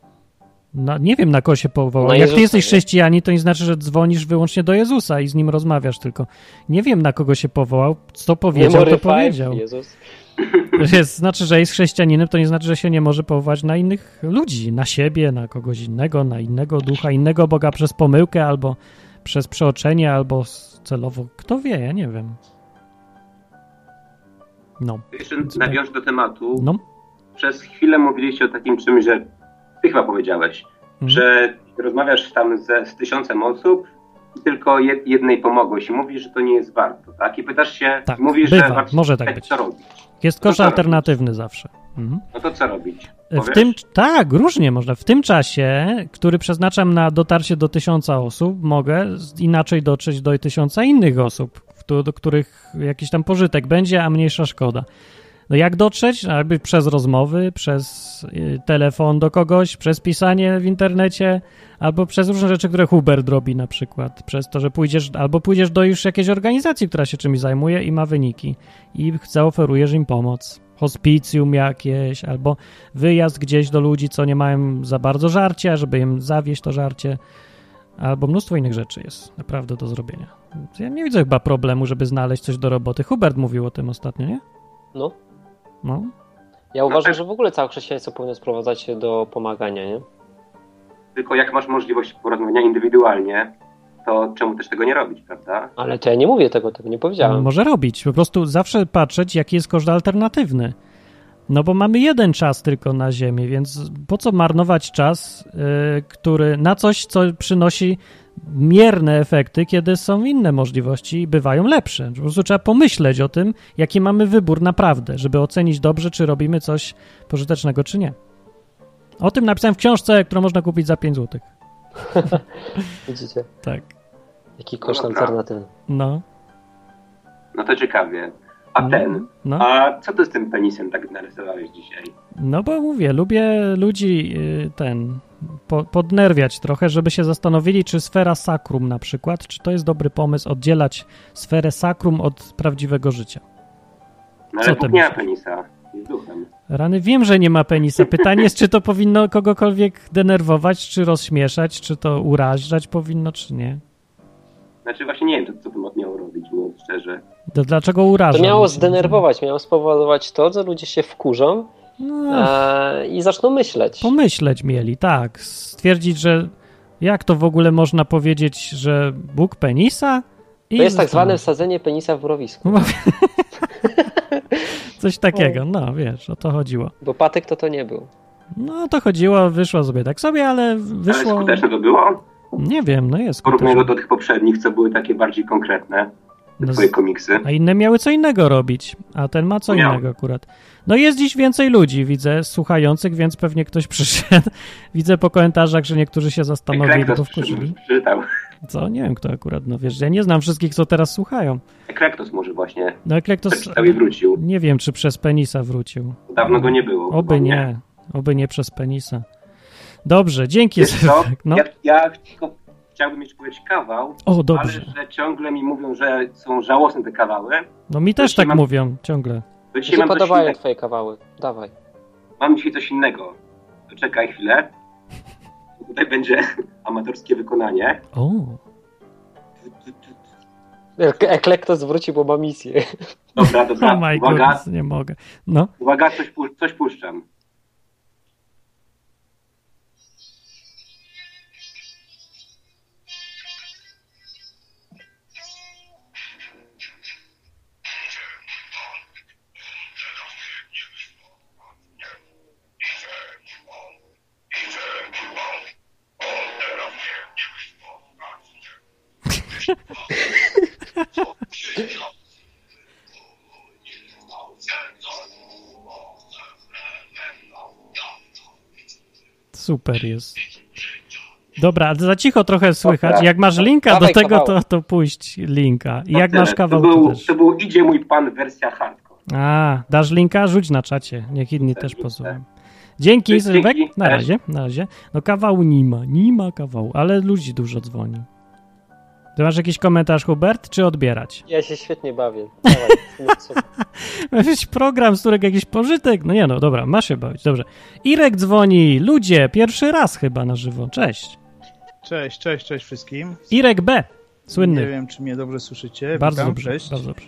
no, nie wiem, na kogo się powołał.
Na
Jak ty
Jezusa,
jesteś
nie?
chrześcijanin, to nie znaczy, że dzwonisz wyłącznie do Jezusa i z nim rozmawiasz tylko. Nie wiem, na kogo się powołał, co powiedział,
Memory
to
five,
powiedział.
Jezus.
Jest, znaczy, że jest chrześcijaninem, to nie znaczy, że się nie może powołać na innych ludzi, na siebie, na kogoś innego, na innego ducha, innego Boga przez pomyłkę albo przez przeoczenie, albo s- celowo. Kto wie, ja nie wiem. No,
Jeszcze nawiążę do tematu.
no.
przez chwilę mówiliście o takim czymś, że ty chyba powiedziałeś,
Mhm.
że rozmawiasz tam ze, z tysiącem osób i tylko jed, jednej pomogłeś i mówisz, że to nie jest warto, tak? I pytasz się,
Tak,
mówisz,
bywa,
że warto
może tak być.
co robić.
Jest kosz
No tak.
alternatywny zawsze. Mhm.
No to co robić?
W
Powiesz?
tym, tak, różnie można. W tym czasie, który przeznaczam na dotarcie do tysiąca osób, mogę z- inaczej dotrzeć do tysiąca innych osób, któ- do których jakiś tam pożytek będzie, a mniejsza szkoda. No jak dotrzeć? Jakby przez rozmowy, przez y, telefon do kogoś, przez pisanie w internecie, albo przez różne rzeczy, które Hubert robi na przykład. Przez to, że pójdziesz, albo pójdziesz do już jakiejś organizacji, która się czymś zajmuje i ma wyniki. I zaoferujesz im pomoc. Hospicjum jakieś, albo wyjazd gdzieś do ludzi, co nie mają za bardzo żarcia, żeby im zawieść to żarcie, albo mnóstwo innych rzeczy jest naprawdę do zrobienia. Więc Ja nie widzę chyba problemu, żeby znaleźć coś do roboty. Hubert mówił o tym ostatnio, nie?
No.
No,
Ja uważam,
tak.
że w ogóle całe chrześcijaństwo powinno sprowadzać się do pomagania, nie?
Tylko jak masz możliwość porozmawiania indywidualnie, to czemu też tego nie robić, prawda?
Ale to ja nie mówię tego, tego nie powiedziałem.
Może robić. Po prostu zawsze patrzeć, jaki jest koszt alternatywny. No bo mamy jeden czas tylko na Ziemi, więc po co marnować czas, y, który na coś, co przynosi mierne efekty, kiedy są inne możliwości i bywają lepsze. Po prostu trzeba pomyśleć o tym, jaki mamy wybór naprawdę, żeby ocenić dobrze, czy robimy coś pożytecznego, czy nie. O tym napisałem w książce, którą można kupić za 5 zł.
[laughs] Widzicie?
Tak.
Jaki koszt
Dobra.
alternatywny.
No.
No to ciekawie. A ten?
No.
A co ty z tym penisem tak narysowałeś dzisiaj?
No bo mówię, lubię ludzi y, ten po, podnerwiać trochę, żeby się zastanowili, czy sfera sakrum na przykład, czy to jest dobry pomysł oddzielać sferę sakrum od prawdziwego życia.
No
Co
ale
ty
Bóg nie ma
myślisz?
penisa. Jest duchem.
Rany, wiem, że nie ma penisa. Pytanie jest, czy to powinno kogokolwiek denerwować, czy rozśmieszać, czy to urażać powinno, czy nie.
Znaczy właśnie nie wiem, co, co bym od miał robić, mówiąc szczerze.
To dlaczego uraża?
To miało zdenerwować, miało spowodować to, że ludzie się wkurzą
No.
e, i zaczną myśleć.
Pomyśleć mieli, tak. Stwierdzić, że jak to w ogóle można powiedzieć, że Bóg penisa? I
To jest tak
zostaną. No.
zwane wsadzenie penisa w mrowisku.
Coś takiego, no wiesz, o to chodziło.
Bo Patek to to nie był.
No o to chodziło, wyszło sobie tak sobie, ale wyszło...
Ale skuteczne to było?
Nie wiem, no jest.
Porównuję go do tych poprzednich, co były takie bardziej konkretne. Te
No z-
twoje komiksy.
A inne miały co innego robić, a ten ma co
Miał.
innego akurat. No jest dziś więcej ludzi, widzę, słuchających, więc pewnie ktoś [laughs] przyszedł. Widzę po komentarzach, że niektórzy się zastanowili, bo
Krektos
wkurzyli.
przeczytał.
Co? Nie wiem, kto akurat, no wiesz, ja nie znam wszystkich, co teraz słuchają.
Krektos może właśnie
No Eklektos,
przeczytał i wrócił.
nie wiem, czy przez penisa wrócił.
Dawno go nie było.
Oby nie, oby nie przez penisa. Dobrze, dzięki.
Wiesz
[laughs]
co?
Sylwek, No.
Ja, ja tylko chciałbym jeszcze powiedzieć kawał,
O, dobrze.
ale że ciągle mi mówią, że są żałosne te kawały.
No mi też
Jeśli
tak
mam-
mówią ciągle.
To
Mi
dzisiaj
się
mam coś,
podobają
innego.
twoje kawały. Dawaj.
mam dzisiaj coś innego. To Czekaj chwilę. Tutaj będzie [laughs] amatorskie
[laughs]
wykonanie.
O,
Ek- Eklektos wróci, bo ma misję.
[laughs]
Dobra,
oh
dobra.
my
Uwaga,
goodness, nie mogę. No,
uwaga, coś, pu- coś puszczam.
super jest. Dobra, za cicho trochę słychać. Jak masz linka do
Dawaj
tego, to,
kawałek.
to puść linka. I jak
Tyle.
masz kawał,
Tak, to
No to
był,
też.
to był Idzie mój pan wersja hardcore.
A, dasz linka? Rzuć na czacie. Niech inni też
Rzucę.
posłuchają. Dzięki,
Dzięki,
Sylwek. Na
Tak. cześć.
razie, na razie. No kawału nie ma, nie ma kawału, ale ludzi dużo dzwoni. Ty masz jakiś komentarz, Hubert, czy odbierać? [laughs]
Ja się świetnie bawię. Dawaj. no, mów co.
Jakiś program, z którego jakiś pożytek? No nie no, dobra, ma się bawić, dobrze. Irek dzwoni, ludzie, pierwszy raz chyba na żywo, cześć.
Cześć, cześć, cześć wszystkim.
Irek B,
Nie
słynny.
wiem, czy mnie dobrze słyszycie.
Bardzo
Witam,
dobrze,
Cześć.
bardzo dobrze.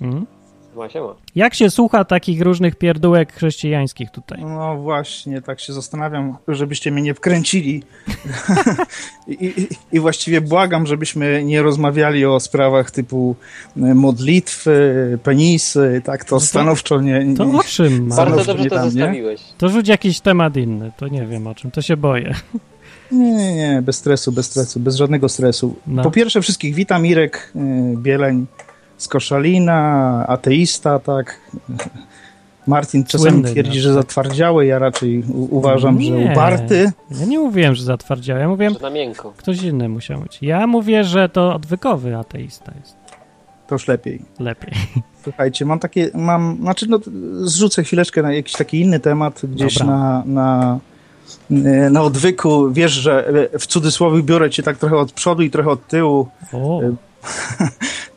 Mhm.
Siema, siema.
Jak się słucha takich różnych pierdółek chrześcijańskich tutaj?
No właśnie, tak się zastanawiam, żebyście mnie nie
[laughs]
wkręcili. I, i, I właściwie błagam, żebyśmy nie rozmawiali o sprawach typu e, modlitwy, penisy, tak to stanowczo nie. nie
No To o czym
Bardzo
ma?
Bardzo
Stanów
dobrze to
Brytanii.
zostawiłeś.
To rzuć jakiś temat inny, to nie wiem o czym, to się boję.
Nie, nie, nie, bez stresu, bez stresu, bez żadnego stresu.
No.
Po pierwsze wszystkich witam, Irek y, Bieleń z Koszalina, ateista, tak. [laughs] Martin czasami
Słynny,
twierdzi,
no.
że zatwardziały, ja raczej u- uważam, że
Nie.
uparty.
Ja nie mówiłem, że zatwardziałem, ja mówiłem,
Że na miękko.
ktoś inny musiał być. Ja mówię, że to odwykowy ateista jest
To już lepiej.
lepiej.
Słuchajcie, mam takie, mam, znaczy no, zrzucę chwileczkę na jakiś taki inny temat, gdzieś
Dobra.
na, na, y, na odwyku. Wiesz, że y, w cudzysłowie biorę cię tak trochę od przodu i trochę od tyłu. E,
O,
[laughs]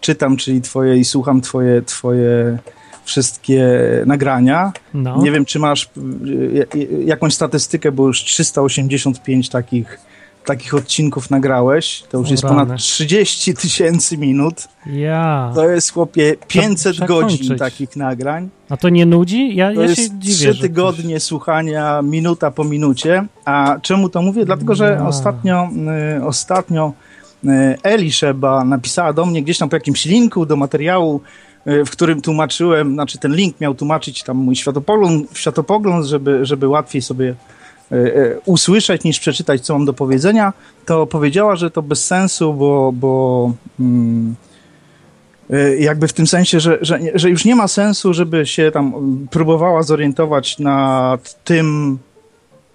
czytam, czyli twoje i słucham twoje, twoje wszystkie nagrania.
no.
Nie wiem, czy masz y, y, jakąś statystykę, bo już 385 takich, takich odcinków nagrałeś. To już
O
jest
rany.
ponad 30 tysięcy minut.
Ja.
To jest, chłopie, 500
trzeba
godzin
kończyć.
takich nagrań.
A to nie nudzi? Ja,
To
ja się
jest
dziwię.
3
że
tygodnie słuchania minuta po minucie. A czemu to mówię? Dlatego, że
No.
ostatnio, y, ostatnio Eli Szeba napisała do mnie gdzieś tam po jakimś linku do materiału, y, w którym tłumaczyłem, znaczy ten link miał tłumaczyć tam mój światopogląd, światopogląd żeby, żeby łatwiej sobie e, e, usłyszeć niż przeczytać, co mam do powiedzenia, to powiedziała, że to bez sensu, bo, bo mm, e, jakby w tym sensie, że, że, że już nie ma sensu, żeby się tam mm, próbowała zorientować nad tym,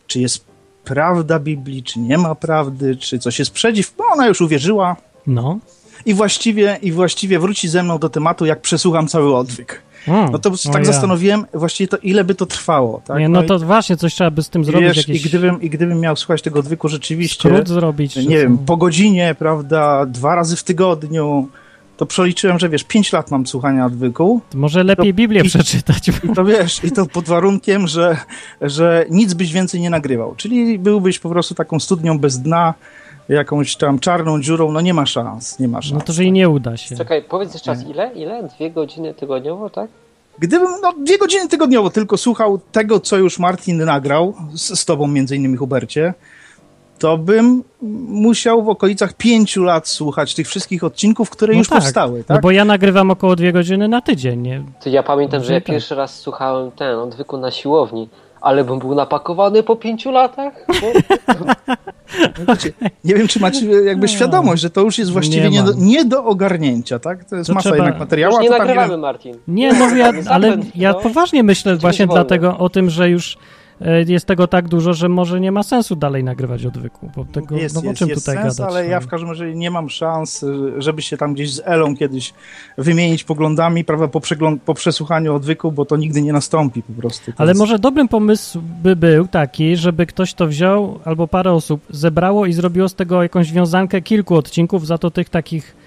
czy jest prawda Biblii, czy nie ma prawdy, czy coś jest przeciw, bo ona już uwierzyła.
No.
I właściwie, I właściwie wróci ze mną do tematu, jak przesłucham cały odwyk.
Mm,
No to po prostu
o
tak
ja.
zastanowiłem, właściwie to ile by to trwało. Tak?
Nie, no
i-
to właśnie coś trzeba by z tym
i
zrobić.
wiesz,
jakieś...
i, gdybym, I gdybym miał słuchać tego odwyku rzeczywiście.
Skrót zrobić, czy
Nie
co?
wiem, po godzinie, prawda, dwa razy w tygodniu, to przeliczyłem, że wiesz, pięć lat mam słuchania odwyku.
Może lepiej Biblię
i-
przeczytać.
I to wiesz, i to pod warunkiem, że, że nic byś więcej nie nagrywał. Czyli byłbyś po prostu taką studnią bez dna, jakąś tam czarną dziurą, no nie ma szans, nie ma szans.
No to, że i nie uda się.
Czekaj, powiedz jeszcze raz, ile? Ile? Dwie godziny tygodniowo, tak?
Gdybym no, dwie godziny tygodniowo tylko słuchał tego, co już Martin nagrał z, z tobą, między innymi Hubercie, to bym musiał w okolicach pięciu lat słuchać tych wszystkich odcinków, które
No
już
tak,
powstały,
No
tak?
bo ja nagrywam około dwie godziny na tydzień, nie?
To ja pamiętam, że ja
Że tak.
pierwszy raz słuchałem ten odwyku na siłowni, ale bym był napakowany po pięciu latach. bo-
Nie wiem, czy macie jakby świadomość, że to już jest właściwie
Nie
nie, do,
mam.
nie do ogarnięcia, tak? To jest
To
masa
trzeba-
jednak materiału,
Już
a
nie
to tam
nagrywamy,
ile...
Martin.
Nie, no ja,
Zapędź,
ale ja
no.
poważnie myślę właśnie
wolno.
dlatego o tym, że już e, jest tego tak dużo, że może nie ma sensu dalej nagrywać odwyku, bo tego,
Jest,
no o
jest,
czym
jest
tutaj
sens,
gadać?
ale
no?
ja w każdym razie nie mam szans, y, żeby się tam gdzieś z Elą kiedyś wymienić poglądami, prawda, po, przeglą- po przesłuchaniu odwyku, bo to nigdy nie nastąpi po prostu. To
Ale
jest-
może dobrym pomysł by był taki, żeby ktoś to wziął, albo parę osób zebrało i zrobiło z tego jakąś wiązankę kilku odcinków, za to tych takich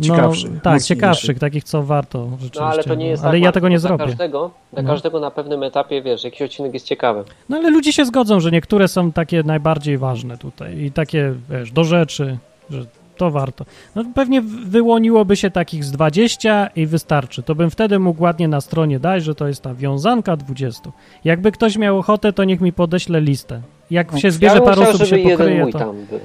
no,
Ciekawszych,
tak,
mocniejszych.
ciekawszych, takich, co warto rzeczywiście.
No ale to nie jest
no. ale
tak,
ja
Martin,
tego nie
bo dla
zrobię.
Każdego, dla
No.
każdego na pewnym etapie, wiesz, jakiś odcinek jest ciekawy.
No ale ludzie się zgodzą, że niektóre są takie najbardziej ważne tutaj i takie, wiesz, do rzeczy, że to warto. No pewnie w- wyłoniłoby się takich z 20 i wystarczy. To bym wtedy mógł ładnie na stronie dać, że to jest ta wiązanka 20. Jakby ktoś miał ochotę, to niech mi podeśle listę.
No,
Jak się zbierze
ja bym
parę
chciał,
osób, się
żeby jeden
pokryje,
mój
to...
tam był.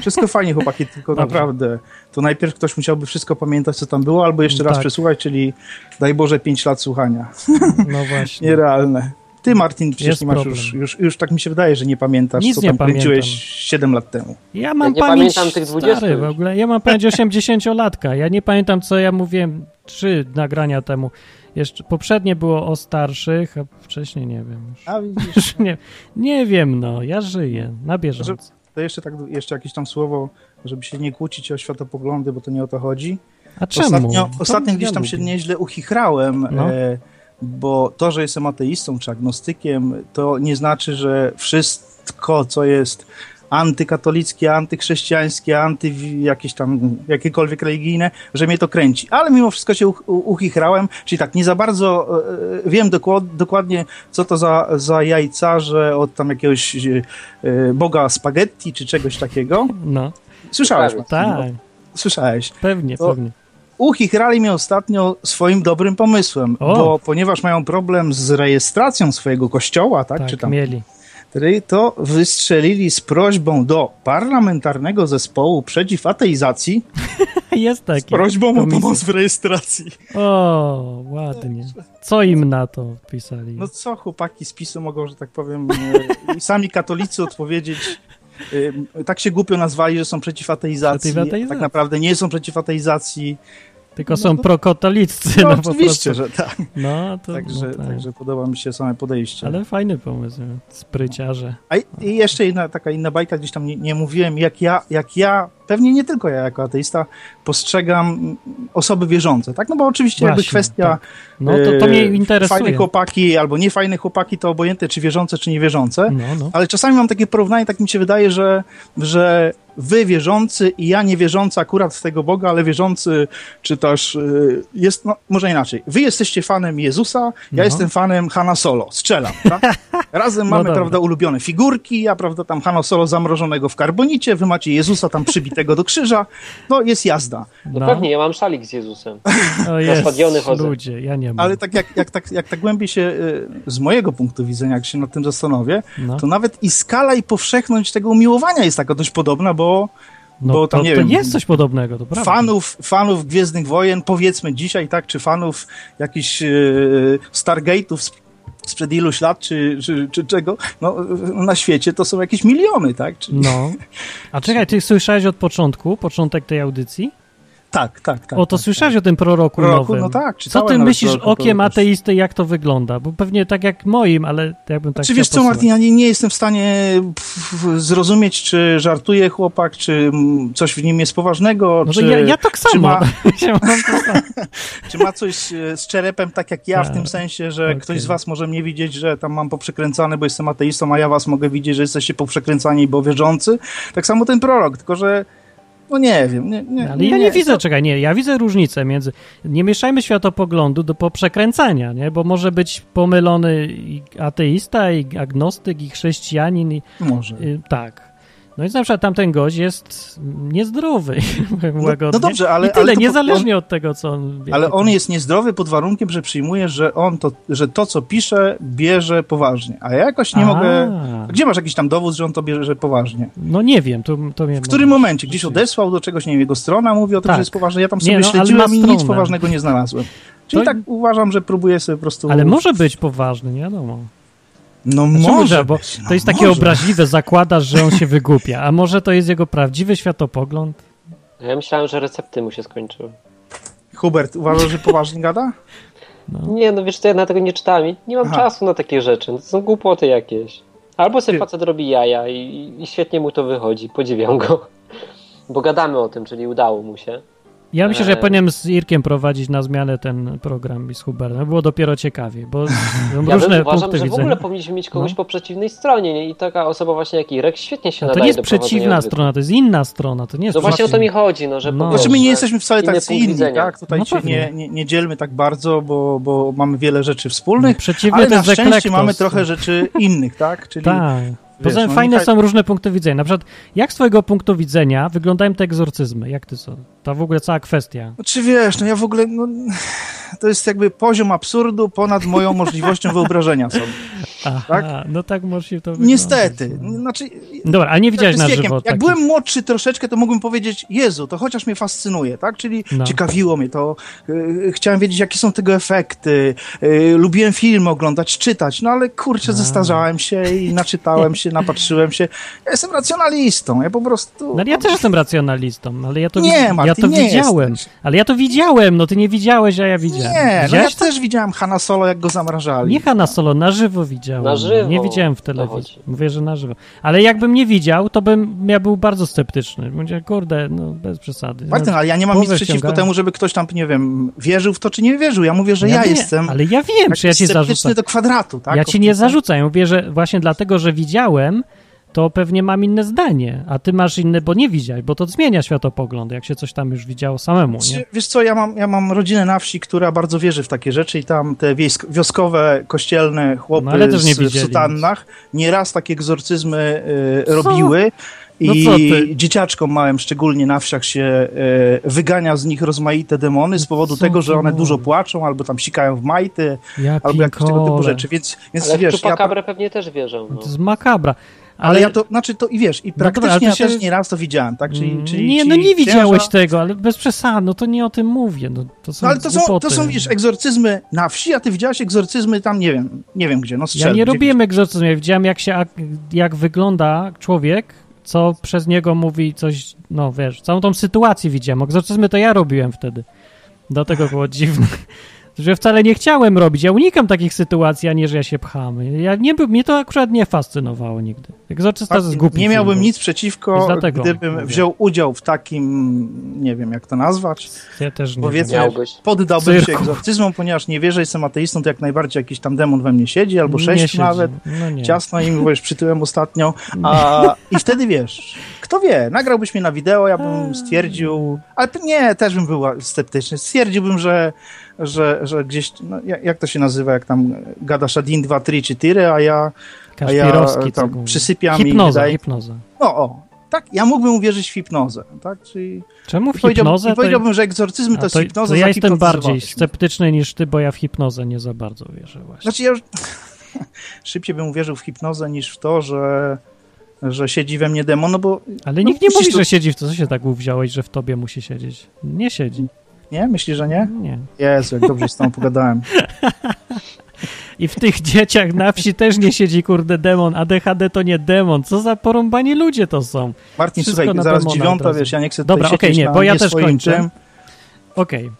Wszystko fajnie, chłopaki, tylko
Dobrze.
naprawdę. To najpierw ktoś musiałby wszystko pamiętać, co tam było, albo jeszcze raz
Tak.
przesłuchać, czyli daj Boże, 5 lat słuchania. [laughs]
No właśnie.
Nierealne. Ty, Martin, przecież
Jest
nie masz
problem.
już, już, już tak mi się wydaje, że nie pamiętasz,
Nic
co
nie
tam kręciłeś
pamiętam.
7 lat temu.
Ja mam
nie
pamięć
pamiętam tych 20
stary w
już.
ogóle. Ja mam pamięć 80-latka. Ja nie pamiętam, co ja mówiłem trzy nagrania temu. Jeszcze poprzednie było o starszych, a wcześniej nie wiem. Już.
A widzisz, no.
Już nie, nie wiem, no, ja żyję na bieżąco.
to jeszcze, tak, jeszcze jakieś tam słowo, żeby się nie kłócić o światopoglądy, bo to nie o to chodzi.
A czemu?
Ostatnio,
To
ostatnio
ja
gdzieś tam się
lubię.
nieźle uchichrałem,
No.
e, bo to, że jestem ateistą czy agnostykiem, to nie znaczy, że wszystko, co jest antykatolickie, antychrześcijańskie, anty jakieś tam, jakiekolwiek religijne, że mnie to kręci. Ale mimo wszystko się uch- u- uchichrałem, czyli tak, nie za bardzo e, wiem dokład, dokładnie, co to za, za jajcarze od tam jakiegoś e, e, boga spaghetti czy czegoś takiego.
No,
Słyszałeś,
Prawie.
Martin,
tak,
o- Słyszałeś
pewnie,
O,
pewnie.
uchichrali mnie ostatnio swoim dobrym pomysłem,
O.
bo ponieważ mają problem z rejestracją swojego kościoła, tak,
Tak,
czy tam,
mieli.
który, to wystrzelili z prośbą do parlamentarnego zespołu przeciw ateizacji,
[laughs] Jest taki.
z prośbą o
komisja.
pomoc w rejestracji.
O, ładnie. Co im na to pisali?
No co chłopaki z PiSu mogą, że tak powiem, e, i sami katolicy odpowiedzieć, e, tak się głupio nazwali, że są przeciw ateizacji,
Przeciw ateizacji.
a tak naprawdę nie są przeciw ateizacji.
Tylko są prokatolicy.
No,
No, po
oczywiście,
prostu.
że tak.
No, to,
Także,
no, tak.
także podoba mi się same podejście.
Ale fajny pomysł, spryciarze.
A i- i jeszcze jedna taka inna bajka, gdzieś tam nie, nie mówiłem, jak ja, jak ja, pewnie nie tylko ja jako ateista, postrzegam mm, osoby wierzące, tak? No bo oczywiście jakby
Właśnie,
kwestia
No to, to
e,
mnie interesuje.
fajne chłopaki albo niefajne chłopaki to obojętne, czy wierzące, czy niewierzące,
No, no.
ale czasami mam takie porównanie, tak mi się wydaje, że, że wy wierzący i ja niewierzący akurat w tego Boga, ale wierzący czy też y, jest, no może inaczej, wy jesteście fanem Jezusa, ja
No.
jestem fanem Hanna Solo, strzelam,
[laughs]
tak? Razem
No
mamy,
dobra.
prawda, ulubione figurki, ja, prawda, tam Hanna Solo zamrożonego w karbonicie, wy macie Jezusa tam przybitego do krzyża, no jest jazda.
No,
No.
pewnie, ja mam szalik z
[laughs]
Jezusem.
O,
stadiony
jest,
chodzę.
ludzie, ja nie mam.
Ale tak jak, jak, tak, jak tak głębiej się, y, z mojego punktu widzenia, jak się nad tym zastanowię,
No.
to nawet i skala i powszechność tego umiłowania jest taka dość podobna, bo
No,
bo tam
to,
nie
to
wiem,
jest coś podobnego, to prawda.
fanów, fanów Gwiezdnych Wojen, powiedzmy dzisiaj, tak, czy fanów jakichś e, Stargate'ów sp- sprzed iluś lat, czy, czy, czy czego, no, e, na świecie to są jakieś miliony, tak? Czy,
No. A czekaj, ty słyszałeś od początku, początek tej audycji?
Tak, tak, tak.
o, to słyszałeś o tym proroku,
Proroku,
nowym.
no tak,
Co
czytałem
ty
nawet
myślisz
proroku,
okiem
proroku.
ateisty, jak to wygląda? Bo pewnie tak jak moim, ale jakbym tak
czy
chciał
wiesz co,
posłuchać.
Martin, ja nie, nie jestem w stanie pff, zrozumieć, czy żartuje chłopak, czy mm, coś w nim jest poważnego,
No to
czy...
ja, ja tak
Czy
samo.
ma,
Ja mam to samo.
czy ma coś e, z czerepem, tak jak [laughs] ja, w
Tak.
tym sensie, że
[laughs] Okej.
ktoś z was może mnie widzieć, że tam mam poprzekręcane, bo jestem ateistą, a ja was mogę widzieć, że jesteście poprzekręcani, bo wierzący. Tak samo ten prorok, tylko że no nie wiem. Nie, No nie,
Ale ja nie, widzę, czekaj, nie, ja widzę różnicę między, nie mieszajmy światopoglądu do poprzekręcania, nie, bo może być pomylony i ateista, i agnostyk, i chrześcijanin, i,
Może.
y, tak. No więc na przykład tamten gość jest niezdrowy, [laughs] powiem łagodnie.
No, dobrze, ale-
I tyle,
ale to-
niezależnie od tego, co on...
Ale
jaki
on
tam-
jest niezdrowy pod warunkiem, że przyjmuje, że on to, że to, co pisze, bierze poważnie. A ja jakoś nie
A.
mogę. Gdzie masz jakiś tam dowód, że on to bierze poważnie?
No nie wiem, to, to mnie...
W którym momencie? Gdzieś odesłał do czegoś, nie wiem, jego strona mówi o tym,
Tak.
że jest poważne. Ja tam
Nie,
sobie
no, ale ma
śledziłem i nic
stronę.
poważnego nie znalazłem. Czyli
To-
tak uważam, że próbuję sobie po prostu.
Ale może być poważny, nie wiadomo.
No
Znaczy,
może,
bo
być, no
to jest takie
może.
obraźliwe, zakładasz, że on się wygłupia, a może to jest jego prawdziwy światopogląd?
A ja myślałem, że recepty mu się skończyły.
Hubert, uważasz, że poważnie gada?
Nie, no wiesz co, ja na tego nie czytałem. i Nie mam
Aha.
czasu na takie rzeczy. No, to są głupoty jakieś. Albo sobie facet robi jaja i, i świetnie mu to wychodzi. Podziwiam go. [laughs] Bo gadamy o tym, czyli udało mu się.
Ja myślę, że ja
Eee.
powinienem z Irkiem prowadzić na zmianę ten program i z Hubertem. Było dopiero ciekawie,
[laughs]
bo są
Ja
różne
bym uważam,
punkty
że w
widzenia.
ogóle powinniśmy mieć kogoś
No.
po przeciwnej stronie nie? i taka osoba właśnie jak Irek świetnie się
No to
nadaje
nie jest
do prowadzenia
przeciwna
odwyku.
strona, to jest inna strona, to nie jest
No właśnie o to
przeciwna.
mi chodzi, no że
No.
po
Znaczy
prostu,
my nie
że
jesteśmy wcale
inny
tacy
punkt
inni,
widzenia.
tak? Tutaj
No
się
pewnie.
nie, nie, nie dzielmy tak bardzo, bo, bo mamy wiele rzeczy wspólnych,
Przeciwnie
ale
to
na
jest
szczęście
eklektos.
mamy trochę rzeczy innych, tak? Czyli
Tak. Poza
wiesz,
tym
no
fajne
Michał-
są różne punkty widzenia. Na przykład, jak z twojego punktu widzenia wyglądają te egzorcyzmy? Jak ty co? Ta w ogóle cała kwestia.
Czy wiesz, no ja w ogóle, no, to jest jakby poziom absurdu ponad moją
[laughs]
możliwością wyobrażenia sobie.
Aha,
Tak?
no tak może się to wyglądać.
Niestety. Znaczy,
Dobra, a nie widziałeś
z
na
wiekiem.
żywo
Jak
takich-
byłem młodszy troszeczkę, to mógłbym powiedzieć, Jezu, to chociaż mnie fascynuje, tak? Czyli
No.
ciekawiło mnie to, yy, chciałem wiedzieć, jakie są tego efekty, yy, lubiłem filmy oglądać, czytać, no ale kurczę, zestarzałem się
[laughs]
i naczytałem się, napatrzyłem się. Ja jestem racjonalistą, ja po prostu...
No ale ja też jestem racjonalistą, ale ja to,
Nie,
wi- ja
Martin,
to
nie
widziałem.
jesteś.
Ale ja to widziałem, no ty nie widziałeś, a ja widziałem.
Nie, no ja
Widziałeś to?
też widziałem Hanna Solo, jak go zamrażali.
Nie Hanna Solo, na żywo widziałem. No,
Na żywo.
Nie widziałem w
O,
telewizji.
chodzi.
Mówię, że na żywo. Ale jakbym nie widział, to bym ja był bardzo sceptyczny. Mówię, kurde, no bez przesady.
Martin,
no,
ale ja nie mam nic
głowę
przeciwko
ściągałem.
temu, żeby ktoś tam, nie wiem, wierzył w to, czy nie wierzył. Ja mówię, że ja,
nie,
jestem
Ale ja wiem,
taki
czy ja ci
sceptyczny
zarzucam.
do kwadratu, tak?
Ja ci nie zarzucam. Ja Mówię, że właśnie dlatego, że widziałem, to pewnie mam inne zdanie, a ty masz inne, bo nie widziałeś, bo to zmienia światopogląd, jak się coś tam już widziało samemu, nie?
Czy- Wiesz co, ja mam, ja mam rodzinę na wsi, która bardzo wierzy w takie rzeczy i tam te wiesk- wioskowe, kościelne chłopy
No, ale też nie
z, w
widzieli
sutannach nieraz takie egzorcyzmy y,
Co?
robiły
No
i
co ty?
dzieciaczkom małym, szczególnie na wsiach się y, wygania z nich rozmaite demony z powodu
Co
tego,
ty
że one
mówisz?
dużo płaczą albo tam sikają w majty,
Ja
albo jakieś tego typu
pinkole.
rzeczy, więc, więc
Ale
wiesz,
w
ja,
Chupakabrę pewnie też wierzą. No.
To jest makabra.
ale, ja to, znaczy to i wiesz, i
No dobra, ale
praktycznie
ty się-
ja też nieraz to widziałem, tak, czyli,
Mm,
czyli
nie,
ci
no nie widziałeś
księża-
tego, ale bez przesad, no to nie o tym mówię. No, to są
No ale to są, to
głupoty.
są, wiesz, egzorcyzmy na wsi, a ty widziałeś egzorcyzmy tam, nie wiem, nie wiem gdzie, no strzel,
Ja nie
gdzie-
robiłem egzorcyzmu, ja widziałem jak się, ak- jak wygląda człowiek, co przez niego mówi coś, no wiesz, całą tą sytuację widziałem. Egzorcyzmy to ja robiłem wtedy.
[laughs]
Dlatego było dziwne. Że wcale nie chciałem robić. Ja unikam takich sytuacji, a nie, że ja się pcham. Ja nie, by- mnie to akurat nie fascynowało nigdy. Egzorcysta
Martin,
jest głupi.
Nie
film
miałbym
był.
nic
Więc
przeciwko,
dlatego
gdybym
mówię.
wziął udział w takim, nie wiem jak to nazwać,
Ja też nie
powiedzmy,
wiem.
Miałbyś.
poddałbym się
Cyrku.
egzorcyzmom, ponieważ nie wierzę, jestem ateistą, to jak najbardziej jakiś tam demon we mnie siedzi, albo
Nie
sześć
siedzi.
nawet,
No nie.
ciasno im, bo już przytyłem ostatnio,
[laughs]
a, i wtedy wiesz, kto wie, nagrałbyś mnie na wideo, ja
Eee.
bym stwierdził, ale p- nie, też bym był sceptyczny, stwierdziłbym, że, że, że gdzieś, no, ja- jak to się nazywa, jak tam gadasz Adin 2, 3, 4, a ja, a ja e,
Kaspirowski, co
tam
go-
przysypiam i
Hipnoza,
wydaje,
hipnoza.
no o, tak, ja mógłbym uwierzyć w hipnozę, tak, czyli
Czemu w
powiedziałbym,
hipnozę?
i powiedziałbym, że egzorcyzmy
A
to jest hipnoza,
to ja jestem bardziej
zahipnotyzowałeś mnie.
sceptyczny niż ty, bo ja w hipnozę nie za
[laughs]
bardzo wierzę właśnie.
Znaczy ja już szybciej bym uwierzył w hipnozę niż w to, że że siedzi we mnie demon, no bo...
Ale nikt nie mówi, że siedzi w to. Co się tak uwziąłeś, że w tobie musi siedzieć? Nie siedzi.
Nie? Myślisz, że nie?
Nie.
Jezu, jak dobrze z tobą pogadałem.
I w tych [laughs] dzieciach na wsi też nie siedzi, kurde, demon. ADHD to nie demon. Co za porąbani ludzie to są.
Martin,
Wszystko
słuchaj,
na
zaraz
demona
dziewiąta,
od razu.
wiesz, ja nie chcę tutaj
Dobra, okej,
siedzieć
nie,
na
bo ja
nie
też
swoim
kończę.
czym.
Okej.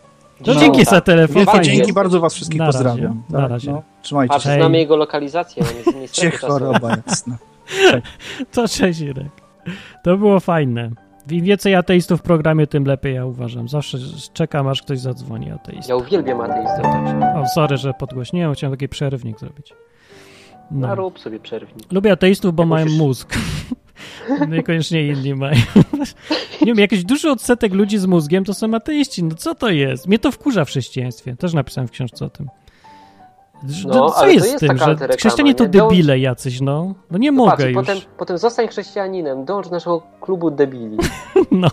To
No,
dzięki za
tak.
telefon.
Wielkie
Fajnie.
dzięki, bardzo was wszystkich
Na razie.
pozdrawiam.
Na
Tak,
razie.
no, trzymajcie
A
się.
czy znamy jego lokalizację, on jest z innej
Cię
strefy czasowej.
choroba
[laughs]
jasna.
To cześć, Irek. To było fajne. Im więcej ateistów w programie, tym lepiej ja uważam. Zawsze czekam, aż ktoś zadzwoni ateista.
Ja uwielbiam ateistów.
O, sorry, że podgłośniłem, chciałem taki przerwnik zrobić.
No.
No.
rób sobie przerwnik.
Lubię ateistów, bo mają mózg. [laughs] Niekoniecznie inni mają. [laughs] Nie wiem, jakiś duży odsetek ludzi z mózgiem to są ateiści. No co to jest? Mnie to wkurza w chrześcijaństwie. Też napisałem w książce o tym. Że-
No,
co
ale to
jest
jest
z tym,
taka
że
antyreklama,
chrześcijanie to
nie? Dołącz-
debile jacyś, no. No nie mogę
Patrz, i
już.
potem, potem zostań chrześcijaninem, dąż do naszego klubu debili.
[laughs] No.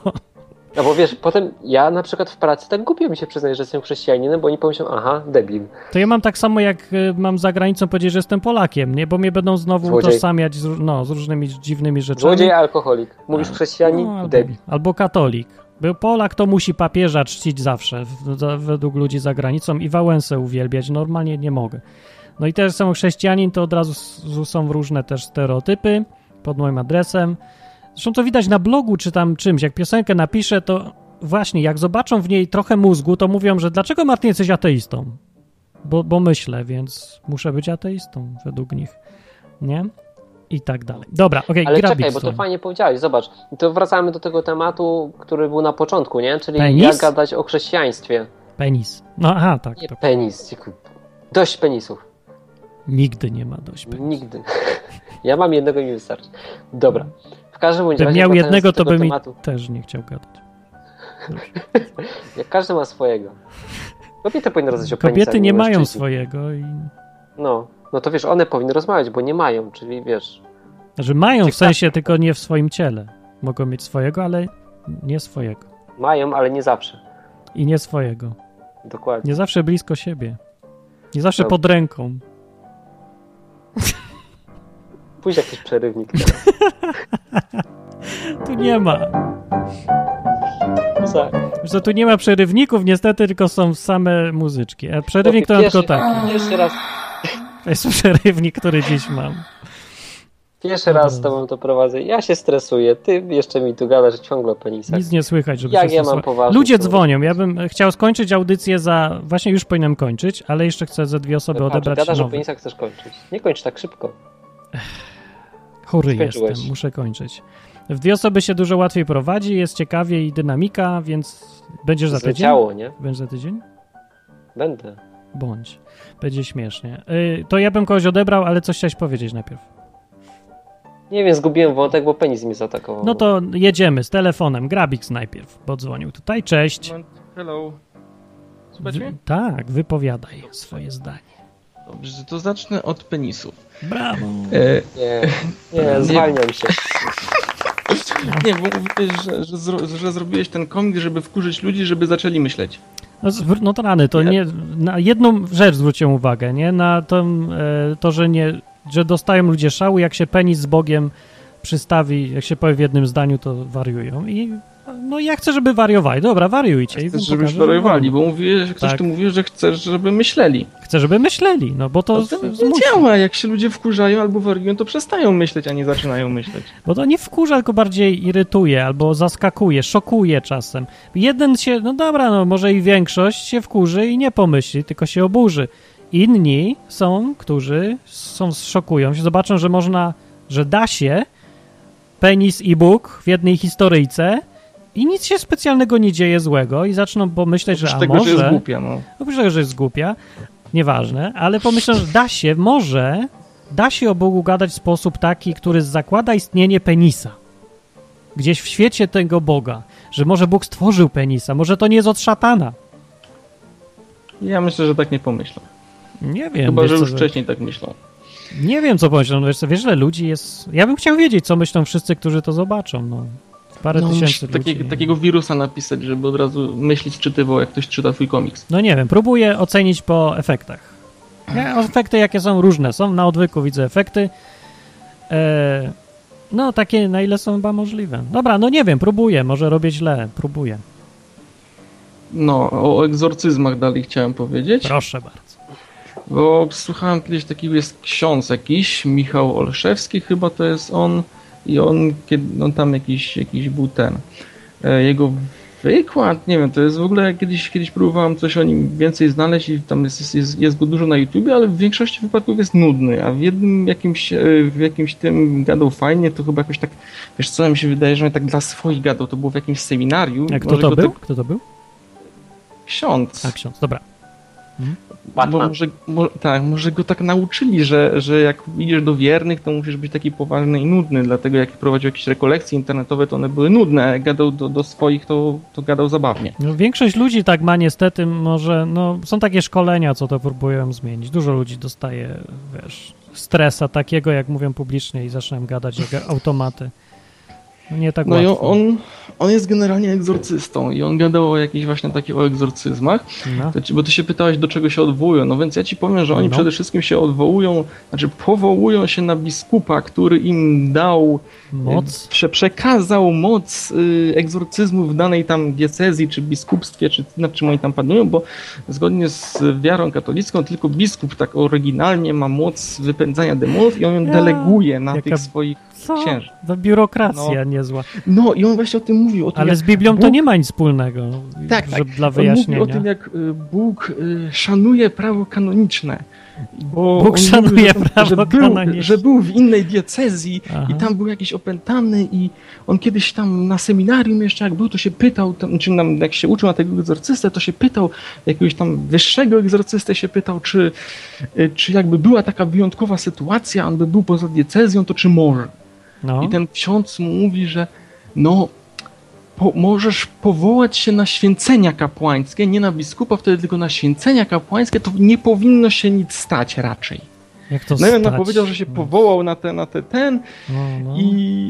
No bo wiesz, potem ja na przykład w pracy tak głupio mi się przyznaje, że jestem chrześcijaninem, bo oni pomyślą, aha, debil.
To ja mam tak samo, jak y, mam za granicą powiedzieć, że jestem Polakiem, nie? Bo mnie będą znowu
Złodziej.
utożsamiać z, ró- no, z różnymi dziwnymi rzeczami.
Złodziej, alkoholik. Mówisz chrześcijanin?
No, albo-
debil.
Albo katolik. Był Polak to musi papieża czcić zawsze, w- za- według ludzi za granicą i Wałęsę uwielbiać. Normalnie nie mogę. No i też są chrześcijanin, to od razu s- są różne też stereotypy pod moim adresem. Zresztą to widać na blogu czy tam czymś. Jak piosenkę napiszę, to właśnie jak zobaczą w niej trochę mózgu, to mówią, że dlaczego Martin jesteś ateistą? Bo, bo myślę, więc muszę być ateistą według nich. Nie? I tak dalej. Dobra, okej,
Ale
gra
czekaj, bo
Bigstone.
to fajnie powiedziałeś, zobacz. I to wracamy do tego tematu, który był na początku, nie? Czyli
Penis?
jak gadać o chrześcijaństwie.
Penis. No aha, tak.
Nie penis. dziku. Dość penisów.
Nigdy nie ma dość.
Nigdy. [laughs] Ja mam jednego i mi wystarczy. Dobra. W każdym bądź
Gdybym
razie
miał
wracając
jednego,
do
to
tego
bym i
tematu,
też nie chciał gadać.
Jak każdy ma swojego. Kobiety powinny rozmawiać o penisach.
Kobiety nie mają
mężczyźni.
swojego i...
No. No to wiesz, one powinny rozmawiać, bo nie mają, czyli wiesz.
Znaczy mają w sensie, tylko nie w swoim ciele. Mogą mieć swojego, ale nie swojego.
Mają, ale nie zawsze.
I nie swojego.
Dokładnie.
Nie zawsze blisko siebie. Nie zawsze
No.
pod ręką.
Pójdź jakiś
[laughs]
przerywnik.
Tu nie ma.
Za-
Że tu nie ma przerywników, niestety, tylko są same muzyczki. A przerywnik to mam
Pierwszy-
tylko tak. taki.
Pierwszy raz,
To jest przerywnik, który dziś mam.
pierwszy raz
No.
z tobą to prowadzę. Ja się stresuję. Ty jeszcze mi tu gadasz ciągle o penisach.
Nic nie słychać, żeby
Jak
się
Tak. ja mam
stosować.
poważnie
Ludzie
to-
dzwonią. Ja bym chciał skończyć audycję za. Właśnie już powinienem kończyć, ale jeszcze chcę ze dwie osoby
Patrz,
odebrać.
Gadasz o
nowe.
penisach, chcesz kończyć. Nie kończ tak szybko.
Chory
Skończyłeś.
jestem, muszę kończyć. W dwie osoby się dużo łatwiej prowadzi, jest ciekawie i dynamika, więc będziesz za tydzień.
Zleciało, nie?
Będziesz za tydzień?
Będę.
Bądź. Będzie śmiesznie. Y, to ja bym kogoś odebrał, ale coś chciałeś powiedzieć najpierw.
Nie wiem, zgubiłem wątek, bo penis mnie zaatakował.
No to jedziemy z telefonem. Grabix najpierw, bo dzwonił tutaj. Cześć.
Hello. Słuchajcie
Wy-
mnie?
tak, wypowiadaj swoje zdanie.
Dobrze, to zacznę od penisów.
Brawo.
E,
Nie, nie, zwalniam się.
[laughs] Nie, bo mówisz, że, że, zro, że zrobiłeś ten komik, żeby wkurzyć ludzi, żeby zaczęli myśleć.
No, zwr- no to rany, to nie, na jedną rzecz zwróciłem uwagę, nie? Na to, e, to że, nie, że dostają ludzie szału, jak się penis z Bogiem przystawi, jak się powie w jednym zdaniu, to wariują [laughs] i no ja chcę, żeby wariowali. Dobra, wariujcie. I wam
Chcesz, żeby
No, pokażę, że
szparowali, bo mówiłeś, ktoś
Tak.
tu mówił, że chcesz, żeby myśleli.
Chcę, żeby myśleli, no bo to,
To nie działa, jak się ludzie wkurzają albo wariują, to przestają myśleć, a nie zaczynają myśleć.
Bo to nie wkurza, tylko bardziej irytuje albo zaskakuje, szokuje czasem. Jeden się, no dobra, no może i większość się wkurzy i nie pomyśli, tylko się oburzy. Inni są, którzy są szokują się, zobaczą, że można, że da się penis i Bóg w jednej historyjce i nic się specjalnego nie dzieje złego i zaczną pomyśleć, że a
tego,
może...
że jest głupia, no.
Oprócz tego, że jest głupia, nieważne, ale pomyślę, że da się, może da się o Bogu gadać w sposób taki, który zakłada istnienie penisa. Gdzieś w świecie tego Boga, że może Bóg stworzył penisa, może to nie jest od szatana.
Ja myślę, że tak nie pomyślą.
Nie wiem.
Chyba,
wiesz
że
co,
już
że-
wcześniej tak myślą.
Nie wiem, co pomyślą. No Wiesz, co, wiesz, że ludzi jest... Ja bym chciał wiedzieć, co myślą wszyscy, którzy to zobaczą. No. Parę
No,
tysięcy
musisz
ludzi.
takie, Takiego wirusa napisać, żeby od razu myśleć czytywał, jak ktoś czyta twój komiks.
No nie wiem, próbuję ocenić po efektach.
Mhm.
Ja, efekty jakie są różne są, na odwyku widzę efekty. E, No, takie na ile są chyba możliwe. Dobra, no nie wiem, próbuję, może robię źle, próbuję.
No, o egzorcyzmach dalej chciałem powiedzieć.
Proszę bardzo.
Bo słuchałem kiedyś taki jest ksiądz jakiś, Michał Olszewski chyba to jest on i on, kiedy, on tam jakiś, jakiś był ten. e, Jego wykład, nie wiem, to jest w ogóle kiedyś, kiedyś próbowałem coś o nim więcej znaleźć i tam jest, jest, jest, jest go dużo na YouTubie, ale w większości wypadków jest nudny, a w jednym jakimś, e, w jakimś tym gadał fajnie, to chyba jakoś tak, wiesz co, mi się wydaje, że on tak dla swoich gadał, to było w jakimś seminarium.
Jak kto
Może
to
go tak-
był? Kto to był?
Ksiądz.
A, ksiądz, dobra.
Bo może, mo, tak, może go tak nauczyli, że, że jak idziesz do wiernych, to musisz być taki poważny i nudny. Dlatego jak prowadził jakieś rekolekcje internetowe, to one były nudne. a Jak gadał do, do swoich, to, to gadał zabawnie.
No, większość ludzi tak ma niestety, może, no, są takie szkolenia, co to próbują zmienić. Dużo ludzi dostaje, wiesz, stresa takiego, jak mówią publicznie i zaczynają gadać jak automaty. No, nie tak
No i
łatwo.
on, on jest generalnie egzorcystą i on gadał o jakichś właśnie takich o egzorcyzmach,
No.
to ci, bo ty się pytałeś, do czego się odwołują. No więc ja ci powiem, że oni
No.
przede wszystkim się odwołują, znaczy powołują się na biskupa, który im dał
Moc?
e, Prze, przekazał moc y, egzorcyzmu w danej tam diecezji, czy biskupstwie, czy nad czym oni tam panują, bo zgodnie z wiarą katolicką tylko biskup tak oryginalnie ma moc wypędzania demonów i on ją
Ja,
deleguje na
jaka
tych swoich
Co?
księży.
To biurokracja
No.
niezła.
No i on właśnie o tym mówił. O tym,
Ale
jak
z Biblią to
Bóg-
nie ma nic wspólnego.
Tak,
że
tak.
Dla
On mówił
wyjaśnienia.
o tym, jak y, Bóg y, szanuje prawo kanoniczne. Bo
Bóg
on mówił,
szanuje
że tam-
prawo
że był,
kanoniczne.
że był w innej diecezji i tam był jakiś opętany i on kiedyś tam na seminarium jeszcze jak był, to się pytał, tam, czy nam, jak się uczył na tego egzorcystę, to się pytał, jakiegoś tam wyższego egzorcystę się pytał, czy, y, czy jakby była taka wyjątkowa sytuacja, on by był poza diecezją, to czy może?
No.
I ten ksiądz mu mówi, że no, po, możesz powołać się na święcenia kapłańskie, nie na biskupa wtedy, tylko na święcenia kapłańskie, to nie powinno się nic stać raczej.
Jak to
no i on
stać?
powiedział, że się powołał na te, na te ten
No, no.
i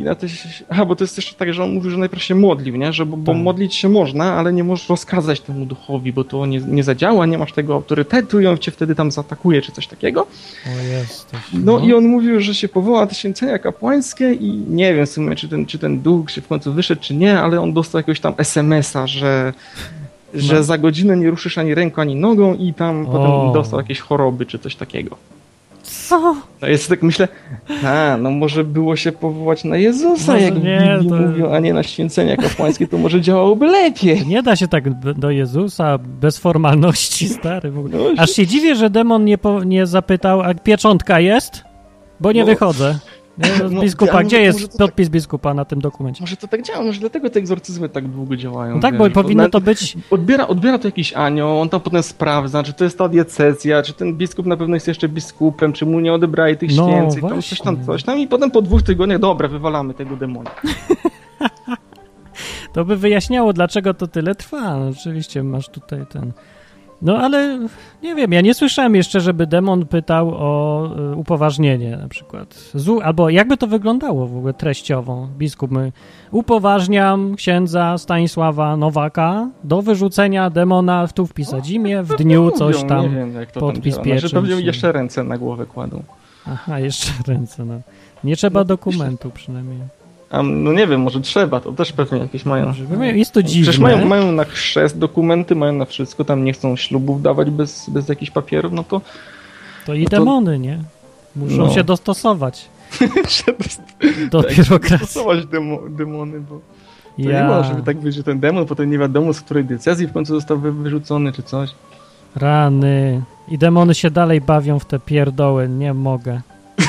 na te... Aha, bo to jest jeszcze tak, że on mówił, że najpierw się modlił, nie? Że, bo, bo
Tak.
modlić się można, ale nie możesz rozkazać temu duchowi, bo to nie, nie zadziała, nie masz tego autorytetu i on cię wtedy tam zaatakuje, czy coś takiego.
O, jesteś.
No i on mówił, że się powoła te święcenia kapłańskie i nie wiem w sumie, czy ten, czy ten duch się w końcu wyszedł, czy nie, ale on dostał jakiegoś tam SMS-a, że, że
No.
za godzinę nie ruszysz ani ręką, ani nogą i tam
O.
potem dostał jakieś choroby, czy coś takiego.
Co?
No ja sobie tak myślę, a, no może było się powołać na Jezusa,
Może
jak w
nie,
Biblii
to-
mówią, a nie na święcenia kapłańskie, to może działałoby lepiej.
Nie da się tak b- do Jezusa bez formalności, [laughs] stary. W ogóle.
No,
Aż się dziwię, że demon nie, po, nie zapytał, a pieczątka jest? Bo nie
No.
wychodzę. Nie,
[laughs] No,
biskupa,
ale
gdzie
może- może to
jest podpis biskupa na tym dokumencie?
Może to tak działa, może dlatego te egzorcyzmy tak długo działają.
No tak,
wiesz,
bo powinno
na-
to być-
Odbiera, odbiera to jakiś anioł, on to potem sprawdza, czy to jest ta diecezja, czy ten biskup na pewno jest jeszcze biskupem, czy mu nie odebrali tych
No,
święceń, tam coś tam, coś tam i potem po dwóch tygodniach, dobra, wywalamy tego demona.
To by wyjaśniało, dlaczego to tyle trwa. No, Oczywiście masz tutaj ten. No ale nie wiem, ja nie słyszałem jeszcze, żeby demon pytał o y, upoważnienie na przykład. Zu, albo jakby to wyglądało w ogóle treściowo. Biskup my upoważniam księdza Stanisława Nowaka do wyrzucenia demona tu wpisać imię, w dniu
No, Mówią,
coś tam
Nie wiem, jak to
podpis
tam działa. Znaczy,
pieczęć.
pewnie jeszcze ręce na głowę kładą.
Aha, jeszcze ręce. No. Nie trzeba dokumentu przynajmniej.
A, no nie wiem, może trzeba, to też pewnie jakieś mają.
wiem, jest to
Przecież
dziwne.
mają, mają na chrzest dokumenty, mają na wszystko, tam nie chcą ślubów dawać bez, bez jakichś papierów, no to
To i
No to-
demony, nie? Muszą
No.
się
[laughs]
dostosować. Do
tak,
biurokracji.
stosować demo, demony, bo to
Ja.
nie ma, żeby tak być, że ten demon potem nie wiadomo z której decyzji w końcu został wy- wyrzucony czy coś.
Rany. I demony się dalej bawią w te pierdoły, nie mogę.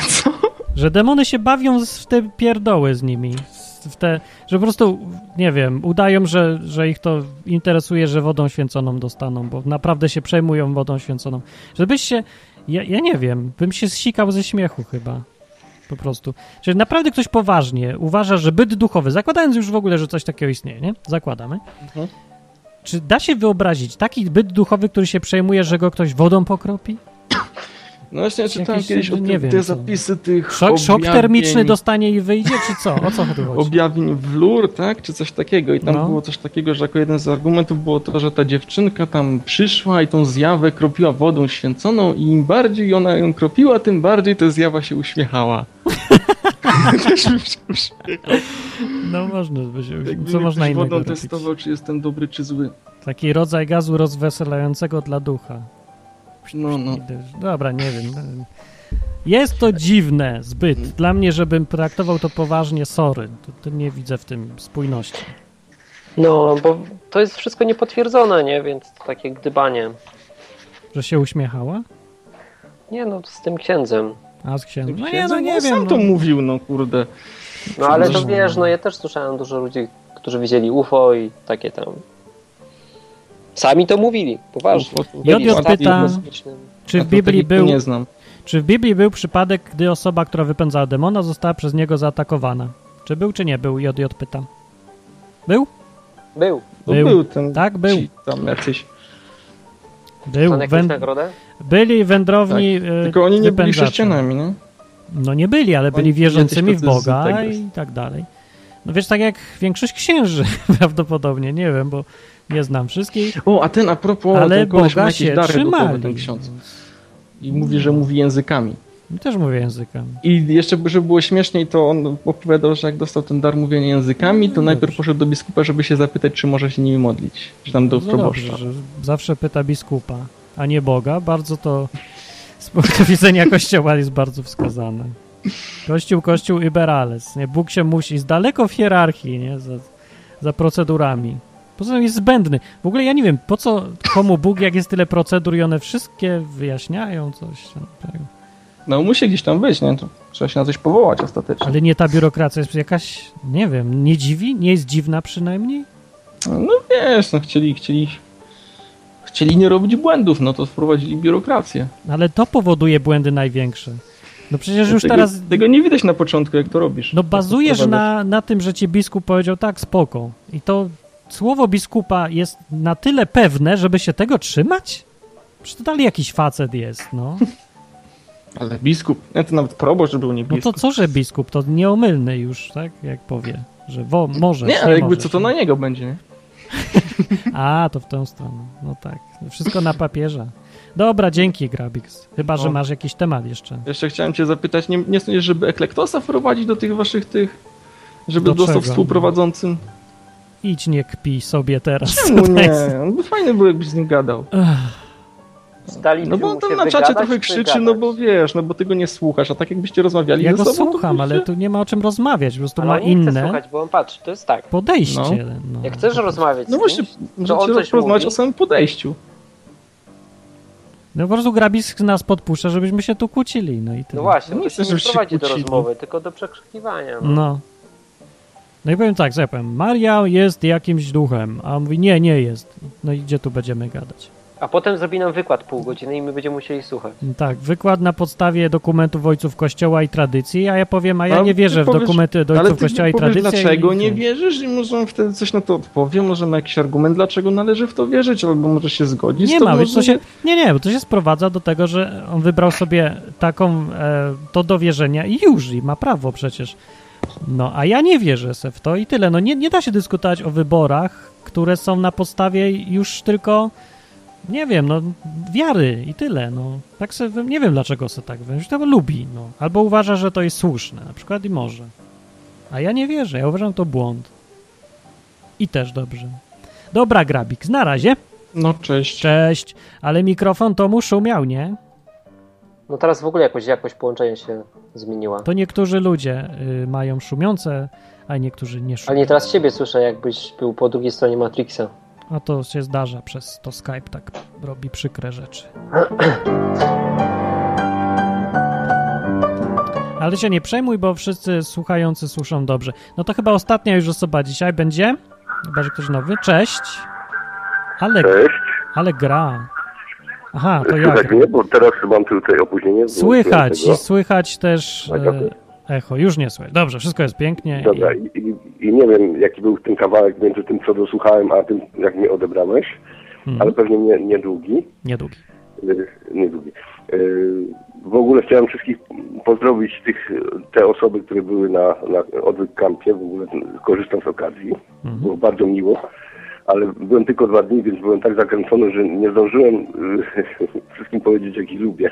Co? Że demony się bawią z- w te pierdoły z nimi. Z- W te, że po prostu, nie wiem, udają, że, że ich to interesuje, że wodą święconą dostaną, bo naprawdę się przejmują wodą święconą. Żebyś się, ja, ja nie wiem, bym się zsikał ze śmiechu chyba. Po prostu. Czyli naprawdę ktoś poważnie uważa, że byt duchowy, zakładając już w ogóle, że coś takiego istnieje, nie? Zakładamy. Czy da się wyobrazić taki byt duchowy, który się przejmuje, że go ktoś wodą pokropi?
No właśnie, czytałem
Jakieś,
kiedyś o
nie
tym,
wiem,
te
co.
zapisy tych
Szok, szok
objawień-
termiczny dostanie i wyjdzie, czy co? O co
[laughs]
tu chodzi?
objawień w lur, tak? Czy coś takiego. I tam
No.
było coś takiego, że jako jeden z argumentów było to, że ta dziewczynka tam przyszła i tą zjawę kropiła wodą
[laughs]
święconą i im bardziej ona ją kropiła, tym bardziej ta zjawa się uśmiechała. Ktoś mi się uśmiechał.
No można by się
Jakby
Co
mnie
można
ktoś
innego
wodą
robić?
testował, czy jestem dobry, czy zły.
Taki rodzaj gazu rozweselającego dla ducha.
No, no.
Dobra, nie wiem. Jest to dziwne zbyt. Dla mnie, żebym traktował to poważnie, sorry. To, to nie widzę w tym spójności.
No, bo to jest wszystko niepotwierdzone, nie? Więc to takie gdybanie.
Że się uśmiechała?
Nie no, z tym księdzem.
A z księdzem? No nie,
Księdza?
no nie
On
wiem.
Sam
no.
to mówił, no kurde.
No ale to wiesz, no ja też słyszałem dużo ludzi, którzy widzieli UFO i takie tam. Sami to mówili, poważnie. Byli
Jodio
statki
pyta,
kosmiczne.
A
czy w
to
Biblii
takich
był...
nie znam.
Czy w Biblii był przypadek, gdy osoba, która wypędzała demona, została przez niego zaatakowana? Czy był, czy nie był? Jodio pyta. Był?
Był.
To
Był.
No był ten.
Tak, był.
Ci tam jacyś.
Był.
Pan jakąś
węd-
nagrodę?
Byli wędrowni
Tak.
e,
Tylko oni nie byli
wypędzacze.
chrześcijanami, nie?
No nie byli, ale byli
Oni
wierzącymi w
jacyś tacy z
Boga
tego.
i tak dalej. No wiesz, tak jak większość księży [laughs] prawdopodobnie, nie wiem, bo nie znam wszystkich.
O, a ten a propos,
Ale
ten koleś ma
Boga
jakieś
się
dary duchowe,
trzymali.
ten ksiądz. I mówi, że mówi językami.
Też mówię językami.
I jeszcze, żeby było śmieszniej, to on opowiadał, że jak dostał ten dar mówienia językami, to najpierw poszedł do biskupa, żeby się zapytać, czy może się nimi modlić. Czy tam do
No
proboszcza.
dobrze, że zawsze pyta biskupa, a nie Boga. Bardzo to [laughs] z punktu widzenia Kościoła jest bardzo wskazane. Kościół, Kościół Iberales. Nie? Bóg się musi z daleko w hierarchii, nie? Za, za procedurami. Poza tym jest zbędny. W ogóle ja nie wiem, po co komu Bóg, jak jest tyle procedur i one wszystkie wyjaśniają coś. Tam, tak.
No musi gdzieś tam być, nie? To trzeba się na coś powołać ostatecznie.
Ale nie ta biurokracja jest jakaś, nie wiem, nie dziwi? Nie jest dziwna przynajmniej?
No wiesz, no chcieli, chcieli, chcieli nie robić błędów, no to wprowadzili biurokrację.
Ale to powoduje błędy największe. No przecież już
tego,
teraz
Tego nie widać na początku, jak to robisz.
No
Jak to
bazujesz
wprowadzasz.
na, na tym, że ci biskup powiedział tak, spoko. I to słowo biskupa jest na tyle pewne, żeby się tego trzymać? Przecież to dalej jakiś facet jest, no.
Ale biskup, nie, to nawet proboszcz był nie
No to
biskup.
co, że biskup? To nieomylny już, tak? Jak powie, że wo, może.
nie, ale jakby
możesz.
co to na niego będzie, nie?
[laughs] A, to w tą stronę. No tak. Wszystko na papierze. Dobra, dzięki, Grabix. Chyba, że
No.
masz jakiś temat jeszcze.
Jeszcze chciałem cię zapytać, nie, nie sądzisz, żeby Eklektosa wprowadzić do tych waszych tych, żeby
Do
dostał
czego? [laughs]
współprowadzącym?
Idź, nie kpij sobie teraz.
Czemu
[laughs] To
nie? No
jest-
On by fajny był, jakbyś z nim gadał.
Z Dali
No bo on tam na czacie trochę krzyczy, no bo wiesz, no bo tego nie słuchasz, a tak jakbyście rozmawiali
Ja
ze
go
sobą, to
słucham, ale tu nie ma o czym rozmawiać. Po prostu
Ale
ma
on nie chce
inne
słuchać, bo on patrzy, to jest tak.
podejście.
No.
No.
Jak chcesz rozmawiać
No
z kimś,
właśnie,
to on
możecie
coś
porozmawiać
mówi,
o samym podejściu.
No po prostu Grabisk nas podpuszcza, żebyśmy się tu kłócili, no i tyle.
no właśnie,
No
to
nie
się
chcę,
nie
żebyście
prowadzi do
kłócili.
rozmowy, tylko do przekrzykiwania. No.
No. No i powiem tak, że ja powiem, Maria jest jakimś duchem, a on mówi, nie, nie jest. No i gdzie tu będziemy gadać?
A potem zrobi nam wykład pół godziny i my będziemy musieli słuchać.
No Tak, wykład na podstawie dokumentów ojców kościoła i tradycji, a ja powiem, a ja
Ale
nie
No, ty
wierzę w
powiesz-
dokumenty do
Ale
ojców
ty
kościoła i
powiesz,
tradycji.
dlaczego
i,
nie wierzysz i może on wtedy coś na to odpowie, może ma jakiś argument, dlaczego należy w to wierzyć, albo może się zgodzić.
Nie
to
ma,
może...
wiesz, to się, nie, nie, bo to się sprowadza do tego, że on wybrał sobie taką, e, to do wierzenia i już, i ma prawo przecież. No, a ja nie wierzę se w to i tyle. No nie, nie da się dyskutować o wyborach, które są na podstawie już tylko, nie wiem, no wiary i tyle, no. Tak se, nie wiem dlaczego se tak, wręcz to lubi, no. Albo uważa, że to jest słuszne, na przykład i może. A ja nie wierzę, ja uważam to błąd. I też dobrze. Dobra, Grabik, na razie.
No cześć.
Cześć, ale mikrofon to mu szumiał, nie?
No teraz w ogóle jakoś jakość połączenia się zmieniła.
To niektórzy ludzie y, mają szumiące, a niektórzy nie
Ale
szumią.
nie teraz ciebie słyszę, jakbyś był po drugiej stronie Matrixa.
A to się zdarza przez to Skype tak robi przykre rzeczy. Ale się nie przejmuj, bo wszyscy słuchający słyszą dobrze. No to chyba ostatnia już osoba dzisiaj będzie. Chyba, że ktoś nowy. Cześć. Ale,
Cześć.
ale gra. Aha, to ja.
Słychać
gram.
mnie, bo teraz mam tutaj opóźnienie.
Słychać
Tego.
i słychać też
Tak,
e, echo. Już nie słychać. Dobrze, wszystko jest pięknie.
Dobra, i, i, i nie wiem, jaki był ten kawałek między tym, co dosłuchałem, a tym, jak mnie odebrałeś,
Mhm.
ale pewnie nie, niedługi.
Niedługi.
Yy, Niedługi. Yy, W ogóle chciałem wszystkich pozdrowić, tych, te osoby, które były na, na odwyk kampie. W ogóle korzystam z okazji.
Mhm.
Było bardzo miło, ale byłem tylko dwa dni, więc byłem tak zakręcony, że nie zdążyłem y, [laughs]
[laughs]
yy, wszystkim powiedzieć, jak ich lubię.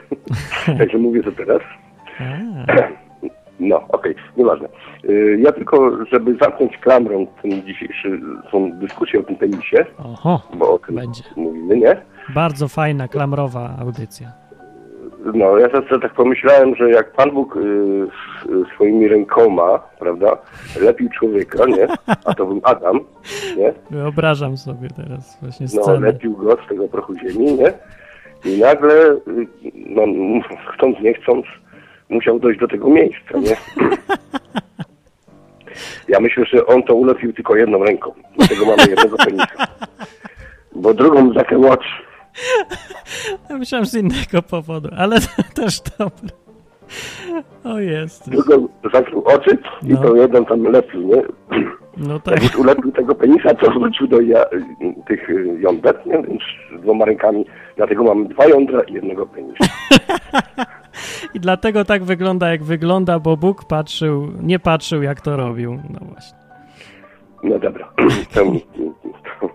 Także mówię to teraz.
No, okej, nieważne. Y, Ja tylko, żeby zamknąć klamrą ten dzisiejszy, tą dyskusję o tym tenisie,
Oho,
bo o tym mówimy, nie?
bardzo fajna, klamrowa audycja.
No, ja zawsze tak pomyślałem, że jak Pan Bóg y, s- swoimi rękoma, prawda, lepił człowieka, nie? A to był Adam, nie?
Wyobrażam sobie teraz właśnie
No,
scenę.
lepił go z tego prochu ziemi, nie? I nagle, y, no, m- chcąc nie chcąc, musiał dojść do tego miejsca,
[laughs]
nie? Ja myślę, że on to ulepił tylko jedną ręką. Dlatego mamy jednego penisa. Bo drugą zakełacz.
[laughs] Ja myślałem z innego powodu, ale [laughs] to też dobre. O jest.
Drugą zakrył oczy i
No.
to jeden tam lepił, nie?
No tak.
Jak już ulepił tego penisa, to wrócił do ja, tych y, jąder, nie? Więc z dwoma rękami. Dlatego mamy dwa jądra i jednego penisa.
I dlatego tak wygląda, jak wygląda, bo Bóg patrzył, nie patrzył, jak to robił. No właśnie.
No dobra, [clears throat] to, to,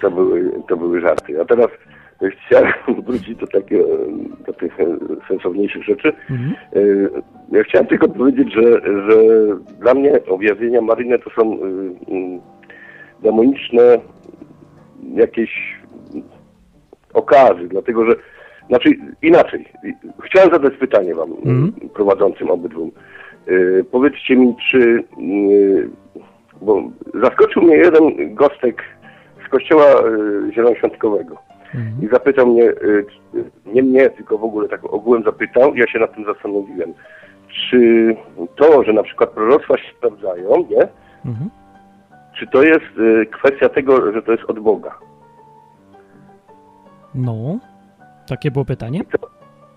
to, były, to były żarty. A teraz chciałem wrócić do, takie, do tych e, sensowniejszych rzeczy.
Mhm.
E, Ja chciałem tylko powiedzieć, że, że dla mnie objawienia Mariny to są e, m, demoniczne jakieś m, okazy, dlatego że znaczy inaczej. Chciałem zadać pytanie wam,
Mm.
e, prowadzącym obydwu. E, Powiedzcie mi, czy m, bo zaskoczył mnie jeden gostek z kościoła y, zielonoświątkowego i zapytał mnie, y, czy- nie mnie, tylko w ogóle tak ogółem zapytał, ja się nad tym zastanowiłem, czy to, że na przykład proroctwa się sprawdzają, nie? Czy to jest y, kwestia tego, że to jest od Boga?
No, takie było pytanie.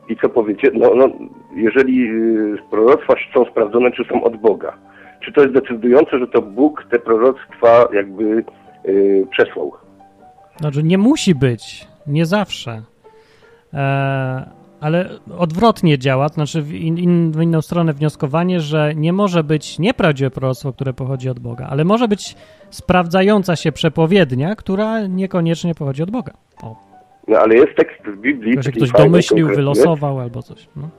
I co powiecie? No, no jeżeli y, proroctwa są sprawdzone, czy są od Boga? Czy to jest decydujące, że to Bóg te proroctwa jakby y, przesłał?
Znaczy, nie musi być, nie zawsze. E, ale odwrotnie działa, to znaczy w, in, in, w inną stronę wnioskowanie, że nie może być nieprawdziwe proroctwo, które pochodzi od Boga, ale może być sprawdzająca się przepowiednia, która niekoniecznie pochodzi od Boga. O,
No ale jest tekst w Biblii.
tylko się
taki
ktoś
fajny,
domyślił,
konkretny.
wylosował albo coś. No.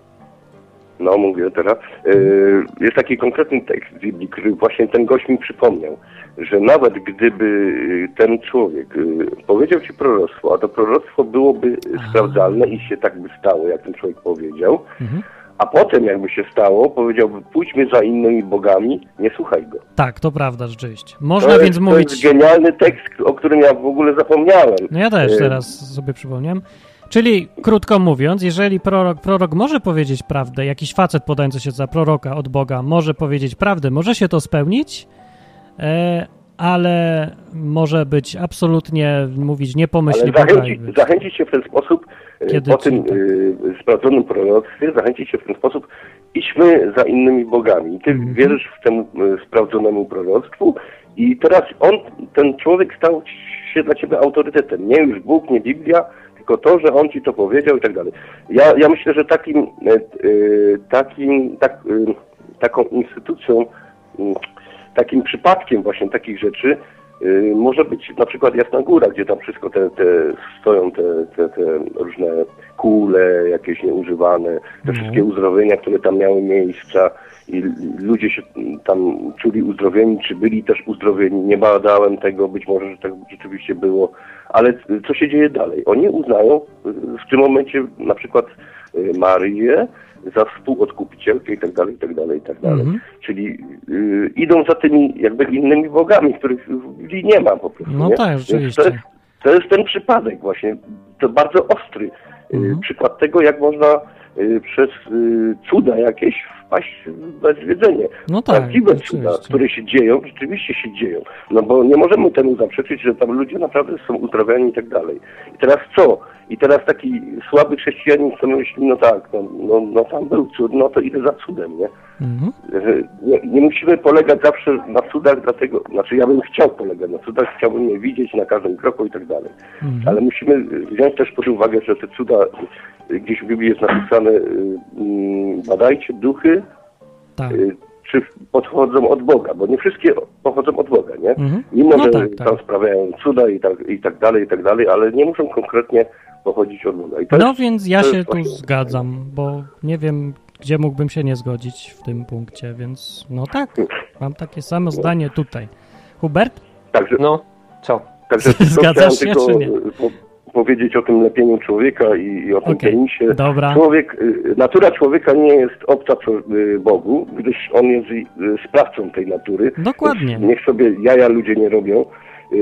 No mówię teraz. Yy, jest taki konkretny tekst w Biblii, który właśnie ten gość mi przypomniał, że nawet gdyby yy, ten człowiek yy, powiedział ci proroctwo, a to proroctwo byłoby yy, sprawdzalne i się tak by stało, jak ten człowiek powiedział,
Mhm.
a potem jakby się stało, powiedziałby pójdźmy za innymi bogami, nie słuchaj go.
Tak, to prawda rzeczywiście. Można
to
więc
jest,
mówić...
To jest genialny tekst, o którym ja w ogóle zapomniałem.
No ja też
Yy,
teraz sobie przypomniałem. Czyli, krótko mówiąc, jeżeli prorok, prorok może powiedzieć prawdę, jakiś facet podający się za proroka od Boga może powiedzieć prawdę, może się to spełnić, e, ale może być absolutnie, mówić tak- nie pomyśli
Ale
Boga.
zachęcić,
jakby.
zachęcić się w ten sposób, e,
Kiedy tak?
po
czy
tym e, sprawdzonym proroctwie, zachęcić się w ten sposób, idźmy za innymi bogami. Ty
Mhm.
wierzysz w temu e, sprawdzonemu proroctwu i teraz on, ten człowiek stał ci- się dla ciebie autorytetem. Nie już Bóg, nie Biblia, tylko to, że on ci to powiedział i tak dalej. Ja, ja myślę, że takim, e, e, takim tak, e, taką instytucją, m, takim przypadkiem właśnie takich rzeczy Y, Może być na przykład Jasna Góra, gdzie tam wszystko te, te stoją te, te, te różne kule, jakieś nieużywane, te wszystkie uzdrowienia, które tam miały miejsca i l- ludzie się mm, tam czuli uzdrowieni, czy byli też uzdrowieni, nie badałem tego, być może, że tak rzeczywiście było, ale y, co się dzieje dalej? Oni uznają y, w tym momencie na przykład y, Maryję za współodkupicielkę i tak dalej, i tak dalej, i tak dalej. Czyli y, idą za tymi jakby innymi bogami, których w Biblii nie ma po prostu.
No
nie?
tak,
Więc
oczywiście.
To jest, to jest ten przypadek właśnie, to bardzo ostry y, przykład tego, jak można y, przez y, cuda jakieś wpaść na zwiedzenie.
No tak,
Prawdziwe cuda, które się dzieją, rzeczywiście się dzieją. No bo nie możemy temu zaprzeczyć, że tam ludzie naprawdę są uzdrawiani i tak dalej. I teraz co? I teraz taki słaby chrześcijanin sobie myśli, no tak, no, no, no tam był cud, no to idę za cudem, nie?
Mhm.
że nie, nie musimy polegać zawsze na cudach, dlatego, znaczy ja bym chciał polegać na cudach, chciałbym je widzieć na każdym kroku i tak dalej.
Mhm.
Ale musimy wziąć też pod uwagę, że te cuda, y, gdzieś w Biblii jest napisane, y, mm, badajcie duchy,
Tak.
y, czy podchodzą od Boga, bo nie wszystkie pochodzą od Boga, nie?
Mhm.
Mimo,
No
że
tak, tak.
tam sprawiają cuda i tak, i tak dalej, i tak dalej, ale nie muszą konkretnie pochodzić od Boga. I to
No
jest-
więc ja
to
się
jest
tu
właśnie-
zgadzam, bo nie wiem, gdzie mógłbym się nie zgodzić w tym punkcie, więc no tak, mam takie samo zdanie tutaj. Hubert?
Także,
no, co?
[laughs]
Także tylko
Zgadzasz
chciałem tylko
się, czy nie?
e, po- powiedzieć o tym lepieniu człowieka i, i o tym
Okej,
penisie.
dobra.
Człowiek, e, natura człowieka nie jest obca czł- e, Bogu, gdyż on jest i- e, sprawcą tej natury.
Dokładnie.
Niech sobie jaja ludzie nie robią, e,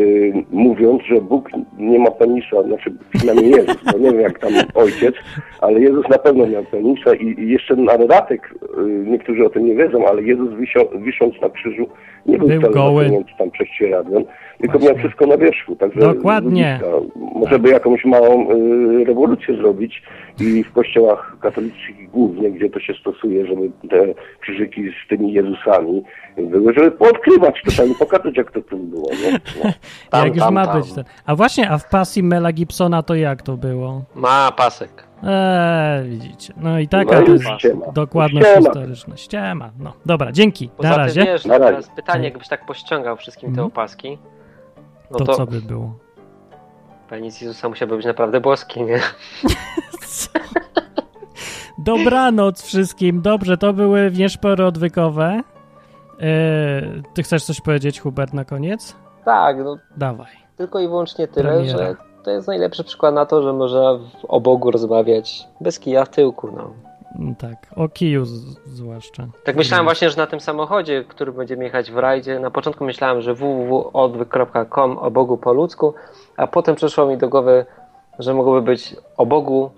mówiąc, że Bóg nie ma penisa, znaczy przynajmniej Jezus, no nie wiem jak tam ojciec, ale Jezus na pewno miał penisa i, i jeszcze na dodatek, e, niektórzy o tym nie wiedzą, ale Jezus wisio, wisząc na krzyżu nie był,
Był
wcale
goły.
zasłonięty tam prześcieradłem, tylko miał wszystko na wierzchu. Także
Dokładnie.
ludziska. Może by jakąś małą y, rewolucję zrobić i w kościołach katolickich głównie, gdzie to się stosuje, żeby te krzyżyki z tymi Jezusami były, żeby poodkrywać to tam i pokazać, jak to tu było. Nie?
[laughs]
No.
jak już ma być ten. A właśnie, a w pasji Mela Gibsona to jak to było?
Ma pasek.
Eee, widzicie. No i taka
No i
to jest
ściema.
dokładność
Ściema.
historyczna. Ściema. No, dobra, dzięki.
Poza
Na
tym,
razie.
Wiesz, na Teraz pytanie, jakbyś tak pościągał wszystkim te
Mhm.
opaski, no
To,
to,
co by było?
penis Jezusa musiałby być naprawdę boski,
[laughs]
nie?
[laughs] Dobranoc wszystkim. Dobrze, to były wierzpory odwykowe. Eee, ty chcesz coś powiedzieć, Hubert, na koniec?
Tak, no
Dawaj.
tylko i wyłącznie tyle,
Premiera.
że to jest najlepszy przykład na to, że można w- o Bogu rozmawiać bez kija w tyłku, no.
Mm, Tak, o kiju z- zwłaszcza.
Tak myślałem właśnie, że na tym samochodzie, który będziemy jechać w rajdzie, na początku myślałem, że www.odwyk.com o Bogu po ludzku, a potem przyszło mi do głowy, że mogłoby być o Bogu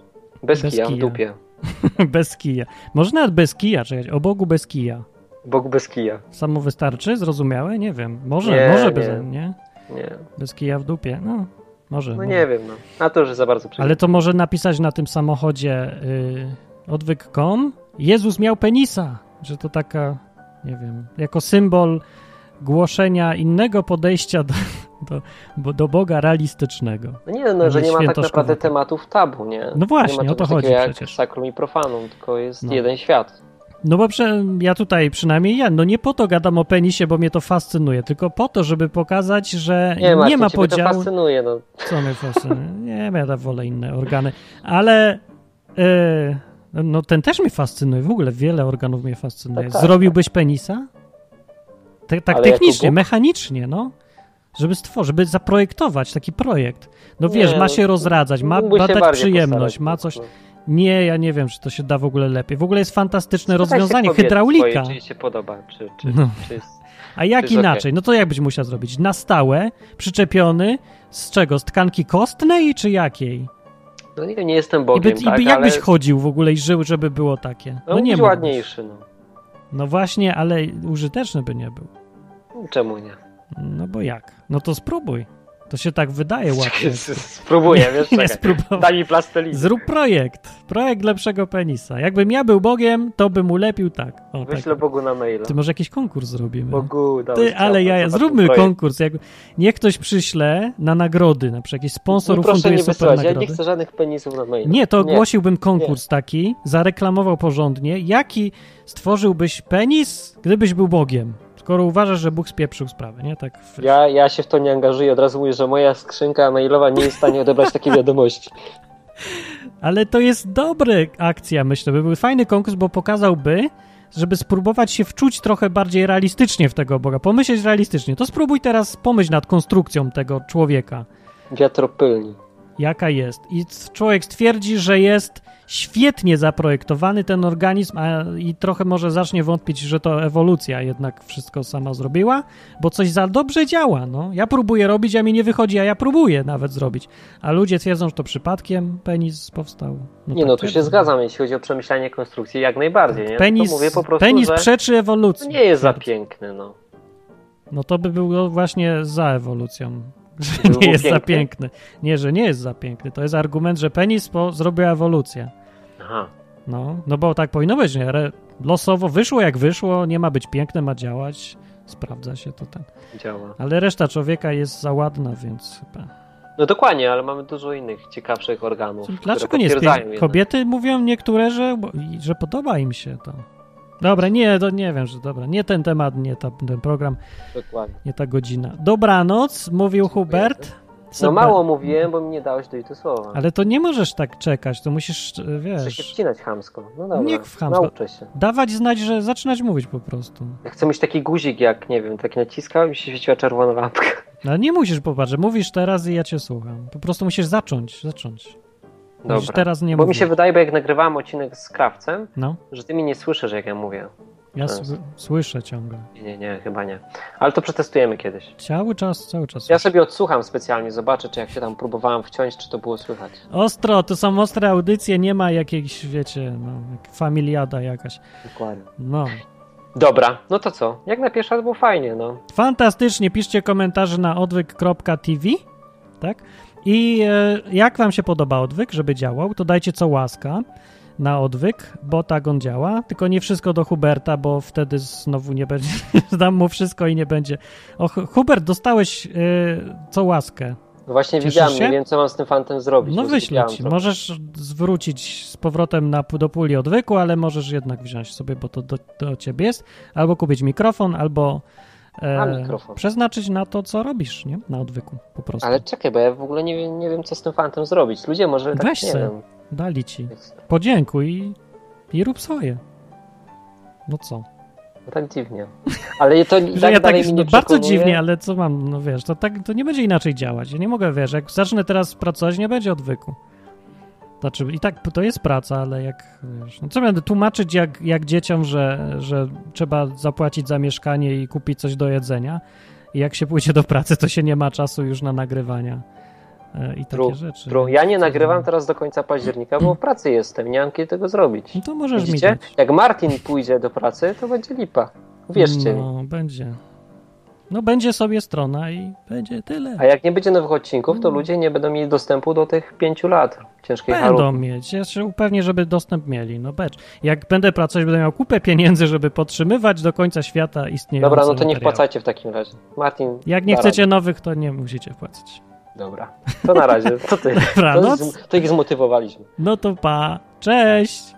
bez,
Bez
kija w
kija.
dupie.
[laughs] bez kija. Może nawet bez kija, czekać. O Bogu bez kija.
Bogu bez kija.
Samo wystarczy? Zrozumiałe? Nie wiem. Może,
Nie,
może
nie.
bez, nie?
Nie.
Bez kija w dupie? No, może.
No
może.
nie wiem, no. Na to już za bardzo przyjemnie.
Ale to może napisać na tym samochodzie y, odwyk.com Jezus miał penisa, że to taka, nie wiem, jako symbol głoszenia innego podejścia do, do, bo- do Boga realistycznego.
No nie, no, że nie ma tak naprawdę
świętoszkowego.
tematów tabu, nie?
No właśnie,
nie ma
o to
czegoś
chodzi
takiego jak
przecież.
sakrum i profanum, tylko jest
No.
jeden świat.
No bo prze, ja tutaj, przynajmniej ja, no nie po to gadam o penisie, bo mnie to fascynuje, tylko po to, żeby pokazać, że E, nie,
Nie, Marcin,
ma
ciebie
podziału.
to fascynuje, no.
Co mnie fascynuje? Nie wiem, ja tam wolę inne organy. Ale e, no ten też mnie fascynuje. W ogóle wiele organów mnie fascynuje.
No tak,
Zrobiłbyś penisa? Tak, tak
Ale
technicznie,
jako Bóg?
mechanicznie, no. Żeby stworzyć, żeby zaprojektować taki projekt. No
Nie,
wiesz, ma
no,
się rozradzać, ma,
mógłby
ma
się
dać
bardziej
przyjemność,
postarać,
ma
no,
coś...
no.
Nie, ja nie wiem, czy to się da w ogóle lepiej. W ogóle jest fantastyczne
Spytaj się
rozwiązanie,
kobiety
hydraulika.
Swojej, czy jej się podoba, czy, czy,
No.
czy jest...
A jak
Czy jest
inaczej? No to jak byś musiał zrobić? Na stałe, przyczepiony, z czego? Z tkanki kostnej czy jakiej?
No nie, nie jestem
I, by,
Bogiem,
i
tak,
by, jak
ale...
byś chodził w ogóle i żył, żeby było takie?
No,
No nie
być
mógł.
ładniejszy, no.
No właśnie, ale użyteczny by nie był.
Czemu nie?
No bo jak? No to spróbuj. To się tak
[laughs]
wydaje łatwo.
Spróbuję,
[laughs]
wiesz,
Nie
czekaj.
spróbował.
Daj mi plasteliny.
Zrób projekt. Projekt lepszego penisa. Jakbym ja był Bogiem, to bym ulepił tak. O, tak.
Wyślę Bogu na maila. No
Ty może jakiś konkurs zrobimy. no?
Bogu, dałeś
Ty,
ciało,
ale ja,
zobacz ten
zróbmy
projekt.
konkurs. Jak, niech ktoś przyśle na nagrody, na przykład jakiś sponsor
No proszę
ufunduje
nie
super
wysyłać, ja nie
nagrody.
chcę żadnych penisów na maila.
No Nie, to ogłosiłbym konkurs taki, zareklamował porządnie, jaki stworzyłbyś penis, gdybyś był Bogiem. Skoro uważasz, że Bóg spieprzył sprawę, nie? Tak. w-
Ja, ja się w to nie angażuję, od razu mówię, że moja skrzynka mailowa nie jest w stanie
[laughs]
odebrać takiej wiadomości.
Ale to jest dobra akcja, myślę. By był fajny konkurs, bo pokazałby, żeby spróbować się wczuć trochę bardziej realistycznie w tego Boga, pomyśleć realistycznie. To spróbuj teraz pomyśl nad konstrukcją tego człowieka.
Wiatropylni.
jaka jest. I c- człowiek stwierdzi, że jest świetnie zaprojektowany ten organizm a, i trochę może zacznie wątpić, że to ewolucja jednak wszystko sama zrobiła, bo coś za dobrze działa. No. Ja próbuję robić, a mi nie wychodzi, a ja próbuję nawet zrobić. A ludzie twierdzą, że to przypadkiem penis powstał.
nie
tak
no, tu się
twierdzą.
zgadzam, jeśli chodzi o przemyślanie konstrukcji, jak najbardziej, nie? No
Penis,
to mówię po prostu,
penis
że
przeczy
to
ewolucji.
nie jest za piękny, no.
No to by było właśnie za ewolucją. [laughs] Że
Było
nie jest za
piękne?
piękny. Nie, że nie jest za piękny. To jest argument, że penis po, zrobił ewolucję.
Aha.
No, no bo tak powinno być, nie? Re, losowo wyszło jak wyszło, nie ma być piękne, ma działać. Sprawdza się to ten.
Działa.
Ale reszta człowieka jest za ładna, więc chyba.
No dokładnie, ale mamy dużo innych ciekawszych organów,
Dlaczego
które
nie jest
potwierdzają
piękne?
jednak.
Kobiety mówią niektóre, że, bo- i- że podoba im się to. Dobra, nie, to nie wiem, że dobra. Nie ten temat, nie ta, ten program,
Dokładnie.
nie ta godzina. Dobranoc, mówił Hubert.
No mało mówiłem, bo mi nie dałeś dojść do słowa.
Ale to nie możesz tak czekać, to musisz,
Muszę się
wiesz,
wcinać chamsko. No dobra,
Niech w chamsko.
nauczę się.
dawać znać, że zaczynać mówić po prostu.
Ja chcę mieć taki guzik jak, nie wiem, taki naciskał i mi się świeciła czerwona lampka.
No ale nie musisz popatrz, że mówisz teraz i ja cię słucham. Po prostu musisz zacząć, zacząć. Musisz teraz nie
bo mi
mówić.
się wydaje, bo jak nagrywałem odcinek z Krawcem,
No.
że ty mnie nie słyszysz, jak ja mówię.
Ja
To jest-
s- słyszę ciągle.
Nie, nie, nie, chyba nie. Ale to przetestujemy kiedyś.
Cały czas, cały czas.
Ja sobie odsłucham specjalnie, zobaczę, czy jak się tam próbowałem wciąć, czy to było słychać.
Ostro, to są ostre audycje, nie ma jakiejś, wiecie, no, jak familiada jakaś.
Dokładnie.
No.
Dobra, no to co? Jak na pierwszy raz było fajnie, no.
Fantastycznie, piszcie komentarze na odwyk.tv, tak? I e, jak wam się podoba odwyk, żeby działał, to dajcie co łaska na odwyk, bo tak on działa. Tylko nie wszystko do Huberta, bo wtedy znowu nie będzie, [laughs] dam mu wszystko i nie będzie. O, Hu- Hubert, dostałeś e, co łaskę.
No Właśnie
Cieszysz
widziałem,
się?
nie wiem, co mam z tym fantem zrobić.
No
bo
wyślę
skupiałem
ci.
trochę.
Możesz zwrócić z powrotem na, do puli odwyku, ale możesz jednak wziąć sobie, bo to do, do ciebie jest. Albo kupić mikrofon, albo e,
A, mikrofon.
przeznaczyć na to, co robisz, nie? Na odwyku po prostu.
Ale czekaj, bo ja w ogóle nie wiem, nie wiem co z tym fantem zrobić. Ludzie może tak,
Weź
nie
se,
wiem.
dali ci. Podziękuj i, i rób swoje. No co?
No tak dziwnie. Ale to
[laughs]
i
Że
tak
ja
dalej
tak
mnie
no,
nie
bardzo
przekonuje.
dziwnie, ale co mam, no wiesz, to, tak, to nie będzie inaczej działać. Ja nie mogę, wiesz, jak zacznę teraz pracować, nie będzie odwyku. Znaczy, i tak to jest praca, ale jak, wiesz, no co będę tłumaczyć jak, jak dzieciom, że, że trzeba zapłacić za mieszkanie i kupić coś do jedzenia i jak się pójdzie do pracy, to się nie ma czasu już na nagrywania e, i takie
True,
rzeczy.
true. Ja nie
znaczy?
nagrywam teraz do końca października, bo w pracy jestem. Nie mam kiedy tego zrobić.
No to możesz mi
Widzicie? Jak Martin pójdzie do pracy, to będzie lipa. Wierzcie mi.
No, będzie. No będzie sobie strona i będzie tyle.
A jak nie będzie nowych odcinków, to ludzie nie będą mieli dostępu do tych pięciu lat ciężkiej
Mm. Będą
chorób.
mieć. Ja się upewnię, żeby dostęp mieli. No becz. Jak będę pracować, będę miał kupę pieniędzy, żeby podtrzymywać do końca świata istniejące
Dobra, no to nie
materiały.
wpłacajcie w takim razie. Martin.
Jak nie
da
chcecie nowych, to nie musicie wpłacać.
radę. Dobra. To na razie. To ty.
[laughs] Dobranoc.
To, to ich zmotywowaliśmy.
No to pa. Cześć!